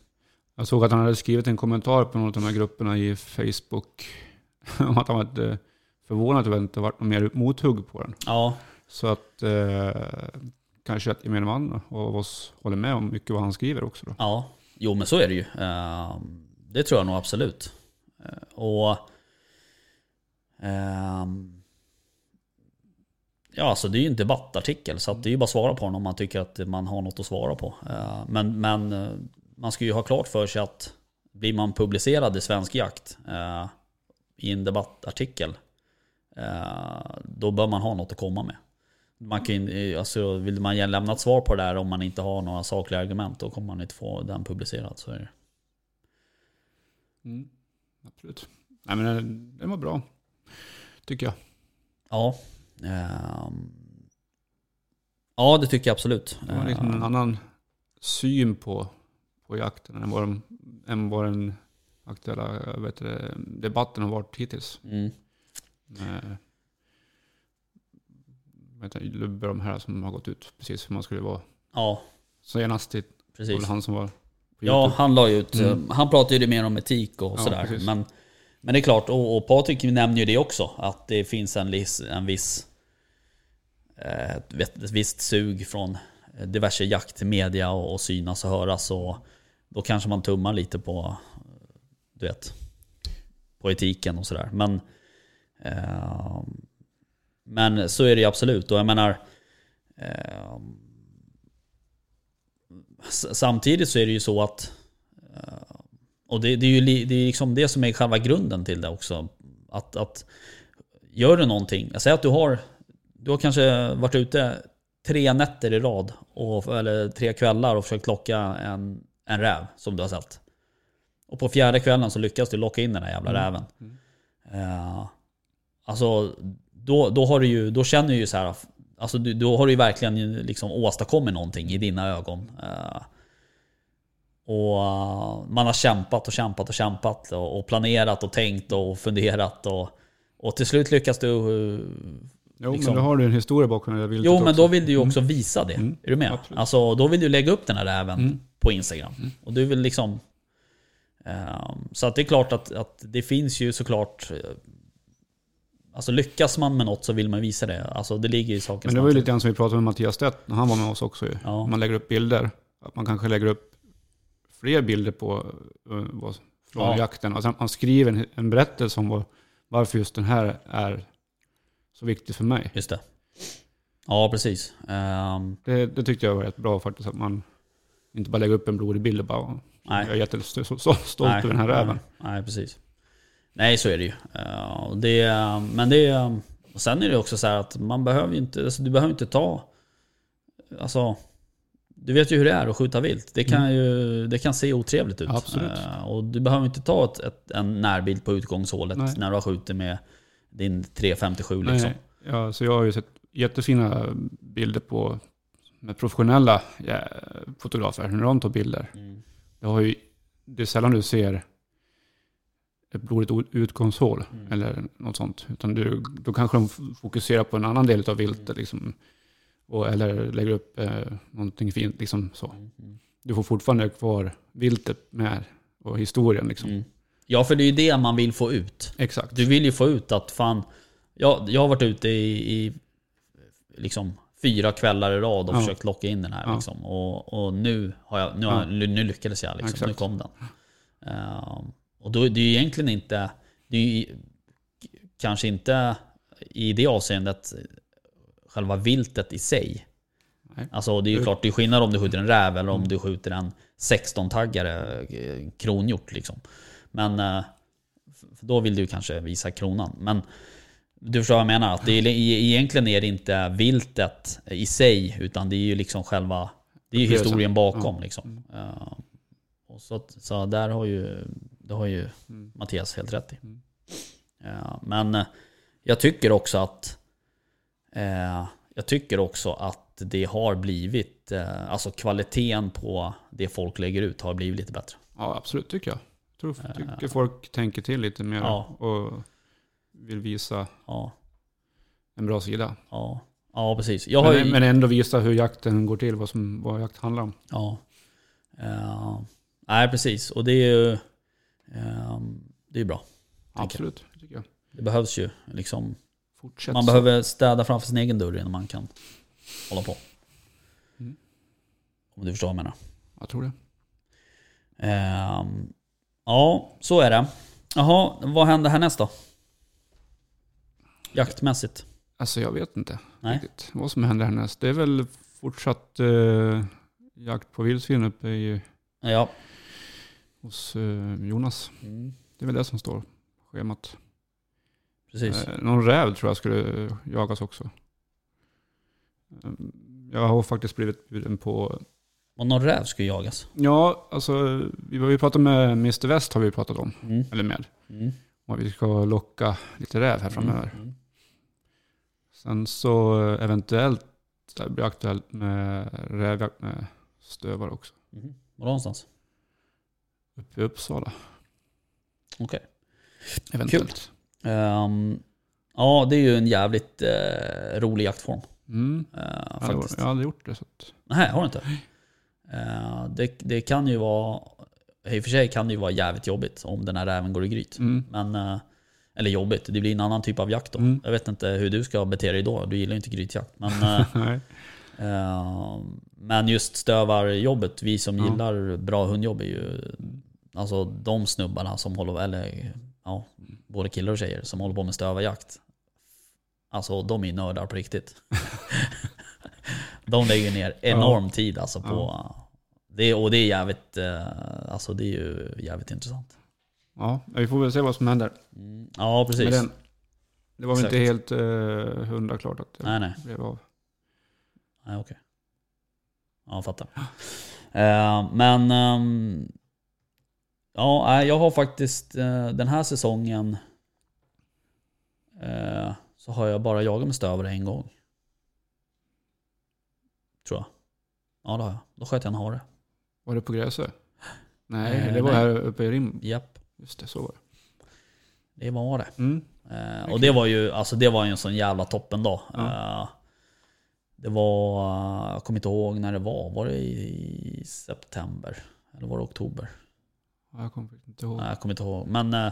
Speaker 2: Jag såg att han hade skrivit en kommentar på någon av de här grupperna i Facebook. Om att han var lite förvånad över att det inte varit något mer mothugg på den.
Speaker 1: Ja,
Speaker 2: Så att eh, kanske att gemene man av oss håller med om mycket vad han skriver också. Då.
Speaker 1: Ja, jo men så är det ju. Ehm, Det tror jag nog absolut. Ehm, Och... ehm, Ja, alltså det är ju en debattartikel så att det är ju bara att svara på den om man tycker att man har något att svara på. Ehm, Men, men eh, man ska ju ha klart för sig att blir man publicerad i Svensk Jakt eh, i en debattartikel eh, då bör man ha något att komma med. Man kan, ju- alltså, vill man lämna ett svar på det där om man inte har några sakliga argument då kommer man inte få den publicerad. Så är det.
Speaker 2: Mm. Absolut. Nej, men den, den var bra, tycker jag.
Speaker 1: Ja. ehm. ja, det tycker jag absolut. Ehm,
Speaker 2: Det var liksom
Speaker 1: Eh.
Speaker 2: en annan syn på, på jakten än vad, de, än vad den aktuella vet du, debatten har varit hittills.
Speaker 1: Mm.
Speaker 2: Med, vet du, Lubbe de här som har gått ut precis hur man skulle vara.
Speaker 1: Ja,
Speaker 2: Senast i var
Speaker 1: precis.
Speaker 2: väl han som var på
Speaker 1: Ja,
Speaker 2: YouTube.
Speaker 1: han la ju ut,
Speaker 2: Mm.
Speaker 1: eh, han pratade ju det mer om etik och
Speaker 2: Ja,
Speaker 1: sådär.
Speaker 2: precis.
Speaker 1: Men, men det är klart, och, och Patrik nämner ju det också, att det finns en, lis, en viss eh, ett vet- ett visst sug från eh, diverse jaktmedia och, och synas och höras. Och då kanske man tummar lite på, eh, du vet, på etiken och sådär. Men, eh, men så är det ju absolut. Och jag menar, eh, s- samtidigt så är det ju så att eh, och det, det är ju li- det, är liksom det som är själva grunden till det också. Att, att gör du någonting, jag säger att du har, du har kanske varit ute tre nätter i rad, och, eller tre kvällar och försökt locka en, en räv som du har sett. Och på fjärde kvällen så lyckas du locka in den här jävla räven. Eh, alltså, då, då, har du ju, då känner du ju så här, alltså, du, då har du ju verkligen ju liksom åstadkommit någonting i dina ögon. Eh, och eh, man har kämpat och kämpat och kämpat och, och planerat och tänkt och funderat. Och, och till slut lyckas du... eh,
Speaker 2: Jo,
Speaker 1: Liksom.
Speaker 2: men då har du en historia bakom det där viltet
Speaker 1: Jo, men
Speaker 2: också. Mm.
Speaker 1: då vill du ju också visa det. Är du med?
Speaker 2: absolut. Mm.
Speaker 1: Alltså, då vill du lägga upp den här räven på Instagram. Och du vill liksom... ehm, så att det är klart att, att det finns ju såklart... eh, Alltså lyckas man med något så vill man visa det. Alltså det ligger i sakens
Speaker 2: Men det var ju
Speaker 1: natur.
Speaker 2: lite grann som vi pratade med Mattias Stedt när han var med oss också. ju.
Speaker 1: Ja.
Speaker 2: Man lägger upp bilder. Att man kanske lägger upp fler bilder på eh, vad, från
Speaker 1: Ja.
Speaker 2: jakten. Alltså man skriver en, en berättelse om vad, varför just den här är så viktig för mig.
Speaker 1: Just det. Ja, precis. Ehm,
Speaker 2: Det, det tyckte jag var rätt bra faktiskt. Att man inte bara lägger upp en blodig bild och bara
Speaker 1: nej.
Speaker 2: jag är jättestolt över den här räven.
Speaker 1: Nej, nej, precis. Nej, så är det ju. Eh, och det, men det... Och sen är det också så här att man behöver ju inte... Alltså, du behöver inte ta... Alltså... Du vet ju hur det är att skjuta vilt. Det kan ju det kan se otrevligt ut.
Speaker 2: Mm. Absolut.
Speaker 1: Eh, och du behöver inte ta ett, ett, en närbild på utgångshålet
Speaker 2: Nej.
Speaker 1: när du har skjutit med din 357 liksom.
Speaker 2: Nej, ja, så jag har ju sett jättefina bilder på med professionella ja, fotografer när de tar bilder.
Speaker 1: Mm.
Speaker 2: Det, har ju, det är sällan du ser ett blodigt o- utgångshål
Speaker 1: Mm.
Speaker 2: eller något sånt. Utan du, då kanske de f- fokuserar på en annan del av viltet.
Speaker 1: Mm.
Speaker 2: Liksom, och, eller lägger upp eh, någonting fint. Liksom, så.
Speaker 1: Mm.
Speaker 2: Du får fortfarande kvar viltet med och historien. Liksom.
Speaker 1: Mm. Ja, för det är ju det man vill få ut.
Speaker 2: Exakt.
Speaker 1: Du vill ju få ut att fan, jag, jag har varit ute i, i liksom fyra kvällar i rad och
Speaker 2: Ja.
Speaker 1: försökt locka in den här.
Speaker 2: Ja.
Speaker 1: Liksom. Och, och nu, har jag, nu, har, jag- nu lyckades jag, liksom. nu
Speaker 2: Exakt.
Speaker 1: kom den. Ehm, och då, det är ju egentligen inte, det är ju kanske inte i det avseendet själva viltet i sig.
Speaker 2: Nej.
Speaker 1: Alltså det är ju
Speaker 2: Det-
Speaker 1: klart, det är skillnad om du skjuter en räv eller om du skjuter en 16-taggare eh, kronhjort. Liksom. Men eh, för då vill du kanske visa kronan. Men du förstår vad jag menar? Att det är, e- egentligen är det inte viltet i sig, utan det är ju liksom själva det är ju
Speaker 2: Upplevelsen.
Speaker 1: historien bakom. Liksom. Eh, och så, att- så där har ju, det har ju Mattias helt rätt i. Eh, men eh, jag tycker också att eh, jag tycker också att det har blivit, eh, alltså kvaliteten på det folk lägger ut har blivit lite bättre.
Speaker 2: Ja, absolut tycker jag. Jag tror, tycker folk tänker till lite mer
Speaker 1: Eh. Ja.
Speaker 2: och vill visa
Speaker 1: Ja,
Speaker 2: en bra sida.
Speaker 1: ja, ja precis. Jag har ju,
Speaker 2: Men, men ändå visa hur jakten går till, vad, som, vad jakt handlar om.
Speaker 1: Ja. Eh, nej, precis. Och det är ju eh, det är bra.
Speaker 2: Absolut, tycker jag.
Speaker 1: Det behövs ju. Liksom,
Speaker 2: Fortsätt
Speaker 1: man
Speaker 2: så.
Speaker 1: behöver städa framför sin egen dörr innan man kan hålla på.
Speaker 2: Mm.
Speaker 1: Om du förstår vad jag menar.
Speaker 2: Jag tror det.
Speaker 1: Ehm, ja, så är det. Jaha, vad händer härnäst då? Jaktmässigt?
Speaker 2: Alltså jag vet inte
Speaker 1: Nej.
Speaker 2: riktigt vad som händer härnäst. Det är väl fortsatt eh, jakt på vildsvin uppe i,
Speaker 1: Ja.
Speaker 2: hos eh, Jonas.
Speaker 1: Mm,
Speaker 2: Det är väl det som står på schemat.
Speaker 1: precis.
Speaker 2: Eh, någon räv tror jag skulle jagas också. Eh, Jag har faktiskt blivit bjuden på
Speaker 1: Och någon räv ska ju jagas.
Speaker 2: Ja, alltså vi, vi pratade med Mr West har vi pratat om,
Speaker 1: Mm.
Speaker 2: eller med.
Speaker 1: Mm.
Speaker 2: Och vi ska locka lite räv här framöver.
Speaker 1: Mm.
Speaker 2: Sen så eh, eventuellt det blir aktuellt med rävjakt med stövar också.
Speaker 1: Mm. Var någonstans?
Speaker 2: Uppe i Uppsala.
Speaker 1: Okej.
Speaker 2: Eventuellt.
Speaker 1: Ehm, ja, det är ju en jävligt eh, rolig jaktform.
Speaker 2: Mm.
Speaker 1: eh,
Speaker 2: Jag, hade,
Speaker 1: faktiskt.
Speaker 2: jag hade gjort det. Så att,
Speaker 1: Nej, har du inte? Eh, det, det kan ju vara... I och för sig kan det ju vara jävligt jobbigt om den här räven går i gryt.
Speaker 2: mm.
Speaker 1: Men, eh, eller jobbigt, det blir en annan typ av jakt då.
Speaker 2: Mm.
Speaker 1: Jag vet inte hur du ska bete dig då, du gillar ju inte grytjakt. Men, eh,
Speaker 2: Nej.
Speaker 1: eh, men just stövarjobbet, vi som
Speaker 2: Ja.
Speaker 1: gillar bra hundjobb är ju alltså de snubbarna som håller, eller ja, både killar och tjejer som håller på med stövarjakt. Alltså de är nördar på riktigt. de lägger ner enorm tid alltså på... Det, är- och det är jävligt, eh, alltså det är ju jävligt intressant.
Speaker 2: Ja, vi får väl se vad som händer
Speaker 1: Mm. Ja, precis.
Speaker 2: med den. Det var väl inte
Speaker 1: Exakt.
Speaker 2: helt eh, hundra klart att det
Speaker 1: Nej, nej.
Speaker 2: blev av.
Speaker 1: Nej, okej. Ja, jag fattar. Eh, men... ehm, ja, nej, jag har faktiskt eh, den här säsongen eh, så har jag bara jagat med stövare en gång. Tror jag. Ja, det har jag. Då sköt jag en hare.
Speaker 2: Var det på Gräsö? Nej,
Speaker 1: Eh,
Speaker 2: det var
Speaker 1: nej.
Speaker 2: här uppe i Rim.
Speaker 1: Japp,
Speaker 2: Just det, så var det.
Speaker 1: det var det.
Speaker 2: Mm.
Speaker 1: Eh, och det var ju alltså det var ju en sån jävla toppen dag.
Speaker 2: Ja.
Speaker 1: Eh, det var, jag kommer inte ihåg när det var. Var det i september? Eller var det oktober?
Speaker 2: Ja, Jag kommer inte ihåg.
Speaker 1: Nej, jag kommer inte ihåg. Men eh,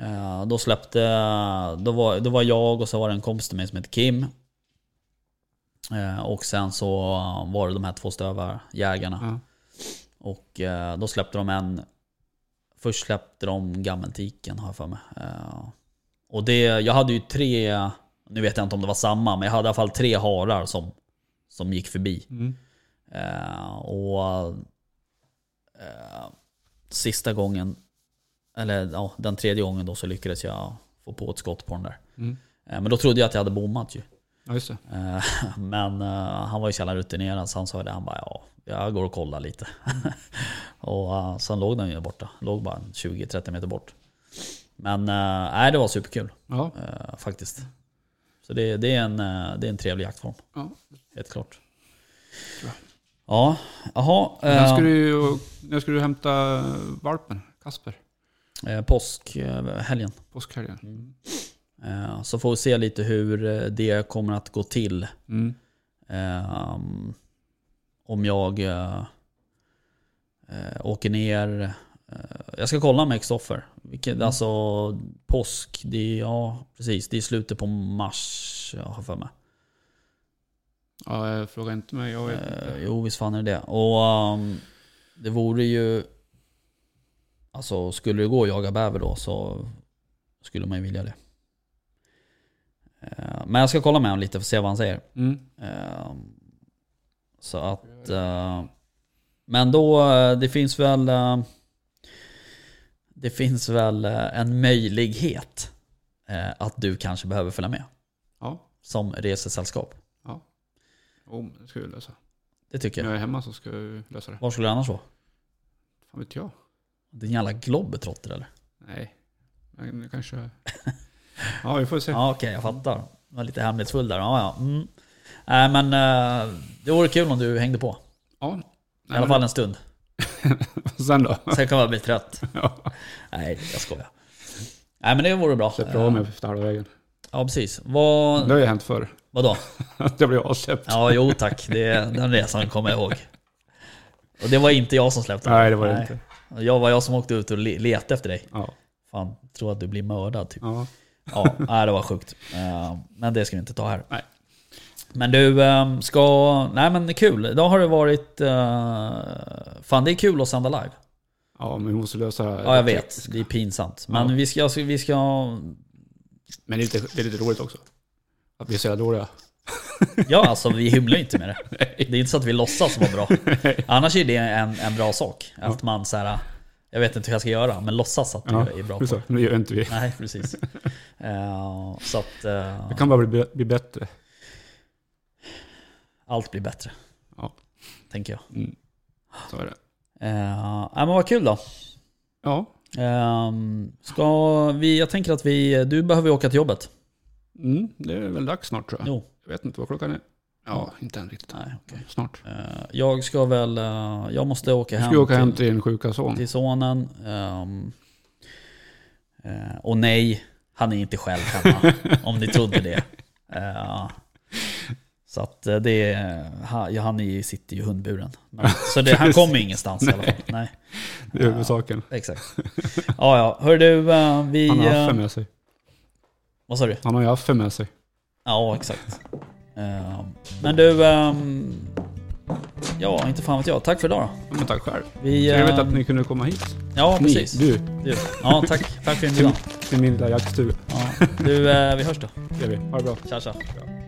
Speaker 1: eh, då släppte... Då var, då var jag och så var det en kompis till mig som hette Kim. Eh, och sen så var det de här två stövarjägarna.
Speaker 2: Ja.
Speaker 1: Och eh, då släppte de en... Först släppte de gammeltiken har jag för mig. Eh, och det, jag hade ju tre... Nu vet jag inte om det var samma, men jag hade i alla fall tre harar som, som gick förbi.
Speaker 2: Mm.
Speaker 1: Eh, och eh, sista gången, eller ja, den tredje gången då så lyckades jag få på ett skott på den där.
Speaker 2: Mm.
Speaker 1: Eh, men då trodde jag att jag hade bommat ju.
Speaker 2: ja, just det.
Speaker 1: Eh, men eh, han var ju så jävla rutinerad så han sa det, han bara ja, jag går och kollar lite. och eh, sen låg den ju borta, låg bara 20-30 meter bort. Men eh, nej, det var superkul
Speaker 2: Ja,
Speaker 1: eh, faktiskt. Så det, det, är en, eh, det är en trevlig jaktform,
Speaker 2: ja.
Speaker 1: helt klart. Ja, jaha.
Speaker 2: När
Speaker 1: eh,
Speaker 2: ska, du, ju- när ska du hämta valpen, Kasper?
Speaker 1: eh, påskhelgen.
Speaker 2: Påskhelgen?
Speaker 1: Mm. Eh, Så får vi se lite hur eh, det kommer att gå till.
Speaker 2: Mm.
Speaker 1: Eh, Om jag eh, eh, åker ner. eh, Jag ska kolla med Kristoffer. Vilket, Alltså påsk, det är, ja, precis, det är slutet på mars jag har för mig.
Speaker 2: Ja, jag frågar inte mig, jag vet inte.
Speaker 1: Eh, jo, visst fan är det det. Och ehm, det vore ju... Alltså skulle det gå att jaga bäver då så skulle man ju vilja det. Eh, men jag ska kolla med honom lite för att se vad han säger.
Speaker 2: Mm.
Speaker 1: Ehm, så att... eh, men då, eh, det finns väl... eh, det finns väl eh, en möjlighet eh, att du kanske behöver följa med
Speaker 2: Ja,
Speaker 1: som resesällskap.
Speaker 2: oh, det ska vi lösa.
Speaker 1: Det tycker
Speaker 2: När
Speaker 1: jag.
Speaker 2: jag är hemma så ska vi lösa det.
Speaker 1: Var skulle det annars vara?
Speaker 2: Fan vet jag?
Speaker 1: Din jävla globetrotter eller?
Speaker 2: Nej, men det kanske... Ja, vi får se.
Speaker 1: Ja, okej, jag fattar. Jag var lite hemlighetsfull där. Ja, ja. Mm. Nej, men eh, det vore kul om du hängde på.
Speaker 2: Ja.
Speaker 1: I alla fall en stund.
Speaker 2: Sen då?
Speaker 1: Sen kan man bli trött.
Speaker 2: Ja.
Speaker 1: Nej, jag skojar. Nej, men det vore bra.
Speaker 2: Släpper av mig efter halva vägen.
Speaker 1: Ja, precis.
Speaker 2: Det
Speaker 1: Vad,
Speaker 2: har ju hänt förr.
Speaker 1: vadå?
Speaker 2: Att jag blev avsläppt.
Speaker 1: Ja, jo tack. Det, den resan kommer jag ihåg. Och det var inte jag som släppte den.
Speaker 2: Nej, det var det inte.
Speaker 1: Jag var jag som åkte ut och le- letade efter dig.
Speaker 2: Ja.
Speaker 1: Fan, tror att du blir mördad typ.
Speaker 2: ja.
Speaker 1: Ja, nej, det var sjukt. Eh, Men det ska vi inte ta här.
Speaker 2: Nej.
Speaker 1: Men du, eh, ska... Nej men det är kul. Idag har det varit... eh, Fan det är kul att sända live.
Speaker 2: Ja, men vi måste lösa det här.
Speaker 1: Ja jag vet, det är pinsamt. Men
Speaker 2: Ja.
Speaker 1: vi ska... alltså, Vi ska...
Speaker 2: Men det är, lite, det är lite roligt också. Att vi är så jävla dåliga.
Speaker 1: Ja alltså vi hymlar ju inte med det. Det är inte så att vi låtsas vara bra. Annars är det en, en bra sak. Att man så här... Jag vet inte hur jag ska göra, men låtsas att du
Speaker 2: Ja,
Speaker 1: är bra på
Speaker 2: precis.
Speaker 1: det.
Speaker 2: Men det gör inte vi.
Speaker 1: Nej, precis. Eh, så att eh,
Speaker 2: Det kan bara bli, bli bättre.
Speaker 1: allt blir bättre.
Speaker 2: Ja.
Speaker 1: Tänker jag.
Speaker 2: Så är det.
Speaker 1: Eh, ja, men vad kul då.
Speaker 2: Ja.
Speaker 1: Ehm, ska vi, jag tänker att vi, du behöver ju åka till jobbet.
Speaker 2: Mm, det är väl dags snart tror jag.
Speaker 1: Jo.
Speaker 2: Jag vet inte vad klockan är. Ja, inte än riktigt.
Speaker 1: Nej, okej.
Speaker 2: Snart.
Speaker 1: Eh, jag ska väl, eh, jag måste åka
Speaker 2: Du
Speaker 1: hem,
Speaker 2: ska ju åka hem
Speaker 1: till,
Speaker 2: till din sjuka son.
Speaker 1: till sonen. Ehm, eh, och nej, han är inte själv hemma, om ni trodde det. Eh, så att eh, det, är- han, ja, han är ju- sitter ju i hundburen. Men, så det, han kommer ju ingenstans i alla fall. Nej,
Speaker 2: Det är huvudsaken.
Speaker 1: exakt. Ja, ja. Hör du, eh, vi...
Speaker 2: Han har
Speaker 1: eh,
Speaker 2: Affe med sig.
Speaker 1: vad sa du?
Speaker 2: Han har ju Affe med sig.
Speaker 1: Ja, exakt. Ehm, men du, ehm, ja, inte fan vet jag. Tack för idag då.
Speaker 2: Ja, men tack själv.
Speaker 1: Vi,
Speaker 2: Trevligt
Speaker 1: ehm,
Speaker 2: att ni kunde komma hit.
Speaker 1: Ja,
Speaker 2: Ni,
Speaker 1: precis.
Speaker 2: du,
Speaker 1: Du. Ja, tack. Tack för inbjudan.
Speaker 2: till min lilla jaktstuga.
Speaker 1: Ja. Du, eh, vi hörs då.
Speaker 2: Det är vi. Ha det bra.
Speaker 1: Tja, tja.
Speaker 2: Ja.